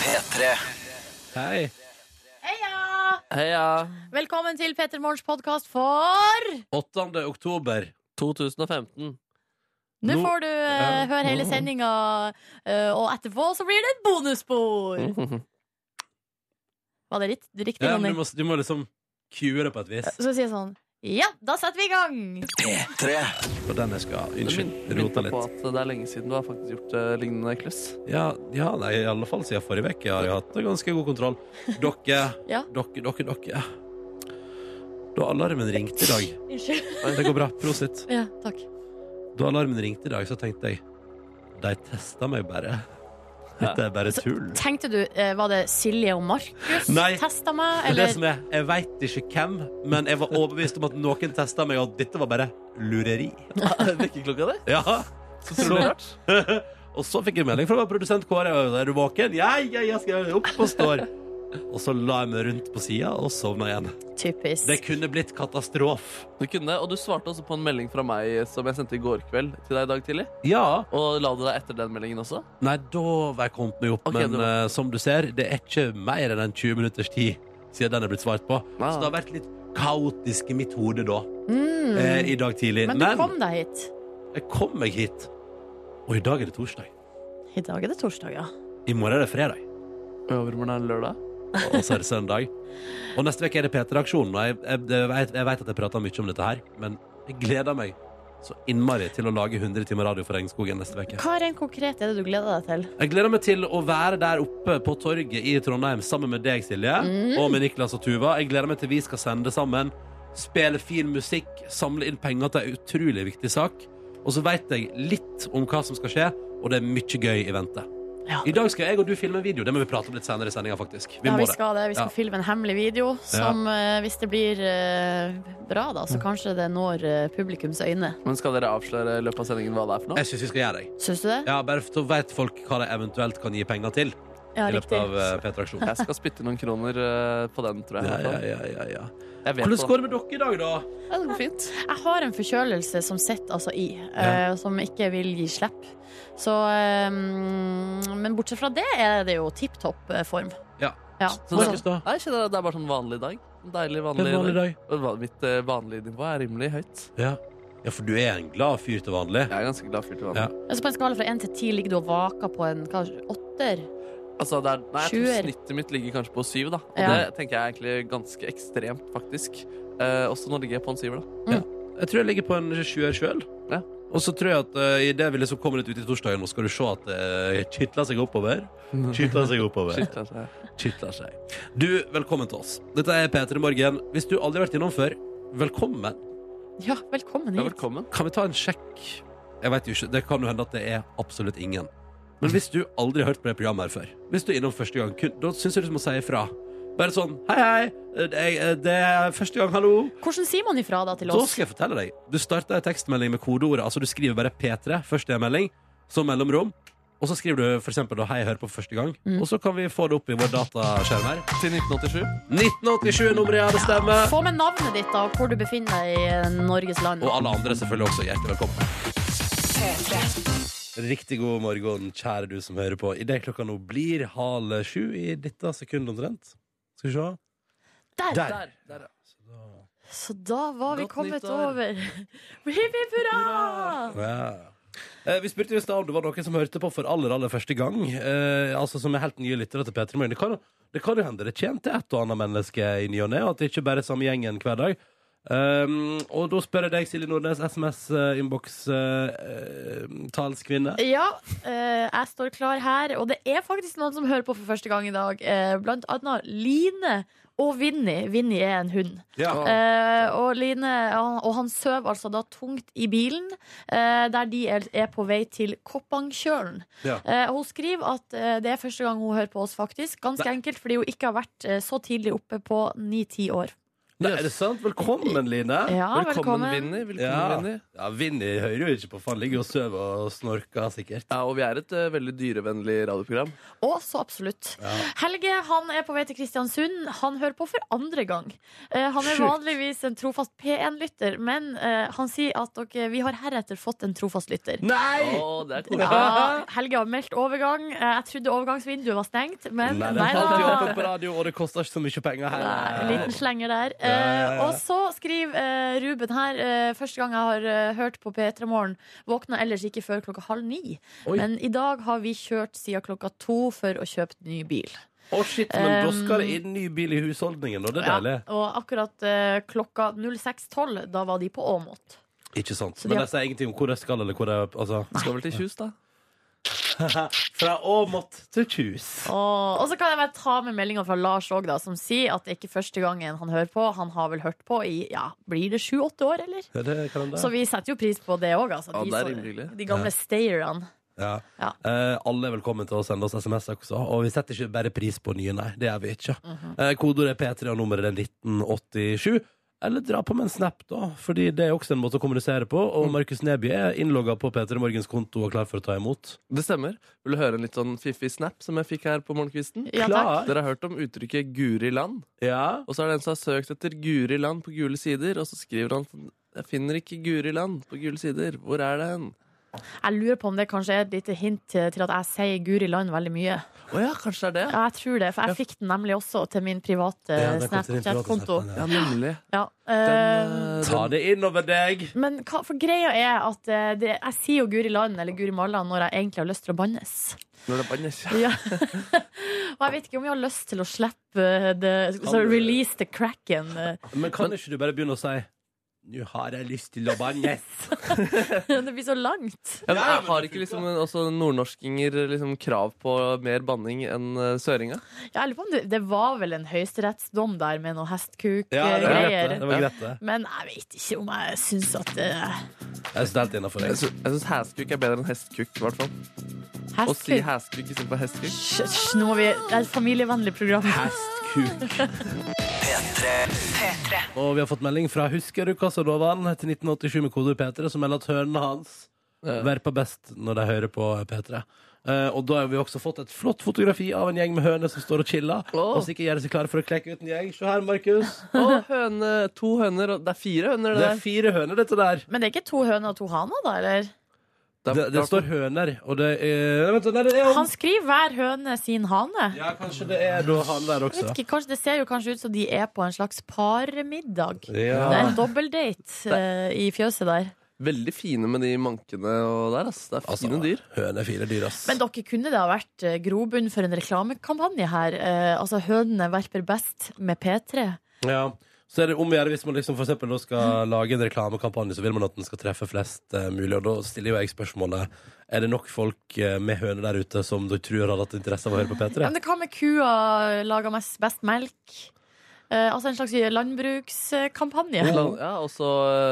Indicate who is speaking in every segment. Speaker 1: P3.
Speaker 2: Hei.
Speaker 3: Heia!
Speaker 4: Heia!
Speaker 3: Velkommen til Petter Morgens podkast for
Speaker 2: 8. oktober.
Speaker 4: 2015.
Speaker 3: Nå
Speaker 2: Nå-
Speaker 3: får du eh,
Speaker 2: Ja.
Speaker 3: høre hele sendinga, eh, og etterpå så blir det et bonusspor. Var det ritt- riktig,
Speaker 2: Ja, men
Speaker 3: Ronny?
Speaker 2: du, må, du må liksom cue det på et vis.
Speaker 3: Så sier jeg sånn Ja, da setter vi i gang!
Speaker 1: P3.
Speaker 2: Og den jeg skal Unnskyld,
Speaker 4: Jeg
Speaker 2: rota
Speaker 4: begynte på
Speaker 2: litt.
Speaker 4: at det er lenge siden du har faktisk gjort eh, lignende kluss.
Speaker 2: Ja, ja nei, i alle fall siden forrige uke har jeg hatt ganske god kontroll. Dere,
Speaker 3: Ja.
Speaker 2: dere, dere, dere. Da alarmen ringte i dag
Speaker 3: Unnskyld.
Speaker 2: Det går bra. Prosit.
Speaker 3: Ja, takk.
Speaker 2: Da alarmen ringte i dag, så tenkte jeg De testa meg bare. Dette er bare tull.
Speaker 3: Tenkte du, eh, var det Silje og Markus
Speaker 2: Nei.
Speaker 3: testa meg,
Speaker 2: Det er det
Speaker 3: eller?
Speaker 2: som er, Jeg veit ikke hvem, men jeg var overbevist om at noen testa meg, og at dette var bare lureri.
Speaker 4: Vekkerklokka di?
Speaker 2: Ja, så
Speaker 4: Så rart.
Speaker 2: Og så fikk jeg melding fra vår produsent Kåre. Er du våken? Ja, ja, ja, skal jeg opp og står. Og så la jeg meg rundt på sida og sovna igjen.
Speaker 3: Typisk.
Speaker 2: Det kunne blitt katastrofe.
Speaker 4: Du kunne, og du svarte også på en melding fra meg som jeg sendte i går kveld til deg i dag tidlig.
Speaker 2: Ja.
Speaker 4: Og la du deg etter den meldingen også?
Speaker 2: Nei, da var jeg kommet meg opp,
Speaker 4: Ok,
Speaker 2: men
Speaker 4: det var-
Speaker 2: eh, som du ser, det er ikke mer enn en 20 minutters tid siden den er blitt svart på.
Speaker 4: Nei.
Speaker 2: Så det har vært litt kaotisk i mitt hode da,
Speaker 3: Mm.
Speaker 2: eh, i dag tidlig.
Speaker 3: Men du kom deg hit.
Speaker 2: jeg kom meg hit. Og i dag er det torsdag.
Speaker 3: I dag er det torsdag, ja.
Speaker 2: I morgen er det fredag.
Speaker 4: Overmorgen er det lørdag.
Speaker 2: og så er det søndag. Og neste uke er det P3-aksjonen. Og jeg, jeg, jeg, vet, jeg vet at jeg prater mye om dette her, men jeg gleder meg så innmari til å lage 100 timer radio for Regnskogen neste uke.
Speaker 3: Hva er en konkret er det du gleder deg til?
Speaker 2: Jeg gleder meg til å være der oppe på torget i Trondheim sammen med deg, Silje,
Speaker 3: Mhm.
Speaker 2: og med Niklas og Tuva. Jeg gleder meg til vi skal sende sammen, spille fin musikk, samle inn penger til en utrolig viktig sak. Og så veit jeg litt om hva som skal skje, og det er mye gøy i vente.
Speaker 3: Ja.
Speaker 2: I dag skal jeg og du filme en video. Det må vi prate om litt senere i sendinga, faktisk. Vi
Speaker 3: ja,
Speaker 2: må
Speaker 3: vi
Speaker 2: det.
Speaker 3: skal det. Vi skal
Speaker 2: Ja. Mm.
Speaker 3: filme en hemmelig video som, eh, hvis det blir eh, bra, da, så kanskje det når eh, publikums øyne.
Speaker 4: Men skal dere avsløre i løpet av sendingen hva det er for noe?
Speaker 2: Jeg syns vi skal gjøre det.
Speaker 3: Syns du det?
Speaker 2: Ja, bare så vet folk hva de eventuelt kan gi penger til
Speaker 3: Ja,
Speaker 2: i løpet
Speaker 3: riktig.
Speaker 2: av eh, P3-aksjonen.
Speaker 4: Jeg skal spytte noen kroner eh, på den, tror jeg.
Speaker 2: Ja,
Speaker 4: i hvert
Speaker 2: ja,
Speaker 4: fall.
Speaker 2: ja, ja, ja.
Speaker 4: Jeg vet
Speaker 2: Hvordan
Speaker 4: på
Speaker 2: går det med dere i dag, da?
Speaker 4: Ja, det går fint.
Speaker 3: Jeg har en forkjølelse som sitter altså i, eh, som ikke vil gi slipp. Så eh, Men bortsett fra det er det jo tipp topp eh, form.
Speaker 2: Ja.
Speaker 3: Ja. Altså,
Speaker 4: Så
Speaker 2: Markus, da?
Speaker 4: Nei, jeg kjenner at det er bare sånn vanlig dag. En Deilig,
Speaker 2: Det er
Speaker 4: Sånn vanlig,
Speaker 2: en vanlig
Speaker 4: dag.
Speaker 2: dag.
Speaker 4: Og hva- Mitt eh, vanlige nivå er rimelig høyt.
Speaker 2: Ja. ja, for du er en glad fyr til vanlig.
Speaker 4: Jeg er ganske glad fyr til vanlig.
Speaker 2: Ja.
Speaker 3: Så altså, på en skala fra én til ti ligger du og vaker på en hva, åtter?
Speaker 4: Altså, det er, nei, jeg tror
Speaker 3: Sjuer.
Speaker 4: snittet mitt ligger kanskje på syv, da. Og
Speaker 3: Ja.
Speaker 4: det tenker jeg er egentlig ganske ekstremt, faktisk. Eh, også nå ligger jeg på en syver, da.
Speaker 2: Jeg tror jeg ligger på en sjuer sjøl.
Speaker 4: Ja.
Speaker 2: Og så tror jeg at eh, i det vi liksom kommer litt ut i torsdagen, nå skal du se at det eh, kitler seg oppover. Kitler seg oppover.
Speaker 4: Shit, altså.
Speaker 2: Kitler seg. Du, velkommen til oss. Dette er P3 Morgen. Hvis du aldri har vært innom før, velkommen.
Speaker 3: Ja, velkommen
Speaker 4: Ja,
Speaker 3: hit.
Speaker 4: velkommen.
Speaker 2: Kan vi ta en sjekk? Jeg vet jo ikke, Det kan jo hende at det er absolutt ingen. Men hvis du aldri har hørt på det programmet her før, Hvis du er innom første gang, kun, da syns jeg du må si ifra. Bare sånn Hei, hei, det er, det er første gang, hallo.
Speaker 3: Hvordan sier man ifra da til
Speaker 2: Da
Speaker 3: oss?
Speaker 2: skal jeg fortelle deg. Du starter en tekstmelding med kodeordet. Altså Du skriver bare P3, først i en melding, så mellomrom. Og så skriver du for eksempel, da, 'Hei, hør på for første gang'.
Speaker 3: Mm.
Speaker 2: Og så kan vi få det opp i vår dataskjerm her.
Speaker 4: Til 1987.
Speaker 2: 1987-nummeret, ja, det stemmer.
Speaker 3: Få med navnet ditt da, og hvor du befinner deg i eh, Norges land.
Speaker 2: Og alle andre selvfølgelig også hjertelig velkommen. Riktig god morgen, kjære du som hører på. Idet klokka nå blir halv sju i dette sekundet omtrent. Skal vi se.
Speaker 3: Der!
Speaker 2: Der.
Speaker 4: Der, der, ja.
Speaker 3: Så da var vi
Speaker 4: Godt
Speaker 3: kommet
Speaker 4: nyttår.
Speaker 3: over. Hipp, hipp hurra!
Speaker 2: Ja. Eh, Vi spurte jo i stad om det var noen som hørte på for aller aller første gang. Eh, altså Som er helt nye lyttere til P3 Morgen. Det kan, det kan jo hende det kommer til et og annet menneske i ny og ne, og at det ikke bare er samme gjengen hver dag. Um, og da spør jeg deg, Silje Nordnes, eh, SMS-innboks-talskvinne.
Speaker 3: Ja, eh, jeg står klar her, og det er faktisk noen som hører på for første gang i dag. Eh, blant annet Line og Vinny. Vinny er en hund. Eh, og Line han, og han sover altså da tungt i bilen, eh, der de er, er på vei til Koppangkjølen.
Speaker 2: Ja.
Speaker 3: Eh, hun skriver at eh, det er første gang hun hører på oss, faktisk. Ganske enkelt fordi hun ikke har vært eh, så tidlig oppe på ni-ti år.
Speaker 2: Nei, er det sant? Velkommen, Line.
Speaker 3: Ja,
Speaker 4: velkommen,
Speaker 3: velkommen.
Speaker 4: Vinni. Velkommen,
Speaker 2: Ja.
Speaker 4: Vinni.
Speaker 2: ja Vinni hører jo ikke på. faen Ligger og sover og snorker sikkert.
Speaker 4: Ja, og vi er et eh, veldig dyrevennlig radioprogram.
Speaker 3: Og så absolutt. Helge han er på vei til Kristiansund. Han hører på for andre gang. Eh, han er
Speaker 4: Sjukt.
Speaker 3: vanligvis en trofast P1-lytter, men eh, han sier at dere, vi har heretter fått en trofast lytter.
Speaker 2: Mm. Nei!
Speaker 4: Å, det er koselig.
Speaker 3: Ja, Helge har meldt overgang. Eh, jeg trodde overgangsvinduet var stengt, men
Speaker 2: Nei,
Speaker 3: nei,
Speaker 2: det er alltid
Speaker 3: da.
Speaker 2: åpent på radio, og det koster ikke så mye penger her.
Speaker 3: Nei, en liten slenger der.
Speaker 2: Ja, ja, ja.
Speaker 3: Eh, og så skriver eh, Ruben her eh, Første gang jeg har eh, hørt på P3 Morgen, våkna ellers ikke før klokka halv ni.
Speaker 2: Oi.
Speaker 3: Men i dag har vi kjørt siden klokka to for å kjøpe ny bil.
Speaker 2: Å, shit, men da
Speaker 3: Um,
Speaker 2: skal det inn ny bil i husholdningen, og det er deilig.
Speaker 3: Ja, og akkurat eh, klokka 06.12, da var de på Åmot.
Speaker 2: Ikke sant?
Speaker 3: Så de
Speaker 2: Men
Speaker 3: har-
Speaker 2: de sier ingenting om hvor de skal, eller hvor de Altså.
Speaker 4: Skal vel til Kjus, da.
Speaker 2: Fra Åmot til Kjus.
Speaker 3: Og, og så kan jeg bare ta med meldinga fra Lars òg, som sier at det er ikke første gangen han hører på. Han har vel hørt på i ja, blir det sju-åtte år, eller?
Speaker 2: Ja, det kan de.
Speaker 3: Så vi setter jo pris på det òg, altså.
Speaker 4: Ja,
Speaker 3: De,
Speaker 4: det er
Speaker 3: så-
Speaker 4: rimelig.
Speaker 3: de gamle stayerne.
Speaker 2: Ja.
Speaker 3: Ja.
Speaker 2: Eh, alle er velkommen til å sende oss SMS også. Og vi setter ikke bare pris på nye, nei. Det gjør vi ikke.
Speaker 3: Mhm.
Speaker 2: eh, Kodeordet er P3, og nummeret er 1987. Eller dra på med en snap, da, Fordi det er også en måte å kommunisere på.
Speaker 3: Mm.
Speaker 2: Og Markus Neby er innlogga på P3 Morgens konto og klar for å ta imot.
Speaker 4: Det stemmer. Vil du høre en litt sånn fiffig snap som jeg fikk her på morgenkvisten?
Speaker 3: Ja, takk.
Speaker 2: Klar?
Speaker 4: Dere har hørt om uttrykket 'Guri land'?
Speaker 2: Ja.
Speaker 4: Og så er det en som har søkt etter Guri land på gule sider, og så skriver han sånn, jeg finner ikke Guri land på gule sider. Hvor er det hen?
Speaker 3: Jeg lurer på om det kanskje er et lite hint til til at jeg sier Guri Land veldig mye.
Speaker 4: Å ja, kanskje det er det?
Speaker 3: Ja, jeg tror det, for jeg fikk den nemlig også til min private
Speaker 2: Ja, den kom til din private
Speaker 3: Eh, Snapchat-konto.
Speaker 2: snappen, ja.
Speaker 4: Ja, nemlig.
Speaker 3: Ja,
Speaker 4: Den,
Speaker 3: eh,
Speaker 4: eh,
Speaker 2: Ta det innover deg!
Speaker 3: Men hva, for greia er at eh, det, jeg sier jo Guri Land eller Guri Marland når jeg egentlig har lyst til å bannes.
Speaker 4: Når det bannes.
Speaker 3: Ja. Og jeg vet ikke om jeg har lyst til å slippe eh, det, så release the cracken. eh.
Speaker 2: Men kan ikke du bare begynne å si Nå har jeg lyst til å bannes.
Speaker 3: Det blir så langt.
Speaker 4: Ja, men jeg har ikke liksom en- også nordnorskinger liksom krav på mer banning enn eh, søringa?
Speaker 3: Jeg lurer på om det, det var vel en høyesterettsdom der med noe
Speaker 2: Ja, det var greit,
Speaker 3: hestkuk-greier.
Speaker 2: det. det, var greit, det.
Speaker 3: Men jeg vet ikke om jeg syns at eh,
Speaker 2: Jeg er stelt innafor
Speaker 4: Jeg
Speaker 2: deg.
Speaker 4: sy- jeg syns hestkuk er bedre enn hestkuk, i hvert fall. Å si
Speaker 3: hestkuk
Speaker 4: hestkuk istedenfor hestkuk.
Speaker 3: Hysj, nå er vi det er et familievennlig program.
Speaker 2: Hestkuk. Og vi har fått melding fra Husker du hva som lova han til 1987 med kodeord P3, som melder at hønene hans verper best når de hører på P3. Eh, og da har vi også fått et flott fotografi av en gjeng med høner som står og chiller.
Speaker 4: Åh.
Speaker 2: Og sikkert gjør seg klare for å klekke ut en gjeng. Se her, Markus.
Speaker 4: Å, høne, to høner og Det er fire høner,
Speaker 2: Det
Speaker 4: det
Speaker 2: er
Speaker 4: der.
Speaker 2: fire høner, dette der.
Speaker 3: Men det er ikke to høner og to haner, da? eller?
Speaker 2: Det, det står høner, og det er Nei, Vent, nei, det er
Speaker 3: Han skriver hver høne sin hane.
Speaker 2: Ja, kanskje det er da han der
Speaker 3: Jeg
Speaker 2: også.
Speaker 3: vet ikke, kanskje, det ser jo kanskje ut som de er på en slags parmiddag.
Speaker 2: Ja.
Speaker 3: Det er en dobbeldate eh, i fjøset der.
Speaker 4: Veldig fine med de mankene og der, ass. Det er
Speaker 2: Altså,
Speaker 4: fine dyr.
Speaker 2: Høne er fire dyr, ass.
Speaker 3: Men dere kunne det ha vært eh, grobunn for en reklamekampanje her. Eh, altså Hønene verper best med P3.
Speaker 2: Ja. Så er det om å gjøre hvis man liksom for eksempel da skal lage en reklamekampanje, så vil man at den skal treffe flest eh, mulig. Og da stiller jo jeg spørsmålet Er det nok folk eh, med høne der ute som du tror hadde hatt interesse av å høre på
Speaker 3: Ja,
Speaker 2: P3?
Speaker 3: men hva med kua lager mest, best melk? Eh, altså en slags landbrukskampanje.
Speaker 4: La- Ja, og så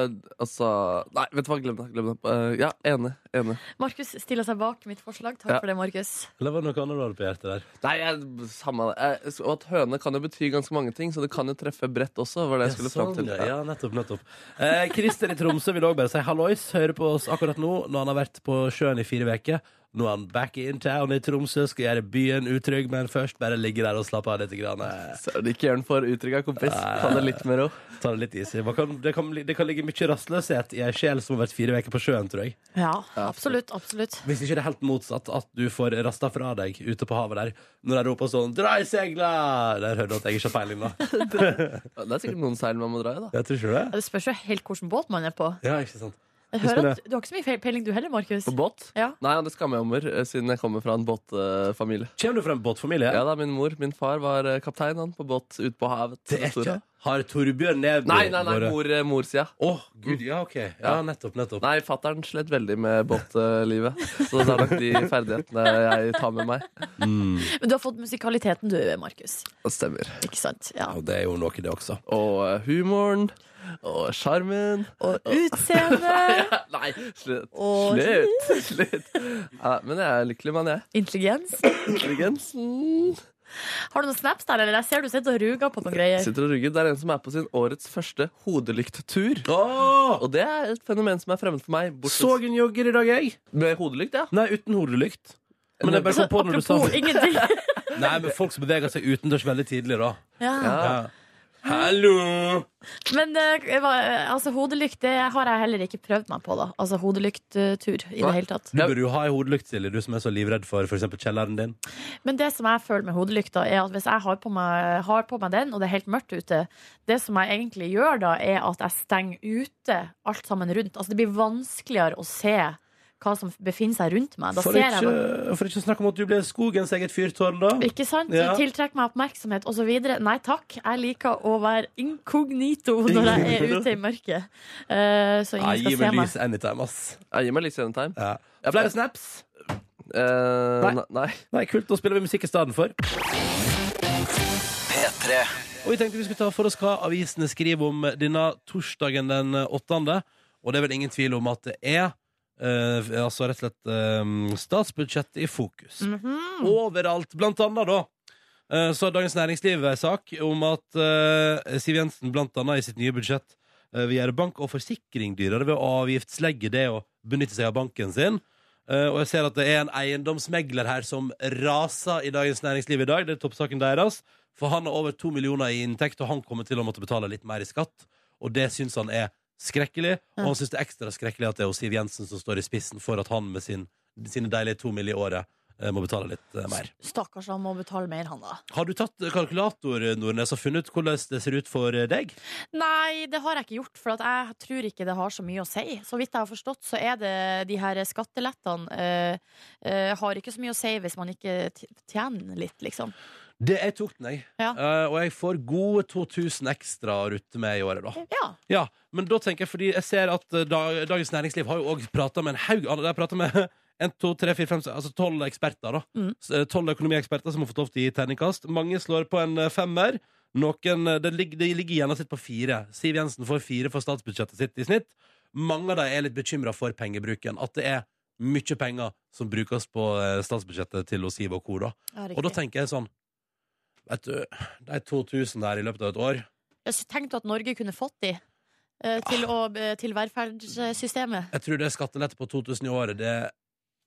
Speaker 4: eh, Altså Nei, vet du hva, glem det. Glem det. Eh, ja, enig. enig.
Speaker 3: Markus stiller seg bak mitt forslag. Takk
Speaker 4: Ja.
Speaker 3: for det, Markus.
Speaker 2: Eller var det noe annet du hadde på hjertet der?
Speaker 4: Nei, jeg, samme det. Jeg- Og at høne kan jo bety ganske mange ting, så det kan jo treffe bredt også. Var det jeg skulle fram til.
Speaker 2: ja, Sånn, ja, nettopp, nettopp. Eh, Christer i Tromsø vil òg bare si hallois. Hører på oss akkurat nå når han har vært på sjøen i fire uker. Nå er han back in town i Tromsø, skal gjøre byen utrygg, men først bare ligge der og slappe av litt. Grann. Eh,
Speaker 4: Søren, ikke gjør den for utrygga, kompis. Ta det litt med ro.
Speaker 2: Ta det litt easy. Man kan, det, kan, li- det kan ligge mye rastløshet i ei sjel som har vært fire uker på sjøen, tror jeg.
Speaker 3: Ja, absolutt. absolutt.
Speaker 2: Hvis ikke det er helt motsatt, at du får rasta fra deg ute på havet der, når de roper sånn 'dra i segla'! Der hører du at jeg ikke har peiling, da.
Speaker 4: Ja, Det er sikkert noen seil man må dra i, da.
Speaker 2: Jeg tror ikke det.
Speaker 3: Det spørs jo helt hvilken båt man er på.
Speaker 2: Ja, ikke sant.
Speaker 3: Jeg
Speaker 2: Hvis man
Speaker 3: hører at Du har ikke så mye peiling du heller, Markus.
Speaker 4: På båt?
Speaker 3: Ja.
Speaker 4: Nei, ja, det skammer jeg meg over, eh, siden jeg kommer fra en båtfamilie.
Speaker 2: Kommer du fra en båtfamilie?
Speaker 4: Ja da, min mor, min far var eh, kaptein, han, på båt ute på havet.
Speaker 2: det er
Speaker 4: Store.
Speaker 2: ikke. Har Torbjørn Neby
Speaker 4: Nei, nei, nei,
Speaker 2: vært-
Speaker 4: mor, eh, morsida.
Speaker 2: Å, gud, ja, OK. Ja, nettopp, nettopp.
Speaker 4: Nei, fattern slet veldig med båtlivet. Så det er nok de ferdighetene jeg tar med meg.
Speaker 3: Men du har fått musikaliteten du, Markus.
Speaker 4: Det stemmer.
Speaker 3: Ikke sant? Ja.
Speaker 2: Og det er jo noe, det også.
Speaker 4: Og eh, humoren. Og sjarmen.
Speaker 3: Og utseende,
Speaker 4: Nei, slutt.
Speaker 3: Og-
Speaker 4: Slutt. slutt. Ja, men jeg er lykkelig mann, jeg.
Speaker 3: intelligens.
Speaker 4: Intelligensen.
Speaker 3: Har du noen snaps der, eller? Jeg ser du sitter og ruger på noen greier.
Speaker 4: Sitter og rugger. Det er en som er på sin årets første hodelykttur.
Speaker 2: Åh!
Speaker 4: Og det er et fenomen som er fremmed for meg.
Speaker 2: Så
Speaker 4: Bortsett
Speaker 2: en jogger i dag, jeg.
Speaker 4: med hodelykt, ja.
Speaker 2: Nei, uten hodelykt. Men jeg bare
Speaker 3: Så
Speaker 2: kom på når du sa
Speaker 3: apropos ingenting.
Speaker 2: Nei, men folk som beveger seg utendørs veldig tidlig, da.
Speaker 3: Ja.
Speaker 4: Ja.
Speaker 2: Ja. Hallo!
Speaker 3: Men eh, hva- altså, hodelykt det har jeg heller ikke prøvd meg på. da Altså hodelykttur
Speaker 4: Nei.
Speaker 3: i det hele tatt.
Speaker 2: Du burde jo ha ei hodelykt, Silje, du som er så livredd for f.eks. kjelleren din.
Speaker 3: Men det som jeg føler med hodelykta, er at hvis jeg har på, meg, har på meg den, og det er helt mørkt ute, det som jeg egentlig gjør da, er at jeg stenger ute alt sammen rundt. Altså det blir vanskeligere å se hva som befinner seg rundt meg. Da
Speaker 2: For
Speaker 3: ser
Speaker 2: ikke,
Speaker 3: jeg
Speaker 2: for ikke å snakke om at du ble skogens eget fyrtårn, da.
Speaker 3: ikke sant?
Speaker 2: Ja.
Speaker 3: Tiltrekk meg oppmerksomhet osv. Nei takk, jeg liker å være inkognito når jeg er ute i mørket. Eh, så
Speaker 2: Nei,
Speaker 3: ingen
Speaker 2: gi
Speaker 3: skal se
Speaker 2: meg
Speaker 3: meg.
Speaker 2: lys anytime, ass.
Speaker 4: Ja, Gi meg litt senetime.
Speaker 2: Ja. Flere snaps?
Speaker 4: Eh,
Speaker 2: Nei.
Speaker 4: ne- nei.
Speaker 2: Nei, kult. Da spiller vi musikk i stedet for.
Speaker 1: P3
Speaker 2: Og vi tenkte vi skulle ta for oss hva avisene skriver om denne torsdagen den åttende. Og det er vel ingen tvil om at det er eh, altså rett og slett eh, statsbudsjettet i fokus. Overalt. Blant annet, da. eh, så har Dagens Næringsliv en sak om at eh, Siv Jensen blant annet i sitt nye budsjett eh, vil gjøre bank og forsikring dyrere ved å avgiftslegge det og benytte seg av banken sin. Eh, og jeg ser at det er en eiendomsmegler her som raser i Dagens Næringsliv i dag. Det er toppsaken deres. For han har over to millioner i inntekt, og han kommer til å måtte betale litt mer i skatt. Og det syns han er skrekkelig. Og han syns det er ekstra skrekkelig at det er hos Siv Jensen som står i spissen for at han med sin, sine deilige to mill. i året eh, må betale litt eh, mer.
Speaker 3: Stakkars, han må betale mer, han da.
Speaker 2: Har du tatt kalkulator, Nordnes, og funnet ut hvordan det ser ut for deg?
Speaker 3: Nei, det har jeg ikke gjort, for at jeg tror ikke det har så mye å si. Så vidt jeg har forstått, så er det de her skattelettene eh, eh, har ikke så mye å si hvis man ikke t- tjener litt, liksom.
Speaker 2: Det jeg tok den, jeg.
Speaker 3: Ja.
Speaker 2: Eh, og jeg får gode 2000 ekstra å rutte med i året, da.
Speaker 3: Ja.
Speaker 2: Ja, men da tenker jeg fordi jeg ser at eh, dag, Dagens Næringsliv har jo òg prata med en haug andre. De har prata med en, to, tre, fire, fem, se- altså tolv eksperter. da
Speaker 3: Mm.
Speaker 2: S- eh, Tolv økonomieksperter som har fått lov til å gi terningkast. Mange slår på en eh, femmer. Noen, eh, det, ligger, det ligger gjennom sitt på fire. Siv Jensen får fire for statsbudsjettet sitt i snitt. Mange av dem er litt bekymra for pengebruken. At det er mye penger som brukes på eh, statsbudsjettet til hos Siv og Kor. da
Speaker 3: ja
Speaker 2: Og da
Speaker 3: riktig.
Speaker 2: tenker jeg sånn Vet du, det er 2000 der i løpet av et år.
Speaker 3: Jeg s- tenkte at Norge kunne fått de eh, til,
Speaker 2: Ah.
Speaker 3: å, eh, til velferdssystemet.
Speaker 2: Jeg tror det skattelette på 2000 i året, det,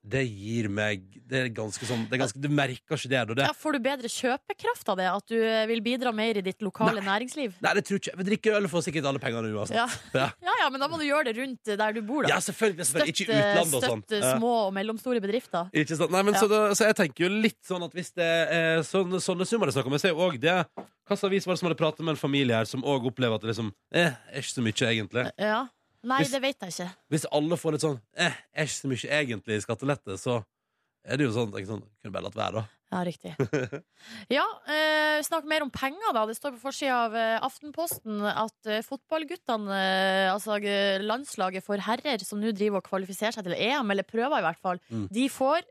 Speaker 2: det gir meg Det er ganske sånn det er ganske, Du merker ikke det. da. det
Speaker 3: Ja, får du bedre kjøpekraft av det? At du eh, vil bidra mer i ditt lokale næringsliv?
Speaker 2: Nei, det tror ikke jeg. Vi drikker øl og får sikkert alle pengene uansett.
Speaker 3: Ja.
Speaker 2: Ja.
Speaker 3: ja ja, men da må du gjøre det rundt der du bor,
Speaker 2: Ja,
Speaker 3: da.
Speaker 2: selvfølgelig. selvfølgelig. Ikke
Speaker 3: eh,
Speaker 2: utlandet og sånn.
Speaker 3: støtt eh,
Speaker 2: Ja.
Speaker 3: små og mellomstore bedrifter.
Speaker 2: Ikke sant? Nei, men så, da, så jeg tenker jo litt sånn at hvis det er sånne, sånne summer det er snakk om Jeg ser jo òg det Hvilken avis var det som hadde pratet med en familie her som òg opplever at det liksom eh, er ikke så mye, egentlig?
Speaker 3: Ja. Nei,
Speaker 2: Hvis-
Speaker 3: det vet jeg ikke.
Speaker 2: Hvis alle får litt sånn eh, er ikke så mye, egentlig, i skattelette, så er det jo sånn, tenker jeg sånn Kunne bare latt være, da.
Speaker 3: Ja, riktig. Ja, eh, Snakk mer om penger, da. Det står på forsida av eh, Aftenposten at eh, fotballguttene, eh, altså eh, landslaget for herrer, som nå driver og kvalifiserer seg til EM, eller prøver i hvert fall,
Speaker 2: Mm.
Speaker 3: de får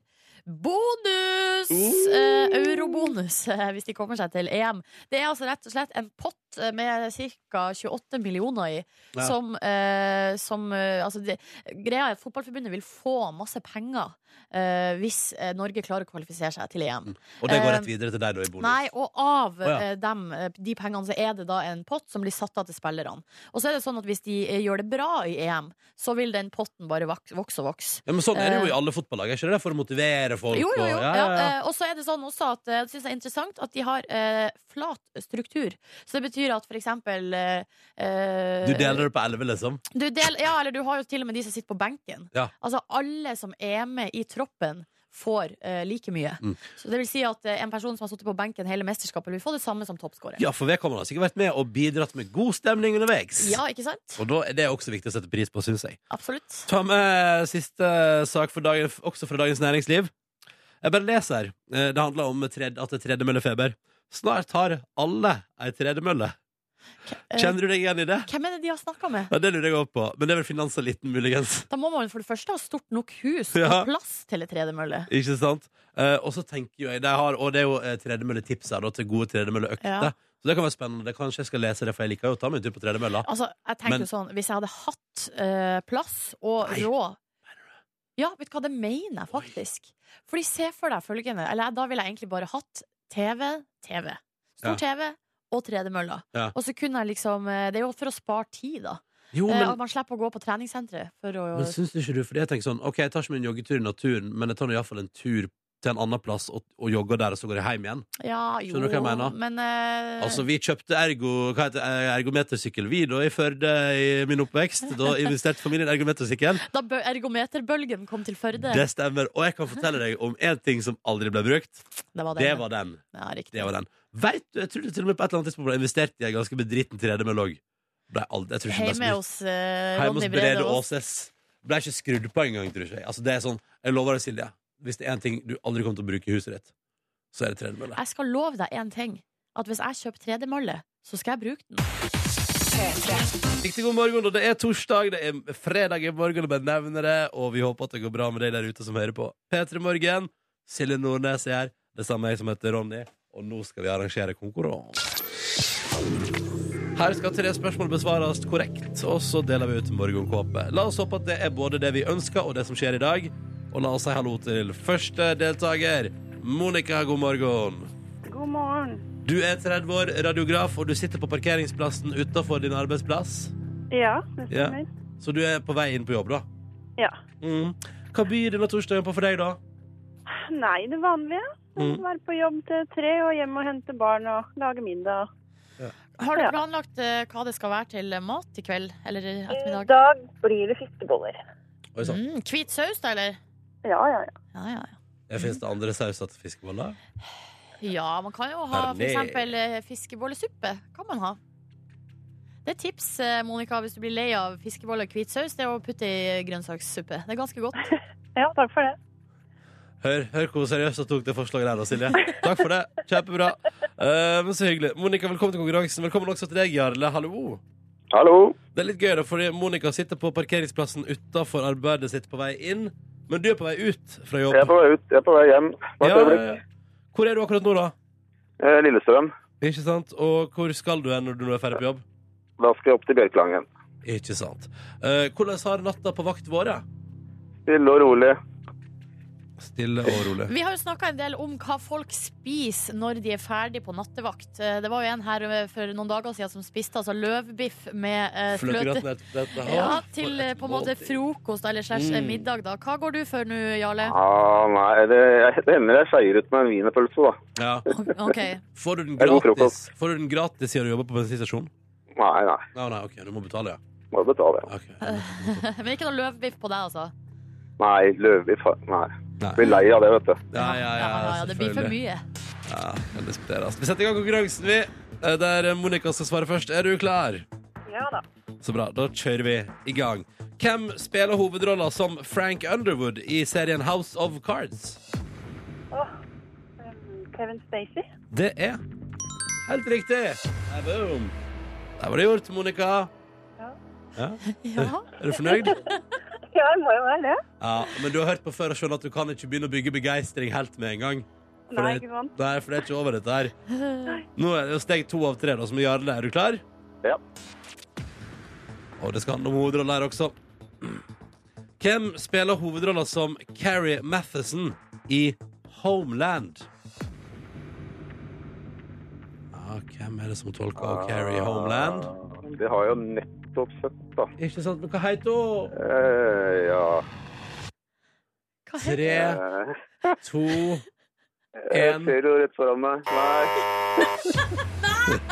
Speaker 3: bonus! Eh, eurobonus, eh, hvis de kommer seg til EM. Det er altså rett og slett en pott eh, med ca. 28 millioner i,
Speaker 2: Ja.
Speaker 3: som, eh, som eh, Altså, det, greia er at Fotballforbundet vil få masse penger eh, hvis eh, Norge klarer å kvalifisere seg til EM.
Speaker 2: Og det går
Speaker 3: Eh,
Speaker 2: rett videre til deg, da, i bonus.
Speaker 3: Nei, og av
Speaker 2: Å, ja.
Speaker 3: eh, dem, eh, de pengene så er det da en pott som blir satt av til spillerne. Og så er det sånn at hvis de eh, gjør det bra i EM, så vil den potten bare vok- vokse og vokse.
Speaker 2: Ja, men Sånn er det jo i alle fotballag. Er ikke det for å motivere folk?
Speaker 3: Eh. Jo, jo, jo.
Speaker 2: og-
Speaker 3: Ja,
Speaker 2: ja, ja, ja.
Speaker 3: eh, Og så er det sånn også at eh, det synes jeg er interessant at de har eh, flat struktur. Så det betyr at for eksempel eh, eh,
Speaker 2: Du deler det på elleve, liksom?
Speaker 3: du del, Ja, eller du har jo til og med de som sitter på benken.
Speaker 2: Ja.
Speaker 3: Altså alle som er med i troppen. Får eh, like mye.
Speaker 2: Mm.
Speaker 3: Så det vil si at eh, en person som har sittet på benken hele mesterskapet, vil få det samme som toppskårer.
Speaker 2: Ja, for vedkommende har sikkert vært med og bidratt med god stemning underveis.
Speaker 3: Ja, ikke sant?
Speaker 2: Og da er det også viktig å sette pris på, syns jeg.
Speaker 3: Absolutt.
Speaker 2: Ta med eh, siste sak for dagen, også fra Dagens Næringsliv. Jeg bare leser. Eh, Det handler om tred, at det er tredemøllefeber. Snart har alle ei tredemølle.
Speaker 3: Eh,
Speaker 2: Kjenner du deg igjen i det?
Speaker 3: Hvem er det de har snakka med?
Speaker 2: Ja, det lurer jeg òg på. Men det er vel finanseliten, muligens.
Speaker 3: Da må man for det første ha stort nok hus
Speaker 2: Ja.
Speaker 3: og plass til ei tredemølle.
Speaker 2: Ikke sant? Eh, og så tenker jo jeg de har, Og det er jo eh, tredemølletips her da, til gode tredemølleøkter.
Speaker 3: Ja.
Speaker 2: Så det kan være spennende. Kanskje jeg skal lese det, for jeg liker jo å ta meg en tur på tredemølla.
Speaker 3: Altså, jeg tenker
Speaker 2: Men-
Speaker 3: jo sånn, Hvis jeg hadde hatt eh, plass og
Speaker 2: Nei.
Speaker 3: råd Ja, vet du hva, det mener jeg faktisk. Fordi se for deg følgende, eller da ville jeg egentlig bare hatt TV, TV. Stor TV og tredemølla.
Speaker 2: Ja.
Speaker 3: Og så kunne jeg liksom eh, Det er jo for å spare tid, da.
Speaker 2: Jo,
Speaker 3: Eh,
Speaker 2: men
Speaker 3: At man slipper å gå på treningssenteret for å
Speaker 2: Men syns ikke du Fordi jeg tenker sånn Ok, jeg tar ikke min joggetur i naturen, men jeg tar nå iallfall en tur til en annen plass og, og jogger der, og så går jeg hjem igjen.
Speaker 3: Ja, jo,
Speaker 2: Skjønner du hva jeg mener?
Speaker 3: Men eh,
Speaker 2: Altså, vi kjøpte ergo, hva heter, det, eh, ergometersykkel, vi, da, i Førde i min oppvekst. Da investerte familien i ergometersykkel.
Speaker 3: da bø- ergometerbølgen kom til Førde,
Speaker 2: Det
Speaker 3: det,
Speaker 2: stemmer. Og jeg kan fortelle deg om én ting som aldri ble brukt.
Speaker 3: var det.
Speaker 2: Det var den.
Speaker 3: Ja, riktig.
Speaker 2: Det var den. Vet du, jeg tror det til og med på et eller annet tidspunkt ble investert i en ganske bedriten tredemøllog.
Speaker 3: Hjemme hos eh,
Speaker 2: Hjemme
Speaker 3: Ronny
Speaker 2: hos
Speaker 3: Brede
Speaker 2: Brede
Speaker 3: Aas.
Speaker 2: Aases. Ble ikke skrudd på engang, tror jeg. Altså, det er sånn, jeg lover deg, Silje, hvis det er én ting du aldri kommer til å bruke i huset ditt, så er det tredemølle.
Speaker 3: Jeg skal love deg én ting. At hvis jeg kjøper tredemølle, så skal jeg bruke den.
Speaker 2: Riktig god morgen, og det er torsdag, det er fredag i morgen, og bare nevner det, og vi håper at det går bra med deg der ute som hører på. P3 Morgen, Silje Nordnes er her, det samme jeg som heter Ronny, og nå skal vi arrangere konkurranse. Her skal tre spørsmål besvares korrekt, og så deler vi ut morgenkåpe. La oss håpe at det er både det vi ønsker og det som skjer i dag, og la oss si hallo til første deltaker, Monika, god morgen.
Speaker 1: God morgen.
Speaker 2: Du er 30 år, radiograf, og du sitter på parkeringsplassen utenfor din arbeidsplass.
Speaker 1: Ja, det
Speaker 2: Ja.
Speaker 1: stemmer.
Speaker 2: Så du er på vei inn på jobb, da?
Speaker 1: Ja.
Speaker 2: Mm. Hva byr denne torsdagen på for deg, da?
Speaker 1: Nei, det vanlige.
Speaker 2: Mm.
Speaker 1: Være på jobb til tre og hjem og hente barn og lage middag.
Speaker 3: Har du
Speaker 1: Ja. Eh,
Speaker 3: planlagt eh, hva det skal være til mat i kveld? Eller i
Speaker 1: I
Speaker 3: ettermiddag?
Speaker 1: dag blir det fiskeboller.
Speaker 2: Oi sann.
Speaker 3: Mm, hvit saus, da, eller?
Speaker 1: Ja, ja, ja.
Speaker 3: Ja, ja, ja.
Speaker 2: Mm. Fins det andre sauser til fiskeboller?
Speaker 3: ja, man kan jo ha for
Speaker 2: Herlig.
Speaker 3: eksempel eh, fiskebollesuppe. Kan man ha. Det er tips, eh, Monica, hvis du blir lei av fiskeboller og hvit saus, det er å putte i grønnsakssuppe. Det er ganske godt.
Speaker 1: Ja, takk for det.
Speaker 2: Hør, hør hvor seriøst jeg tok det forslaget der, da, Silje. Takk for det. Kjempebra. Eh, men så hyggelig. Monica, velkommen til konkurransen. Velkommen også til deg, Jarle. Hallo.
Speaker 5: Hallo.
Speaker 2: Det er litt gøy, da, fordi Monica sitter på parkeringsplassen utafor arbeidet sitt på vei inn. Men du er på vei ut fra jobb.
Speaker 5: Jeg er på vei ut. Jeg er på vei hjem. Hvert
Speaker 2: Ja,
Speaker 5: øyeblikk.
Speaker 2: ja, ja. Hvor er du akkurat nå, da?
Speaker 5: Eh, Lillestrøm.
Speaker 2: Ikke sant? Og hvor skal du hen når du er ferdig på jobb?
Speaker 5: Da skal jeg opp til Bjørklangen.
Speaker 2: Ikke sant. Eh, hvordan har natta på vakt vært?
Speaker 5: Stille og rolig.
Speaker 2: Stille og rolig.
Speaker 3: Vi har jo snakka en del om hva folk spiser når de er ferdig på nattevakt. Eh, Det var jo en her eh, for noen dager siden som spiste altså løvbiff med eh, fløte.
Speaker 2: Fløtegratinert fløte.
Speaker 3: Ja,
Speaker 2: Ah,
Speaker 3: til
Speaker 2: for
Speaker 3: eh,
Speaker 2: et
Speaker 3: på en måte
Speaker 2: måltid.
Speaker 3: frokost eller slash eh,
Speaker 2: Mm.
Speaker 3: middag, da. Hva går du for nå, Jarle?
Speaker 5: Ah, nei, det, det hender jeg skeier ut med en wienerpølse, da.
Speaker 2: Ja.
Speaker 3: OK.
Speaker 2: Får du den
Speaker 5: Det er god
Speaker 2: gratis
Speaker 5: frokost.
Speaker 2: Får du den gratis siden du jobber på bensinstasjon?
Speaker 5: Nei, nei.
Speaker 2: Nei, nei, ok, du må betale, ja.
Speaker 5: Må betale.
Speaker 2: Ok.
Speaker 3: Eh. Men ikke noe løvbiff på deg, altså?
Speaker 5: Nei, løvbiff Nei.
Speaker 2: Nei.
Speaker 5: Blir lei av det, vet du.
Speaker 2: Ja, ja, ja,
Speaker 3: ja, det blir for
Speaker 2: selvfølgelig.
Speaker 3: mye.
Speaker 2: Ja, kan diskuteres. Vi setter i gang konkurransen, vi. eh, Der Monica skal svare først. Er du klar?
Speaker 1: Ja da.
Speaker 2: Så bra, da kjører vi i gang. Hvem spiller hovedrolla som Frank Underwood i serien House of Cards?
Speaker 1: Åh, um, Kevin Spacey.
Speaker 2: Det er helt riktig. Hey, boom. Der var det gjort, Monica.
Speaker 1: Ja.
Speaker 2: Ja.
Speaker 3: Ja.
Speaker 2: Er du fornøyd?
Speaker 1: Ja, det må jo være det.
Speaker 2: Ja, men du har hørt på før og skjønner at du kan ikke begynne å bygge begeistring helt med en gang. For
Speaker 1: Nei,
Speaker 2: det,
Speaker 1: ikke sant.
Speaker 2: nei, for det er ikke over, dette her. Nå er det jo steg to av tre, da, som er Jarle. Er du klar?
Speaker 5: Ja.
Speaker 2: Og det skal handle om hovedrolla her også. Hvem spiller hovedrolla som Carrie Matheson i Homeland? Ja, hvem er det som tolker Carrie i Homeland?
Speaker 5: Ah, Det har jeg jo nettopp sett, da.
Speaker 2: Ikke sant, men hva heter hun?
Speaker 5: Eh, ja
Speaker 3: Hva heter
Speaker 2: Tre,
Speaker 5: eh,
Speaker 2: to
Speaker 5: Jeg
Speaker 2: En.
Speaker 5: ser jo rett foran meg. Nei.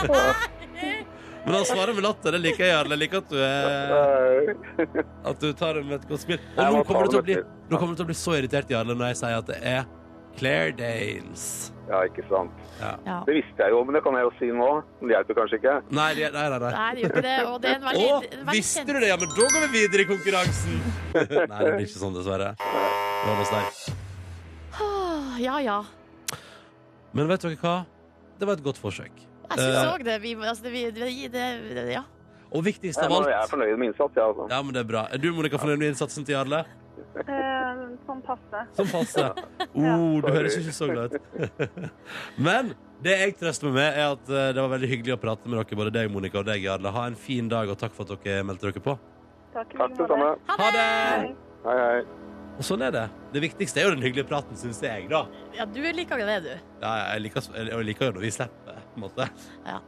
Speaker 3: det?
Speaker 2: Men han svarer med latter. Det liker jeg. Jarle. Jeg liker at du er
Speaker 5: nei.
Speaker 2: At du tar det med et godt spill. Og
Speaker 5: Jeg
Speaker 2: nå
Speaker 5: må ta
Speaker 2: kommer, du til å
Speaker 5: det
Speaker 2: bli,
Speaker 5: med et
Speaker 2: nå kommer du til å bli så irritert, Jarle, når jeg sier at det er Claire Danes.
Speaker 5: Ja, ikke sant.
Speaker 3: Ja.
Speaker 5: Det visste jeg jo, men det kan jeg jo si nå. Men det hjelper kanskje ikke.
Speaker 2: Nei, det- nei, nei. nei.
Speaker 3: Nei, det gjør ikke det. Og det er en veldig,
Speaker 2: Å,
Speaker 3: veldig
Speaker 2: visste
Speaker 3: kjent-
Speaker 2: du det? Ja, men da går vi videre i konkurransen. nei, det blir ikke sånn, dessverre. Det var noe sterkt.
Speaker 3: Åh, Ja ja.
Speaker 2: Men vet dere hva? Det var et godt forsøk.
Speaker 3: Jeg syns
Speaker 2: Eh.
Speaker 3: òg det. Vi, altså, det, vi, det, det, det. Ja.
Speaker 2: Og viktigst
Speaker 5: Jeg
Speaker 2: av
Speaker 5: må- Eh, jeg er
Speaker 2: alt
Speaker 5: fornøyd med innsats, jeg, ja, altså.
Speaker 2: Ja, men det er bra. Er du, Monica, fornøyd med innsatsen til Jarle?
Speaker 1: Eh, sånn passe.
Speaker 2: Som passer. Oh, du
Speaker 5: Sorry.
Speaker 2: høres ikke så glad ut. Men det jeg trøster meg med, er at eh, det var veldig hyggelig å prate med dere, både deg, Monica, og deg, Jarle. Ha en fin dag, og takk for at dere meldte dere på.
Speaker 1: Takk, i
Speaker 5: Takk
Speaker 1: like
Speaker 5: det
Speaker 1: måte.
Speaker 5: samme.
Speaker 3: Ha
Speaker 2: Ha
Speaker 3: det!
Speaker 2: det!
Speaker 5: Hei, hei.
Speaker 2: Og sånn er det. Det viktigste er jo den hyggelige praten, syns jeg, da.
Speaker 3: Ja, du liker jo det, du.
Speaker 2: Ja, jeg liker, jeg liker jo når vi slipper, på en måte.
Speaker 3: Ja.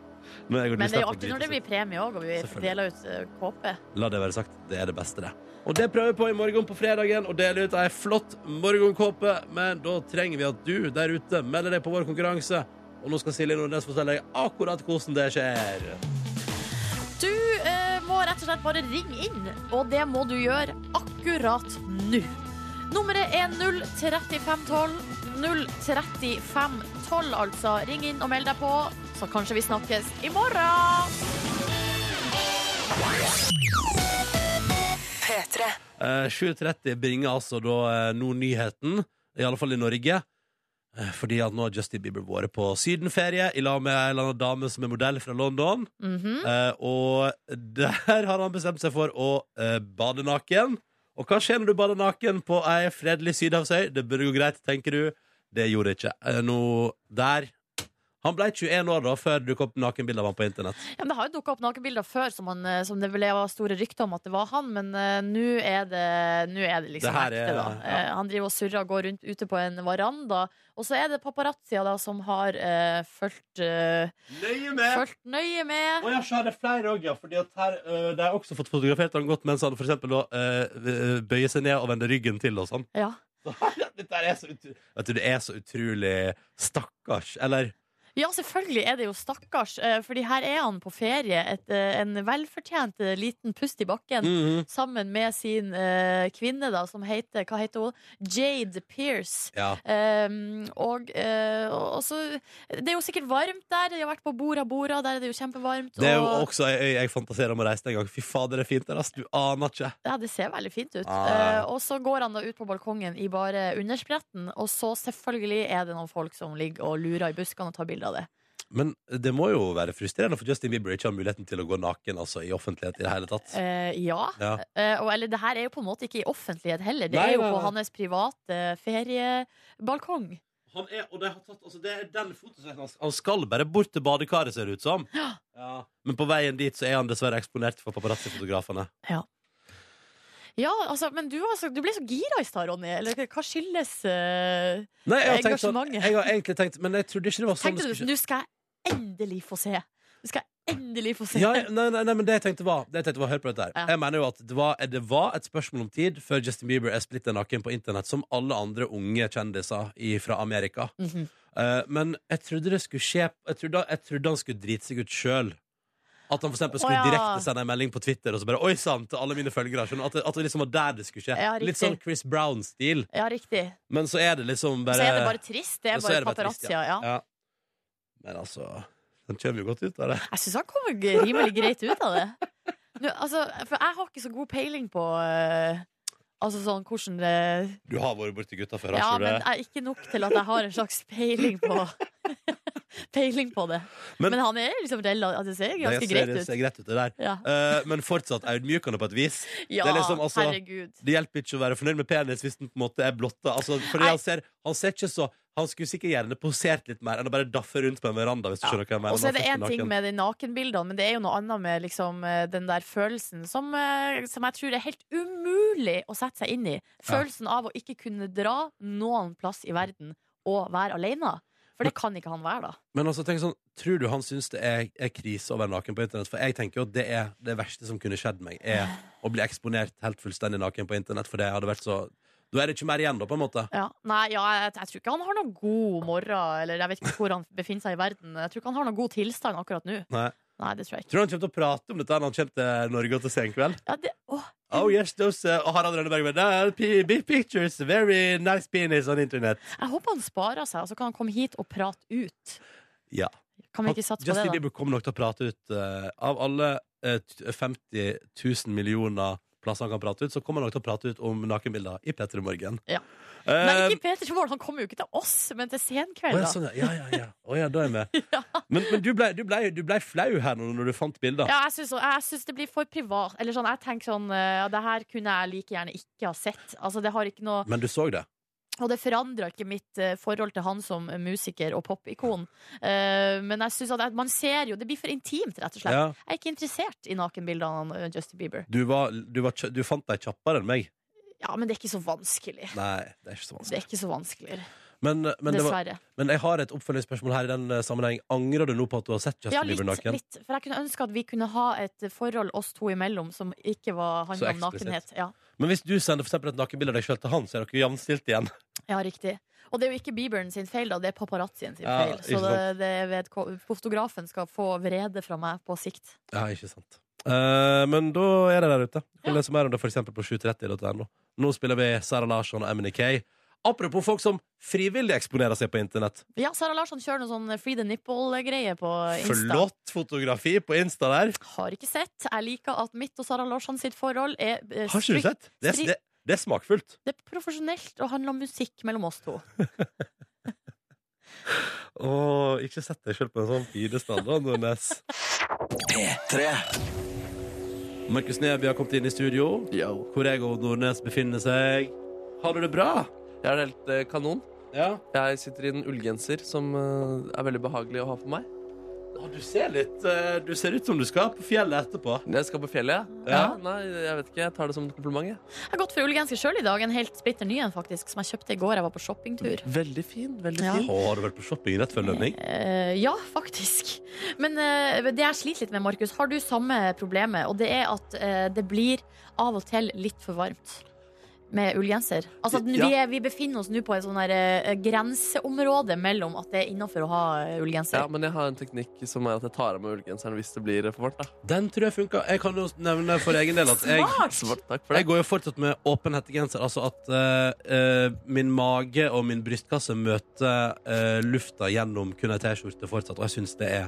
Speaker 2: Når jeg og du
Speaker 3: Men det er jo
Speaker 2: slipper å
Speaker 3: artig
Speaker 2: drite
Speaker 3: når
Speaker 2: oss
Speaker 3: det
Speaker 2: ut.
Speaker 3: blir premie òg, og vi
Speaker 2: Selvfølgelig.
Speaker 3: deler ut eh, kåpe.
Speaker 2: La det være sagt, det er det beste, det. Og det prøver vi på i morgen på fredagen, og deler ut ei flott morgenkåpe. Men da trenger vi at du der ute melder deg på vår konkurranse. Og nå skal Silje Nordnes fortelle deg akkurat hvordan det skjer.
Speaker 3: Du eh, må rett og slett bare ringe inn, og det må du gjøre akkurat nå. Nummeret er 03512. 03512, altså. Ring inn og meld deg på, så kanskje vi snakkes i morgen.
Speaker 2: Eh, 7.30 bringer altså da eh, nå nyheten, i alle fall i Norge. Eh, fordi at nå har Justin Bieber vært på sydenferie i lag med ei eller annen dame som er modell fra London.
Speaker 3: Mhm.
Speaker 2: Eh, og der har han bestemt seg for å eh, bade naken. Og hva skjer når du bader naken på ei fredelig sydhavsøy? Det burde gå greit, tenker du. Det gjorde det ikke. Eh, nå der Han ble 21 år da, før det dukket opp nakenbilder av ham på internett.
Speaker 3: Ja, men det har jo dukka opp nakenbilder før som, han, eh, som det vel var store rykter om at det var han, men eh, nå er, det- nå er det liksom
Speaker 2: Det her er-
Speaker 3: ekte, da.
Speaker 2: ja.
Speaker 3: Eh, han driver og surrer og går rundt ute på en veranda, og så er det paparazzia da som har uh, fulgt eh,
Speaker 2: Nøye
Speaker 3: fulgt nøye med.
Speaker 2: Å ja, så er det flere òg, ja. Fordi at her, øh, de har også fått fotografert han godt mens han for eksempel da øh, øh, bøyer seg ned og vender ryggen til og sånn.
Speaker 3: Ja.
Speaker 2: Dette her er så utru... Vet du, det er så utrolig Stakkars. Eller
Speaker 3: ja, selvfølgelig er det jo stakkars, eh, fordi her er han på ferie. Et, eh, en velfortjent eh, liten pust i bakken.
Speaker 2: mhm.
Speaker 3: Sammen med sin eh, kvinne, da, som heter Hva heter hun? Jade Pierce.
Speaker 2: Ja.
Speaker 3: Um, og, eh, og så Det er jo sikkert varmt der. Jeg har vært på Bora Bora, der er det jo kjempevarmt.
Speaker 2: Det er jo
Speaker 3: og,
Speaker 2: også ei øy jeg fantaserer om å reise til en gang. Fy fader, det er fint der, ass. Du aner ikke.
Speaker 3: ja, det ser veldig fint ut.
Speaker 2: Ja, ja, ja.
Speaker 3: Eh, og så går han da ut på balkongen i bare underspretten, og så selvfølgelig er det noen folk som ligger og lurer i buskene og tar bilder av det.
Speaker 2: Men det må jo være frustrerende for Justin Bieber ikke har muligheten til å gå naken altså, i offentlighet i det hele tatt.
Speaker 3: Eh, ja.
Speaker 2: Ja.
Speaker 3: Eh, og eller det her er jo på en måte ikke i offentlighet heller. Det
Speaker 2: Nei,
Speaker 3: er jo
Speaker 2: nei,
Speaker 3: på
Speaker 2: nei.
Speaker 3: hans private feriebalkong.
Speaker 2: Han er, og det, har tatt, altså det er den fotosesjonen hans. Han skal bare bort til badekaret, ser det ut som. Ja. Men på veien dit så er han dessverre eksponert for paparazzi-fotografene.
Speaker 3: Ja, altså, men du, altså, du ble så gira i stad, Ronny. Eller hva skyldes eh,
Speaker 2: Nei, jeg har, tenkt sånn,
Speaker 3: Engasjementet.
Speaker 2: jeg har egentlig tenkt Men jeg trodde ikke det var sånn
Speaker 3: Tenkte
Speaker 2: det
Speaker 3: du
Speaker 2: skulle skje.
Speaker 3: nå skal jeg endelig få se. Du skal jeg endelig få se.
Speaker 2: Ja, ja, nei, nei, nei, men det jeg tenkte var, det jeg tenkte var Hør på dette her.
Speaker 3: Ja.
Speaker 2: Jeg mener jo at det var, det var et spørsmål om tid før Justin Bieber er splitter naken på internett, som alle andre unge kjendiser i, fra Amerika.
Speaker 3: Mhm.
Speaker 2: Eh, men jeg trodde det skulle skje Jeg trodde, jeg trodde han skulle drite seg ut sjøl. At han for eksempel skulle
Speaker 3: Å, ja.
Speaker 2: direkte sende en melding på Twitter og så bare Oi sann! Til alle mine følgere. Skjønner du? At, det- at det liksom var der det skulle skje.
Speaker 3: Ja, riktig.
Speaker 2: Litt sånn Chris Brown-stil.
Speaker 3: Ja, riktig.
Speaker 2: Men så er det liksom bare
Speaker 3: Så er det bare trist. Det er
Speaker 2: så
Speaker 3: bare
Speaker 2: er det bare trist,
Speaker 3: paparazzia. Ja.
Speaker 2: ja. Men altså Den kommer jo godt ut av det.
Speaker 3: Jeg syns han kommer g- rimelig greit ut av det. Nå, altså, for jeg har ikke så god peiling på eh, Altså sånn hvordan det
Speaker 2: Du har vært borti gutta før,
Speaker 3: Ja,
Speaker 2: har ikke
Speaker 3: men
Speaker 2: du det?
Speaker 3: jeg er ikke nok til at jeg har en slags peiling på Peiling på det.
Speaker 2: Men-
Speaker 3: Men, han er liksom rela... altså, Det ser
Speaker 2: Det
Speaker 3: ganske
Speaker 2: ser-
Speaker 3: greit
Speaker 2: det
Speaker 3: ut.
Speaker 2: ser greit ut, det der.
Speaker 3: Ja,
Speaker 2: Eh, men fortsatt audmykende på et vis.
Speaker 3: ja
Speaker 2: liksom, altså-
Speaker 3: herregud.
Speaker 2: Det hjelper ikke å være fornøyd med penis hvis den på en måte er blotta. Altså, fordi
Speaker 3: Nei.
Speaker 2: han ser, han ser ikke så Han skulle sikkert gjerne posert litt mer enn å bare daffe rundt på en veranda. Hvis du
Speaker 3: Ja.
Speaker 2: skjønner hva jeg mener
Speaker 3: Og så er det
Speaker 2: Han
Speaker 3: én
Speaker 2: først
Speaker 3: ting
Speaker 2: naken.
Speaker 3: med de nakenbildene, men det er jo noe annet med liksom, eh, den der følelsen som, eh, som jeg tror er helt umulig å sette seg inn i. Følelsen av å ikke kunne dra noen plass i verden og være alene. For det kan ikke han være, da.
Speaker 2: Men altså, tenk sånn, tror du han syns det er, er krise å være naken på internett? For jeg tenker jo at det er det verste som kunne skjedd meg, er å bli eksponert helt fullstendig naken på internett. For det hadde vært så Da er det ikke mer igjen, da, på en måte.
Speaker 3: Ja. Nei, ja, jeg, jeg tror ikke han har noen god morgen, eller jeg vet ikke hvor han befinner seg i verden. Jeg tror ikke han har noen god tilstand akkurat nå.
Speaker 2: Nei.
Speaker 3: Nei, det tror jeg ikke.
Speaker 2: Tror du han kommer til å prate om dette når han kommer til Norge og til Senkveld?
Speaker 3: Ja, det, åh,
Speaker 2: Oh yes, those uh, Og Harald Rønneberg med "Nah, p- big pictures, very nice penis on internet.
Speaker 3: jeg håper han sparer seg, og så kan han komme hit og prate ut.
Speaker 2: Ja.
Speaker 3: Kan vi ikke satse på
Speaker 2: Justin
Speaker 3: det, da?
Speaker 2: Bieber kommer nok til å prate ut eh, Av alle eh, t- 50 000 millioner plasser han kan prate ut, så kommer han nok til å prate ut om nakenbilder i P3 Morgen.
Speaker 3: Ja.
Speaker 2: Eh,
Speaker 3: Nei, ikke Peter Tvål, han kommer jo ikke til oss, men til
Speaker 2: Å
Speaker 3: Senkveld,
Speaker 2: ja,
Speaker 3: da.
Speaker 2: sånn, ja. Ja, ja, ja. Å ja, da er jeg med. Men, men du, ble, du, ble, du ble flau her nå når du fant bilder.
Speaker 3: Ja, jeg syns, jeg syns det blir for privat. Eller sånn, jeg tenker sånn eh, ja, Det her kunne jeg like gjerne ikke ha sett. Altså, det har ikke noe,
Speaker 2: Men du så det.
Speaker 3: og det forandrer ikke mitt eh, forhold til han som musiker og popikon. Eh, men jeg syns at jeg- man ser jo Det blir for intimt, rett og slett.
Speaker 2: Ja.
Speaker 3: Jeg er ikke interessert i nakenbildene av eh, Justin Bieber.
Speaker 2: Du, var, du, var, kj- du fant deg kjappere enn meg.
Speaker 3: Ja, men det er ikke så vanskelig.
Speaker 2: Nei, det er ikke så
Speaker 3: Det
Speaker 2: vanskelig.
Speaker 3: er ikke så vanskelig.
Speaker 2: Men, eh, men, det var,
Speaker 3: Dessverre.
Speaker 2: men jeg har et oppfølgingsspørsmål her i den eh, sammenheng. Angrer du nå på at du har sett Justin
Speaker 3: Ja,
Speaker 2: Bieber
Speaker 3: litt,
Speaker 2: naken?
Speaker 3: litt. For jeg kunne ønske at vi kunne ha et forhold oss to imellom som ikke var
Speaker 2: Så
Speaker 3: handla om
Speaker 2: eksplisitt.
Speaker 3: nakenhet. Ja.
Speaker 2: Men hvis du sender for eksempel et nakenbilde av deg sjøl til han, så er dere jevnstilt igjen.
Speaker 3: ja, riktig. Og det er jo ikke Bieberen sin feil, da. Det er paparazzien sin
Speaker 2: Ja,
Speaker 3: feil.
Speaker 2: ikke
Speaker 3: Så det, det er vedko- fotografen skal få vrede fra meg på sikt.
Speaker 2: Ja, ikke sant. Eh, men da er det der ute. Du kan lese mer om det for eksempel på 730.no. Nå spiller vi Sara Larsson og Emily Kay. Apropos folk som frivillig eksponerer seg på internett.
Speaker 3: Ja, Sara Larsson kjører noe sånn Free the Nipple-greie på Insta.
Speaker 2: Flott fotografi på Insta der.
Speaker 3: Har ikke sett. Jeg liker at mitt og Sara Larsson sitt forhold er eh,
Speaker 2: Har ikke du
Speaker 3: strikt-
Speaker 2: sett? Det, er- det, det er smakfullt.
Speaker 3: Det er profesjonelt og handler om musikk mellom oss to.
Speaker 2: Åh, ikke sett deg sjøl på en sånn pidestall, da, Nordnes. Markus Neby har kommet inn i studio,
Speaker 4: Yo.
Speaker 2: hvor jeg og Nordnes befinner seg. Har du det bra?
Speaker 4: Jeg er helt eh, kanon.
Speaker 2: Ja.
Speaker 4: Jeg sitter i en ullgenser som eh, er veldig behagelig å ha på meg.
Speaker 2: Å, Du ser litt eh, Du ser ut som du skal på fjellet etterpå.
Speaker 4: Når jeg skal på fjellet, ja.
Speaker 2: Ja.
Speaker 4: Nei, jeg vet ikke. Jeg tar det som en kompliment. Jeg.
Speaker 3: Jeg har gått for ullgenser sjøl i dag. En helt splitter ny en, faktisk, som jeg kjøpte i går. Jeg var på shoppingtur.
Speaker 4: Veldig fin. veldig
Speaker 3: Ja.
Speaker 4: fin.
Speaker 2: Å, har du vært på shopping rett før lønning?
Speaker 3: Eh, ja, faktisk. Men eh, det jeg sliter litt med, Markus, har du samme problemet? Og det er at eh, det blir av og til litt for varmt med ullgenser. Altså at
Speaker 4: Ja.
Speaker 3: vi, er, vi befinner oss nå på et sånn der, eh, grenseområde mellom at det er innafor å ha eh,
Speaker 4: Ja,
Speaker 3: ullgenser.
Speaker 4: men jeg har en teknikk som er at jeg tar av meg ullgenseren hvis det blir for varmt. da.
Speaker 2: Den tror jeg funka. Jeg kan jo nevne for egen del at jeg
Speaker 3: Smart!
Speaker 4: Svart, takk for det.
Speaker 2: jeg går jo fortsatt med åpen hettegenser, altså at eh, eh, min mage og min brystkasse møter eh, lufta gjennom kun ei T-skjorte fortsatt, og jeg syns det er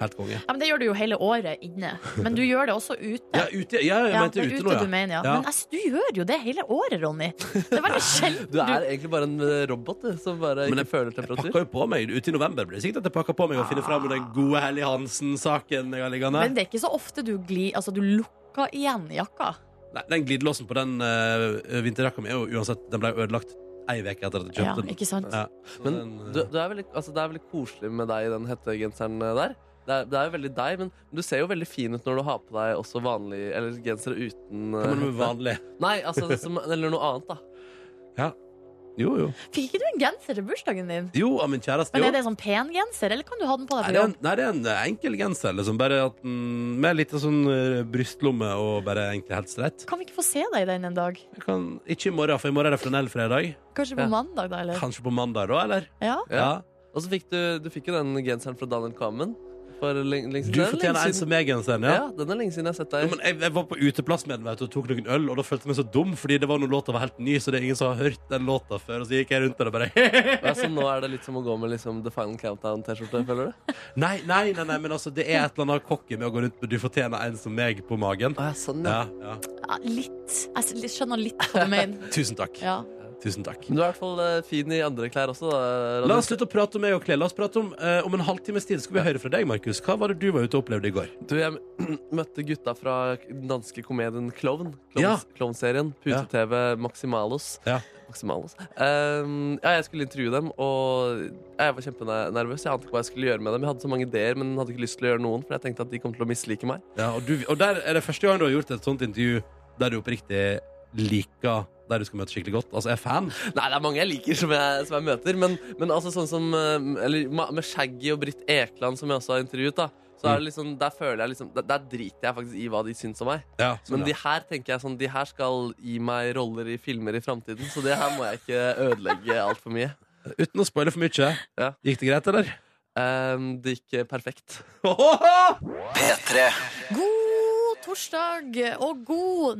Speaker 2: helt konge.
Speaker 3: Ja, men det gjør du jo hele året inne. Men du gjør det også ute.
Speaker 2: Ja, ute, ja, jeg
Speaker 3: Ja, det
Speaker 2: mente
Speaker 3: er
Speaker 2: ute
Speaker 3: ute
Speaker 2: nå,
Speaker 3: du
Speaker 2: ja.
Speaker 3: mener, ja. Men altså, du gjør jo det hele året, Ronny. Det er veldig sjelden
Speaker 4: Du er egentlig bare en eh, robot du, som bare
Speaker 2: Men
Speaker 4: ikke føler
Speaker 2: Jeg
Speaker 4: temperatur.
Speaker 2: pakka jo på meg ute i november. Blir det sikkert at jeg pakker på meg og finner fram den gode Hellig Hansen-saken jeg har liggende?
Speaker 3: Men det er ikke så ofte du glir Altså, du lukker igjen jakka.
Speaker 2: Nei, den glidelåsen på den eh, vinterjakka mi er jo uansett Den ble jo ødelagt ei uke etter at jeg
Speaker 3: Ja,
Speaker 2: kjøpte den.
Speaker 3: ikke sant?
Speaker 2: Ja. Så
Speaker 4: Men
Speaker 2: den, eh,
Speaker 4: du, du er veldig, altså, det er veldig koselig med deg i den hettegenseren eh, der. Det er, det er jo veldig deg, men du ser jo veldig fin ut når du har på deg også vanlig Eller genser uten eh,
Speaker 2: Hva mener du med
Speaker 4: hette.
Speaker 2: vanlig?
Speaker 4: Nei, altså det som, Eller noe annet, da.
Speaker 2: Jo, jo.
Speaker 3: Fikk ikke du en genser til bursdagen din?
Speaker 2: Jo, av min kjæreste,
Speaker 3: Men
Speaker 2: jo.
Speaker 3: er det en sånn pen genser, eller kan du ha den på
Speaker 2: Nei,
Speaker 3: deg
Speaker 2: det er
Speaker 3: på
Speaker 2: en,
Speaker 3: jobb?
Speaker 2: nei, det er en eh, enkel genser, liksom. Bare at den Med litt sånn eh, brystlomme og bare egentlig helt streit.
Speaker 3: Kan vi ikke få se deg i den en dag?
Speaker 2: Jeg kan, ikke i morgen, for i morgen er det flanellfredag.
Speaker 3: Kanskje på
Speaker 4: Ja.
Speaker 3: mandag, da, eller?
Speaker 2: Kanskje på mandag da, eller?
Speaker 3: Ja?
Speaker 4: Ja. Og så fikk du, du fikk jo den genseren fra Daniel Kvammen. For lenge, lenge, siden.
Speaker 2: Du
Speaker 4: Det er lenge
Speaker 2: fortjener en
Speaker 4: siden-
Speaker 2: som meg-genseren,
Speaker 4: ja.
Speaker 2: ja.
Speaker 4: den er lenge siden jeg har sett
Speaker 2: Jo,
Speaker 4: deg.
Speaker 2: men jeg, jeg var på uteplass med den vet du, og tok noen øl, og da følte jeg meg så dum, fordi det var noen låter var helt ny, så det er ingen som har hørt den låta før. Og så gikk jeg rundt der og bare
Speaker 4: Ja, så nå er det litt som å gå med liksom, The Final Countdown-T-skjorte, føler du?
Speaker 2: Nei, nei, nei, nei, men altså, det er et eller annet cocky med å gå rundt med 'du fortjener en som meg' på magen.
Speaker 4: Å, ja, sånn, ja.
Speaker 2: Ja, ja.
Speaker 3: ja litt. Jeg s- skjønner litt hva du mener.
Speaker 2: Tusen takk.
Speaker 3: Ja.
Speaker 2: Tusen takk.
Speaker 4: Men du er i hvert fall eh, fin i andre klær også. Da, Ronny.
Speaker 2: La oss slutte å prate om meg og klær. La oss prate om eh, Om en halvtimes tid skal vi høre fra deg, Markus. Hva var det du var ute og opplevde i går?
Speaker 4: Du, jeg møtte gutta fra den danske komedien Klovn. Klovns-
Speaker 2: Ja.
Speaker 4: Klovnserien. Pute-TV Maximalos.
Speaker 2: Ja.
Speaker 4: Maximalos. Ehm, ja, jeg skulle intervjue dem, og jeg var kjempenervøs. Jeg ante ikke hva jeg skulle gjøre med dem. Jeg hadde så mange ideer, men hadde ikke lyst til å gjøre noen, for jeg tenkte at de kom til å mislike meg.
Speaker 2: Ja, og, du, og der er det første gang du har gjort et sånt intervju der du oppriktig liker der du skal møte skikkelig godt. Altså, jeg er fan.
Speaker 4: Nei, det er mange jeg liker som jeg, som jeg møter, men, men altså sånn som eh, Eller ma- med Shaggy og Britt Ekland, som jeg også har intervjuet, da. Så
Speaker 2: Mm.
Speaker 4: er det liksom, der føler jeg liksom Der, der driter jeg faktisk i hva de syns om meg.
Speaker 2: Ja, sånn,
Speaker 4: Men
Speaker 2: ja.
Speaker 4: de her tenker jeg sånn De her skal gi meg roller i filmer i framtiden, så det her må jeg ikke ødelegge altfor mye.
Speaker 2: Uten å spoile for mye.
Speaker 4: Ja.
Speaker 2: Gikk det greit, eller?
Speaker 4: Ehm, det gikk eh, perfekt.
Speaker 3: God torsdag og god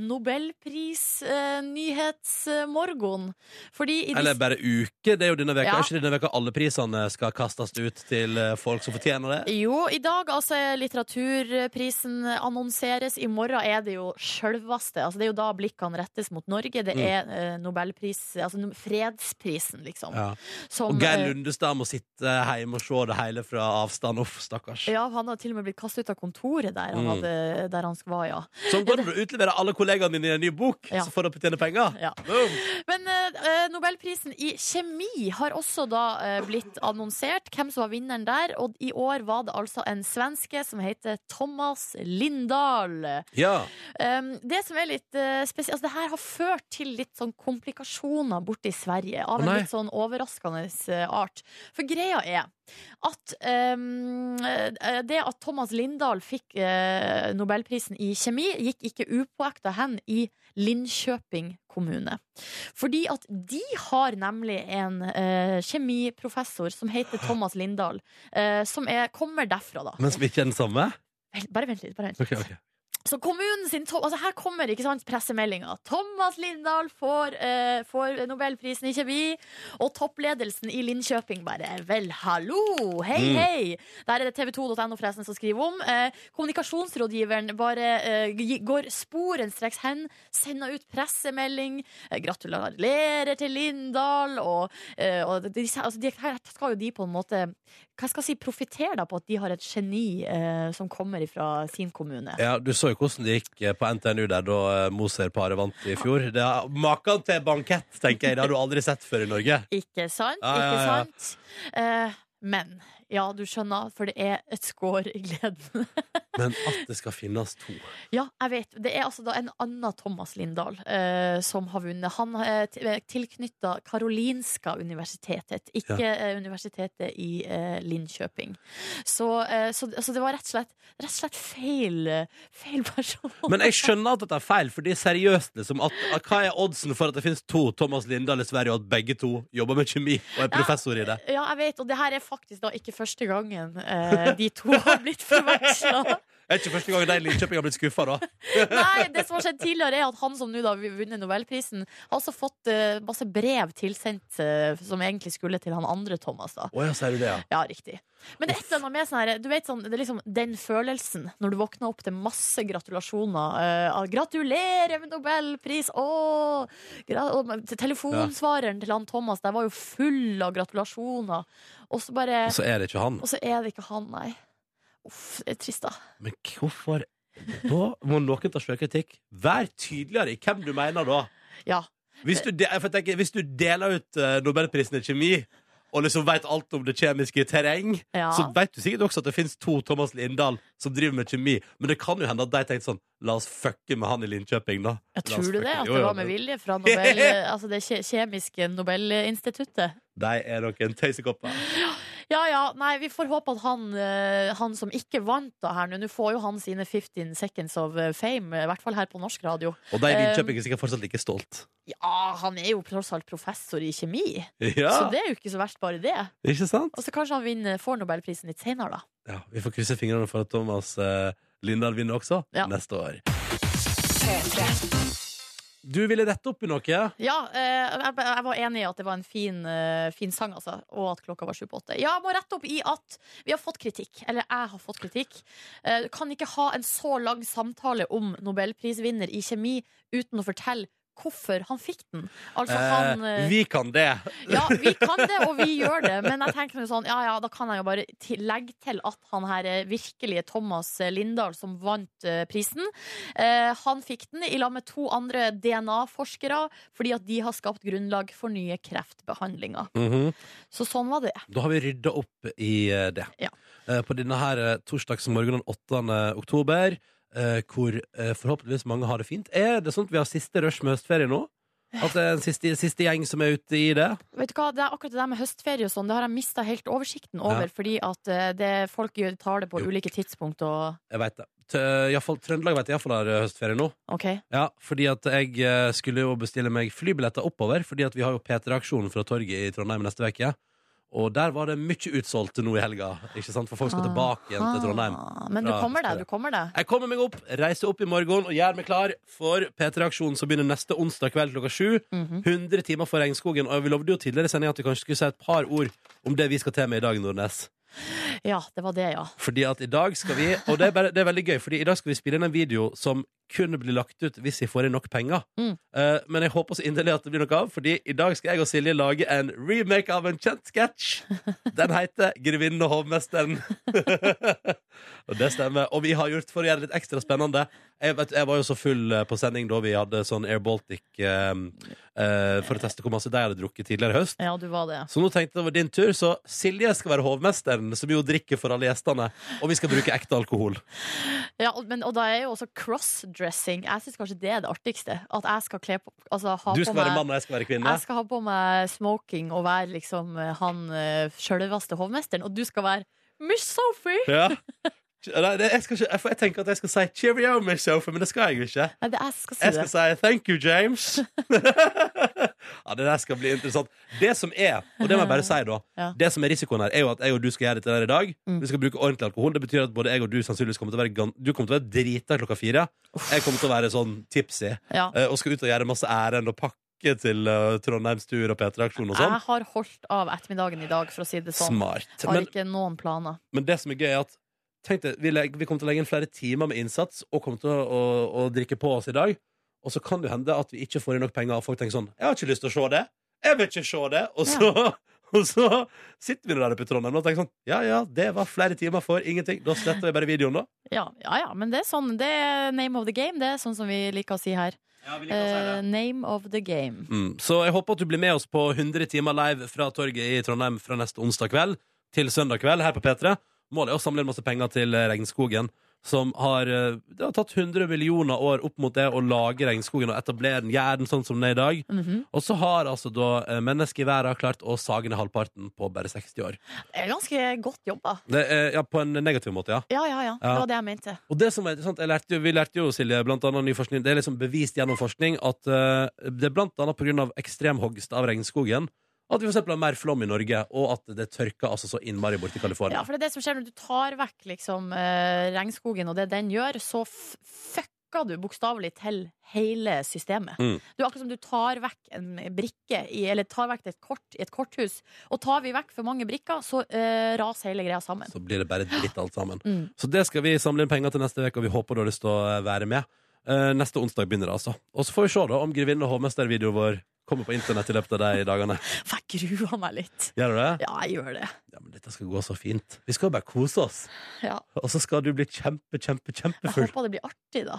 Speaker 3: nobelprisnyhetsmorgen. Fordi i
Speaker 2: Eller
Speaker 3: disse-
Speaker 2: bare uke. Det er jo denne veka.
Speaker 3: Ja.
Speaker 2: Er ikke denne veka alle prisene skal kastes ut til eh, folk som fortjener det?
Speaker 3: Jo, i dag altså litteraturprisen annonseres. I morgen er det jo sjølvaste. Altså, det er jo da blikkene rettes mot Norge. Det
Speaker 2: Mm.
Speaker 3: er eh, nobelpris, altså no- fredsprisen, liksom.
Speaker 2: Ja.
Speaker 3: Som,
Speaker 2: Og Geir
Speaker 3: eh,
Speaker 2: Lundestad må sitte hjemme og se det hele fra avstand. Uff, stakkars.
Speaker 3: Ja, han hadde til og med blitt kastet ut av kontoret der han,
Speaker 2: Mm.
Speaker 3: hadde, der han var ja.
Speaker 2: Sånn går det når du utleverer alle kollegaene dine i en ny bok,
Speaker 3: Ja.
Speaker 2: så får du tjene penger.
Speaker 3: Ja.
Speaker 2: Boom.
Speaker 3: Men eh, eh, Nobelprisen i kjemi har også da eh, blitt annonsert, hvem som var vinneren der. Og i år var det altså en svenske som heter Thomas Lindahl.
Speaker 2: Ja.
Speaker 3: Um, det som er litt eh, spesielt altså, Det her har ført til litt sånn komplikasjoner borte i Sverige. Av
Speaker 2: Å,
Speaker 3: en
Speaker 2: nei.
Speaker 3: litt sånn overraskende eh, art. For greia er at um, eh, det at Thomas Lindahl fikk eh, Nobelprisen i kjemi, gikk ikke upåakta hen i Linköping kommune. Fordi at de har nemlig en eh, kjemiprofessor som heter Thomas Lindahl, eh, som er, kommer derfra, da.
Speaker 2: Men som ikke er den samme?
Speaker 3: Vent, Bare vent litt. Bare vent. litt.
Speaker 2: Ok, ok.
Speaker 3: Så kommunen sin Tom- altså Her kommer ikke sant, pressemeldinga. Thomas Lindahl får, eh, får nobelprisen i kjemi. Og toppledelsen i Linköping bare Vel, hallo! Hei,
Speaker 2: Mm.
Speaker 3: hei! Der er det tv2.no forresten som skriver om. Eh, kommunikasjonsrådgiveren bare eh, gi- går sporenstreks hen, sender ut pressemelding, eh, gratulerer til Lindahl, og, eh, og de, altså, de, her skal jo de på en måte Hva skal jeg si, profitere da på at de har et geni eh, som kommer fra sin kommune.
Speaker 2: Ja, Du så jo hvordan det gikk eh, på NTNU der da eh, Moser-paret vant i fjor. Det er Maken til bankett, tenker jeg. Det har du aldri sett før i Norge.
Speaker 3: Ikke sant?
Speaker 2: Ja, ja,
Speaker 3: Ikke
Speaker 2: ja.
Speaker 3: sant? Eh, men ja, du skjønner, for det er et skår i gleden.
Speaker 2: Men at det skal finnes to.
Speaker 3: ja, jeg vet. Det er altså da en annen Thomas Lindahl eh, som har vunnet. Han er eh, tilknytta Karolinska universitetet, ikke eh, universitetet i eh, Linköping. Så, eh, så, så det var rett og slett, rett og slett feil, eh, feil person.
Speaker 2: Men jeg skjønner at dette er feil, fordi seriøst, liksom at, at Hva er oddsen for at det finnes to Thomas Lindahl i Sverige, og at begge to jobber med kjemi og er professor i det?
Speaker 3: Ja, jeg vet, og det her er faktisk da ikke første gangen eh, de to har blitt forveksla.
Speaker 2: Det er ikke første gang de i Linköping har blitt skuffa, da.
Speaker 3: Nei, det som har skjedd tidligere er at han som nå da har vunnet Nobelprisen, har også fått eh, masse brev tilsendt eh, som egentlig skulle til han andre Thomas, da.
Speaker 2: Å ja, sier du det, ja.
Speaker 3: Ja, riktig. Men det er et eller annet med sånn her, du vet sånn, det er liksom den følelsen når du våkner opp til masse gratulasjoner. eh, av 'Gratulerer med Nobelpris!' Åh! Gra og men til telefonsvareren til han Thomas der var jo full av gratulasjoner. Og så bare
Speaker 2: Og så er det ikke han.
Speaker 3: Og så er det ikke han, nei. Uff, det er trist, da.
Speaker 2: Men hvorfor Da må noen ta sjølkritikk. Vær tydeligere i hvem du mener, da.
Speaker 3: Ja.
Speaker 2: Hvis du, de, for jeg tenker, hvis du deler ut eh, Nobelprisen i kjemi, og liksom veit alt om det kjemiske terreng,
Speaker 3: ja.
Speaker 2: så veit du sikkert også at det fins to Thomas Lindahl som driver med kjemi. Men det kan jo hende at de tenkte sånn La oss fucke med han i Linköping, da. La
Speaker 3: Ja,
Speaker 2: oss
Speaker 3: tror du det?
Speaker 2: fucke-
Speaker 3: At
Speaker 2: Jo,
Speaker 3: det
Speaker 2: ja,
Speaker 3: var med
Speaker 2: men
Speaker 3: vilje fra Nobel, altså det kje- kjemiske Nobelinstituttet?
Speaker 2: De er noen tøysekopper.
Speaker 3: Ja ja, nei, vi får håpe at han, eh, han som ikke vant da her nå Nå får jo han sine 15 seconds of eh, fame, i hvert fall her på norsk radio.
Speaker 2: Og de i
Speaker 3: Eh,
Speaker 2: Linköping er sikkert fortsatt like stolt.
Speaker 3: Ja, han er jo tross alt professor i kjemi, så
Speaker 2: Ja,
Speaker 3: det er jo ikke så verst, bare det.
Speaker 2: ikke sant?
Speaker 3: Og så kanskje han vinner, får Nobelprisen litt senere, da.
Speaker 2: Ja, vi får krysse fingrene for at Thomas eh, Lindahl vinner også
Speaker 3: Ja.
Speaker 2: neste år. Du ville rette opp i noe.
Speaker 3: Ja, eh, jeg, jeg var enig i at det var en fin, eh, fin sang, altså. Og at klokka var sju på åtte. Ja, jeg må rette opp i at vi har fått kritikk. Eller jeg har fått kritikk. Eh, du kan ikke ha en så lang samtale om nobelprisvinner i kjemi uten å fortelle hvorfor han fikk den. Altså han
Speaker 2: Eh,
Speaker 3: eh,
Speaker 2: vi kan det.
Speaker 3: Ja, vi kan det, og vi gjør det, men jeg tenker noe sånn Ja ja, da kan jeg jo bare ti- legge til at han her eh, virkelige Thomas Lindahl, som vant eh, prisen, eh, han fikk den i lag med to andre DNA-forskere fordi at de har skapt grunnlag for nye kreftbehandlinger. Så sånn var det.
Speaker 2: Mhm. Da har vi rydda opp i eh, det.
Speaker 3: Ja.
Speaker 2: Eh, På denne her eh, torsdagsmorgenen 8. oktober, eh, hvor eh, forhåpentligvis mange har det fint. Er det sånn at vi har siste rush med høstferie nå? At det er en siste, siste gjeng som er ute i det?
Speaker 3: Vet du hva, det er akkurat det der med høstferie og sånn, det har jeg mista helt oversikten over,
Speaker 2: Ja.
Speaker 3: fordi at eh, det, folk gjør- tar det på
Speaker 2: Jo.
Speaker 3: ulike tidspunkt og
Speaker 2: Jeg veit det. Tø- i hvert fall- Trøndelag vet jeg iallfall har eh, høstferie nå.
Speaker 3: OK.
Speaker 2: Ja, fordi at jeg eh, skulle jo bestille meg flybilletter oppover, fordi at vi har jo P3-aksjonen fra torget i Trondheim neste uke. Og der var det mye utsolgt nå i helga, ikke sant? for folk skal tilbake igjen til Trondheim.
Speaker 3: Ah, Men du
Speaker 2: Fra
Speaker 3: kommer
Speaker 2: høstferie.
Speaker 3: deg, du kommer deg.
Speaker 2: Jeg kommer meg opp, reiser opp i morgen og gjør meg klar for P3-aksjonen som begynner neste onsdag kveld klokka sju. 100 timer for regnskogen. Og vi lovde jo tidligere i sendinga at vi kanskje skulle si et par ord om det vi skal til med i dag, Nordnes.
Speaker 3: Ja, det var det, ja.
Speaker 2: Fordi at i dag skal vi Og det er, bare, det er veldig gøy, fordi i dag skal vi spille inn en video som kun blir lagt ut hvis jeg får inn nok penger.
Speaker 3: Mm.
Speaker 2: Eh, men jeg håper så inderlig at det blir noe av, Fordi i dag skal jeg og Silje lage en remake av en kjent sketsj. Den heter 'Grevinnen og hovmesteren'. og det stemmer. Og vi har gjort for å gjøre det litt ekstra spennende. Jeg, vet, jeg var jo så full eh, på sending da vi hadde sånn Air Baltic eh, eh, for å teste hvor masse de hadde drukket tidligere i høst.
Speaker 3: Ja, du var det.
Speaker 2: Så nå tenkte jeg det var din tur, så Silje skal være hovmesteren, som jo drikker for alle gjestene. Og vi skal bruke ekte alkohol.
Speaker 3: Ja, og- men, og da er jo også crossdressing Jeg syns kanskje det er det artigste. At jeg skal kle på altså, ha
Speaker 2: Du
Speaker 3: på
Speaker 2: skal
Speaker 3: meg,
Speaker 2: være mann, og jeg skal være kvinne.
Speaker 3: Jeg skal ha på meg smoking og være liksom eh, han eh, sjølveste hovmesteren, og du skal være Miss Sophie!
Speaker 2: Ja. Nei, det, jeg, skal ikke, jeg, får- jeg tenker at jeg skal si 'cheerio, Miss Sophie', men det skal jeg jo ikke.
Speaker 3: Nei, det, jeg skal si
Speaker 2: Jeg skal
Speaker 3: det.
Speaker 2: si 'thank you, James'. ja, Det der skal bli interessant. Det som er, og det må jeg bare si da
Speaker 3: Ja.
Speaker 2: Det som er risikoen her, er jo at jeg og du skal gjøre dette der i dag.
Speaker 3: Mm.
Speaker 2: Vi skal bruke ordentlig alkohol. Det betyr at både jeg og du sannsynligvis kommer til å være gan- Du kommer til å være drita klokka fire. Jeg kommer til å være sånn tipsy.
Speaker 3: Ja.
Speaker 2: Eh, og skal ut og gjøre masse ærend og pakke til eh, Trondheims tur og P3-aksjon og sånn.
Speaker 3: Jeg har holdt av ettermiddagen i dag, for å si Ah, det sånn.
Speaker 2: Smart.
Speaker 3: Har
Speaker 2: Men,
Speaker 3: ikke noen planer.
Speaker 2: men det som er gøy, er at tenk deg, vi, legger, vi kommer til å legge inn flere timer med innsats og kommer til å, å, å drikke på oss i dag. Og så kan det jo hende at vi ikke får inn nok penger, og folk tenker sånn 'Jeg har ikke lyst til å se det. Jeg vil ikke se det.' Og så, og så sitter vi nå der oppe i Trondheim og tenker sånn 'Ja ja, det var flere timer for ingenting. Da sletter vi bare videoen, da.'
Speaker 3: Ja, ja, ja, men det er sånn. Det er name of the game. Det er sånn som vi liker å si her. Eh, name of the game.
Speaker 2: Mm. Så jeg håper at du blir med oss på 100 timer live fra torget i Trondheim fra neste onsdag kveld til søndag kveld her på P3. Målet er å samle inn masse penger til eh, Regnskogen, som har eh, Det har tatt 100 millioner år opp mot det å lage Regnskogen og etablere den, gjøre den sånn som den er i dag.
Speaker 3: Mhm.
Speaker 2: Og så har altså da eh, mennesket i verden klart å sage ned halvparten på bare 60 år.
Speaker 3: Det er ganske godt jobba.
Speaker 2: Det er, ja, på en negativ måte, ja.
Speaker 3: Ja, ja, ja. Det
Speaker 2: Ja.
Speaker 3: var det jeg mente.
Speaker 2: Og det som er interessant, jeg lærte, jo- Vi lærte jo, Silje, blant annet ny forskning Det er liksom bevist gjennom forskning at eh, det er blant annet pga. ekstremhogst av regnskogen at vi for eksempel har mer flom i Norge, og at det tørker altså så innmari borti
Speaker 3: Ja,
Speaker 2: California.
Speaker 3: for det er det som skjer når du tar vekk liksom, eh, regnskogen og det den gjør, så f fucka du bokstavelig til hele systemet.
Speaker 2: Mm.
Speaker 3: Du, akkurat som du tar vekk en brikke i, eller tar vekk et kort i et korthus. Og tar vi vekk for mange brikker, så eh, raser hele greia sammen.
Speaker 2: Så blir det bare dritt alt sammen.
Speaker 3: Mm.
Speaker 2: Så det skal vi samle inn penger til neste uke, og vi håper du har lyst til å eh, være med. Eh, neste onsdag begynner det, altså. Og så får vi se da om grevinne- og hovmestervideoen vår kommer på internett i løpet av de dagene.
Speaker 3: For jeg gruer meg litt.
Speaker 2: Gjør du det?
Speaker 3: Ja, jeg gjør det.
Speaker 2: Ja, men dette skal gå så fint. Vi skal jo bare kose oss.
Speaker 3: Ja.
Speaker 2: Og så skal du bli kjempe, kjempe,
Speaker 3: Jeg
Speaker 2: kjempefull.
Speaker 3: håper det blir artig, da.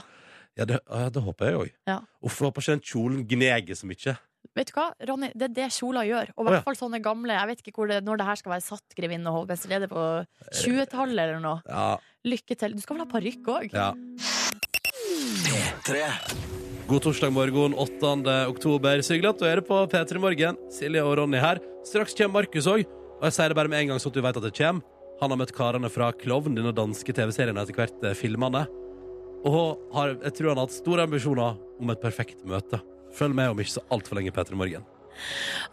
Speaker 2: Ja, det, ja, det håper jeg òg.
Speaker 3: Ja.
Speaker 2: Uff, jeg håper ikke den kjolen gneger så mye.
Speaker 3: Vet du hva, Ronny, det er det kjoler gjør. Og i
Speaker 2: Å, ja.
Speaker 3: hvert fall sånne gamle. Jeg vet ikke hvor det, når det her skal være satt, grevinne og hovmesterleder, på
Speaker 2: Eh,
Speaker 3: 20-tallet eller noe.
Speaker 2: Ja,
Speaker 3: Lykke til. Du skal vel ha parykk òg?
Speaker 2: ja. God torsdag morgen, 8. oktober. Så hyggelig at du er på P3 Morgen. Silje og Ronny her. Straks kommer Markus òg. Og jeg sier det bare med en gang, så at du vet at det kommer. Han har møtt karene fra Klovn, denne danske TV-serien, og etter hvert eh, filmene. Og har, jeg tror han har hatt store ambisjoner om et perfekt møte. Følg med om ikke så altfor lenge, P3 Morgen.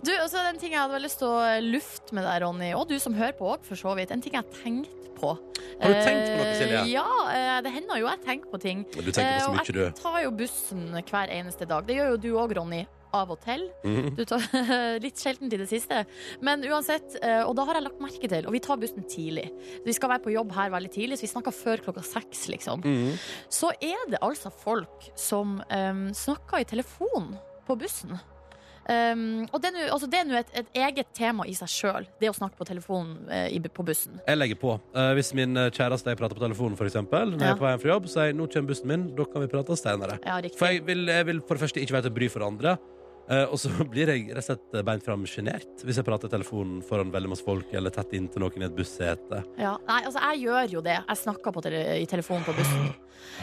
Speaker 3: Du, og så er det en ting jeg hadde veldig lyst til å lufte med deg, Ronny, og du som hører på òg, for så vidt. En ting jeg tenkte på.
Speaker 2: Har du tenkt på noe,
Speaker 3: Eh,
Speaker 2: Silje?
Speaker 3: Ja, eh, det hender jo jeg tenker på ting.
Speaker 2: Du tenker på så
Speaker 3: Eh, og
Speaker 2: mye,
Speaker 3: Jeg
Speaker 2: du.
Speaker 3: tar jo bussen hver eneste dag. Det gjør jo du òg, Ronny. Av og til.
Speaker 2: Mhm.
Speaker 3: Du tar, litt sjelden til det siste. Men uansett, eh, og da har jeg lagt merke til, og vi tar bussen tidlig. Vi skal være på jobb her veldig tidlig, så vi snakker før klokka seks, liksom.
Speaker 2: Mhm.
Speaker 3: Så er det altså folk som eh, snakker i telefon på bussen. Eh, og det er nå- altså det er nå et, et eget tema i seg sjøl, det å snakke på telefonen eh, i, på bussen.
Speaker 2: Jeg legger på. Eh, hvis min eh, kjæreste og jeg prater på telefonen, for eksempel, når jeg
Speaker 3: Ja.
Speaker 2: er på vei hjem fra jobb, sier jeg nå kommer bussen min, da kan vi prate senere.
Speaker 3: Ja, riktig.
Speaker 2: For jeg vil, jeg vil for det første ikke være til bry for andre. eh, og så blir jeg rett og slett beint fram sjenert hvis jeg prater i telefonen foran veldig masse folk eller tett inntil noen i et bussete.
Speaker 3: Ja. Nei, altså jeg gjør jo det. Jeg snakker på tele i telefonen på bussen.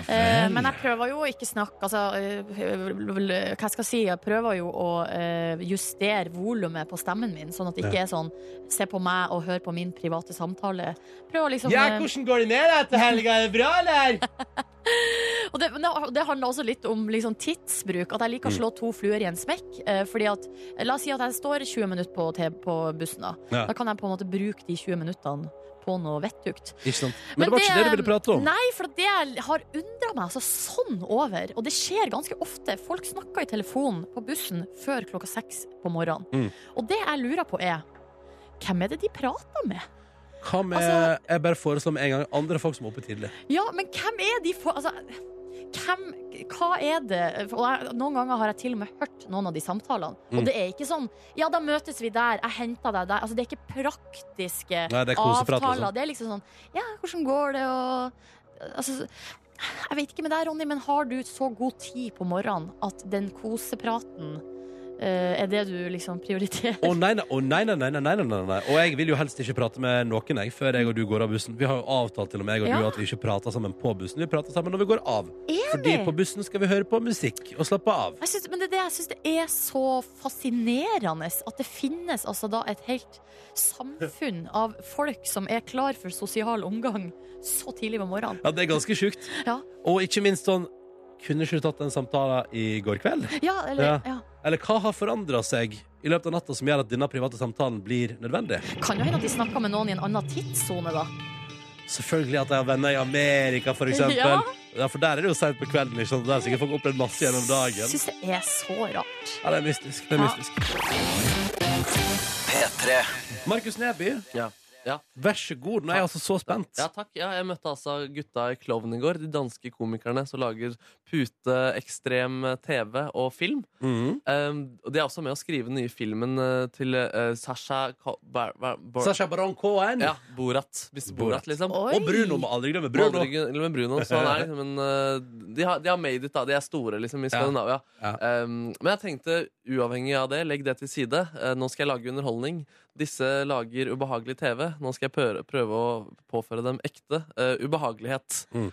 Speaker 3: Eh, men jeg prøver jo å ikke snakke altså, eh, Hva skal jeg si? Jeg prøver jo å eh, justere volumet på stemmen min, sånn at det ikke er sånn se på meg og hør på min private samtale. Prøver å liksom eh,
Speaker 2: hvordan går det med deg til helga? Er det bra, eller?
Speaker 3: Og det, men det- det handler også litt om liksom, tidsbruk. At jeg liker
Speaker 2: Mm.
Speaker 3: å slå to fluer i en smekk. Eh, fordi at, La oss si at jeg står 20 minutter på, te- på bussen. Da.
Speaker 2: Ja.
Speaker 3: da kan jeg på en måte bruke de 20 minuttene på noe vettugt.
Speaker 2: Ikke sant. Men, det var ikke det du ville prate om.
Speaker 3: Nei, for det jeg har undra meg altså, sånn over, og det skjer ganske ofte Folk snakker i telefonen på bussen før klokka seks på morgenen.
Speaker 2: Mm.
Speaker 3: Og det jeg lurer på, er hvem er det de prater med?
Speaker 2: Hva med
Speaker 3: Altså-
Speaker 2: Jeg bare foreslår med en gang andre folk som er oppe tidlig.
Speaker 3: Ja, men hvem er de for Altså, hvem, hva er det For jeg, Noen ganger har jeg til og med hørt noen av de samtalene.
Speaker 2: Mm.
Speaker 3: Og det er ikke sånn Ja, da møtes vi der, jeg henter deg der. Altså, det er ikke praktiske
Speaker 2: Nei, det er koseprat,
Speaker 3: avtaler.
Speaker 2: liksom.
Speaker 3: Det er liksom sånn Ja, hvordan går det, og Altså jeg vet ikke med deg, Ronny, men har du så god tid på morgenen at den kosepraten eh, er det du liksom prioriterer?
Speaker 2: Å nei, nei, å nei, nei, nei, nei, nei, nei, nei. Og jeg vil jo helst ikke prate med noen jeg, før jeg og du går av bussen. Vi har jo avtalt til og med jeg og
Speaker 3: Ja.
Speaker 2: du at vi ikke prater sammen på bussen. Vi prater sammen når vi går av. Fordi
Speaker 3: Enig!
Speaker 2: på bussen skal vi høre på musikk og slappe av.
Speaker 3: Jeg syns- men det er det jeg syns det er så fascinerende. At det finnes altså da et helt samfunn av folk som er klar for sosial omgang så tidlig på morgenen.
Speaker 2: Ja, det er ganske sjukt.
Speaker 3: Ja.
Speaker 2: Og ikke minst sånn Kunne ikke du tatt den samtalen i går kveld?
Speaker 3: Ja, eller,
Speaker 2: Ja.
Speaker 3: ja.
Speaker 2: Eller hva har forandra seg i løpet av natta som gjør at denne private samtalen blir nødvendig?
Speaker 3: Kan jo hende at de snakker med noen i en annen tidssone, da.
Speaker 2: Selvfølgelig at jeg har venner i Amerika, for eksempel. Ja.
Speaker 3: Ja.
Speaker 2: for der er det jo seint på kvelden. Ikke sant? Der har sikkert folk opplevd masse gjennom dagen.
Speaker 3: Syns det er så rart.
Speaker 2: Ja, det er mystisk. Det er
Speaker 3: Ja.
Speaker 2: mystisk. Markus Neby,
Speaker 4: Ja. Ja.
Speaker 2: vær så god. Nå er jeg altså så spent.
Speaker 4: Ja, takk. Ja, jeg møtte altså gutta i Klovn i går. De danske komikerne som lager pute, ekstrem TV og film.
Speaker 2: Mhm.
Speaker 4: Um, og de er også med å skrive den nye filmen eh, til uh, Sasha Ko Bar Bar Bar
Speaker 2: Sasha Baron Cohen
Speaker 4: Ja, Borat. Mr.
Speaker 2: Borat.
Speaker 4: Borat, liksom.
Speaker 3: Oi.
Speaker 2: og Bruno må aldri glemme.
Speaker 4: Bruno.
Speaker 2: Bruno.
Speaker 4: med Bruno så han er liksom en, eh, de, har, de har made it, da. De er store liksom, i Skandinavia.
Speaker 2: Ja.
Speaker 4: Um, men jeg tenkte, uavhengig av det, legg det til side. Eh, nå skal jeg lage underholdning. Disse lager ubehagelig TV. Nå skal jeg prøve, prøve å påføre dem ekte eh, ubehagelighet.
Speaker 2: Mm.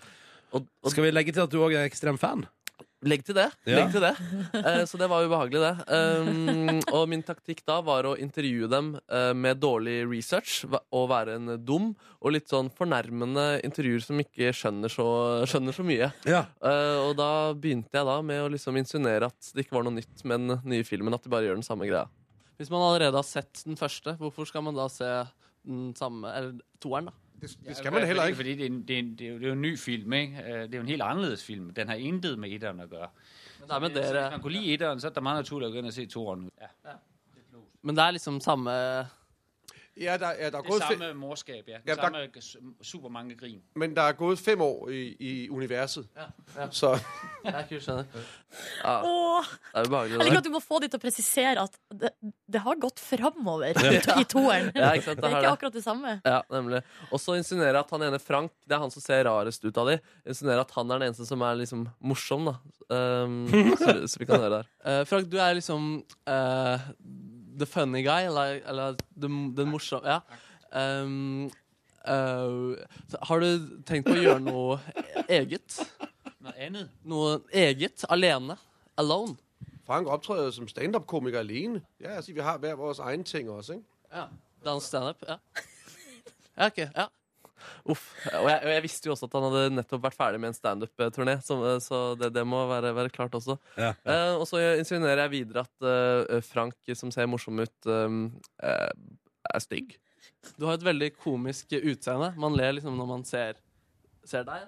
Speaker 4: Og, og
Speaker 2: Skal vi legge til at du òg er ekstrem fan?
Speaker 4: legg til det.
Speaker 2: Ja.
Speaker 4: Legg til det. Eh, så det var ubehagelig, det. Um, og min taktikk da var å intervjue dem eh, med dårlig research va- og være en dum og litt sånn fornærmende intervjuer som ikke skjønner så, skjønner så mye.
Speaker 2: Ja.
Speaker 4: Eh, og da begynte jeg da med å liksom insinuere at det ikke var noe nytt med den nye filmen. At de bare gjør den samme greia. Hvis man allerede har sett den første, hvorfor skal man da se den samme, eller toeren, da?
Speaker 6: Det,
Speaker 7: Ja,
Speaker 6: det skal man da
Speaker 7: fordi-
Speaker 6: heller ikke.
Speaker 7: Fordi det er, en, det, er en, det, er jo, det er jo en ny film, ikke? Eh, Det er jo en helt anderledes film. Den har intet med etteren å gjøre.
Speaker 4: Men det, er med
Speaker 7: Så
Speaker 4: dere,
Speaker 7: hvis man kunne lide etteren, så er det meget naturligt at gå ind og se toeren. Ja.
Speaker 4: men det er liksom samme
Speaker 6: Ja, der, ja, der er
Speaker 7: Det
Speaker 6: gået
Speaker 7: er
Speaker 6: fem,
Speaker 7: samme morskab, ja. Det
Speaker 6: Ja,
Speaker 7: ja,
Speaker 6: der-
Speaker 7: samme g- super mange grin.
Speaker 6: men der er gået fem år i, i universet. Så
Speaker 4: Jeg kunne skjønne.
Speaker 3: Åh,
Speaker 4: Det er
Speaker 3: jeg
Speaker 4: ubehagelig.
Speaker 3: liker
Speaker 4: det.
Speaker 3: at du må få de til å presisere at det, det har gått framover i toeren.
Speaker 4: Ja, ikke sant,
Speaker 3: Det
Speaker 4: det
Speaker 3: er
Speaker 4: har
Speaker 3: ikke
Speaker 4: det.
Speaker 3: akkurat det samme.
Speaker 4: Ja, nemlig. Og så insinuere at han ene Frank, det er han som ser rarest ut av de, insinuere at han er den eneste som er liksom morsom, da. Um, så, så vi kan høre det her. Eh, Frank, du er liksom eh, the funny guy, eller, eller den den morsomme Ja. Um, eh, så har du tenkt på å gjøre noe eget?
Speaker 7: Noget andet.
Speaker 4: Noe eget? Alene? Alone?
Speaker 6: Frank optræder som stand-up-komiker alene. Ja, altså, vi har hver vores egne ting også, ikke?
Speaker 4: Ja. Dans standup? Ja. ja, ok. Ja. Uff. Og jeg, og jeg visste jo også at han hadde nettopp vært ferdig med en standup-turné, så, så det, det må være, være klart også.
Speaker 2: Ja.
Speaker 4: Eh, og så insinuerer jeg videre at eh, Frank, som ser morsom ut, eh, eh, er stygg. Du har et veldig komisk utseende. Man ler liksom når man ser, ser deg,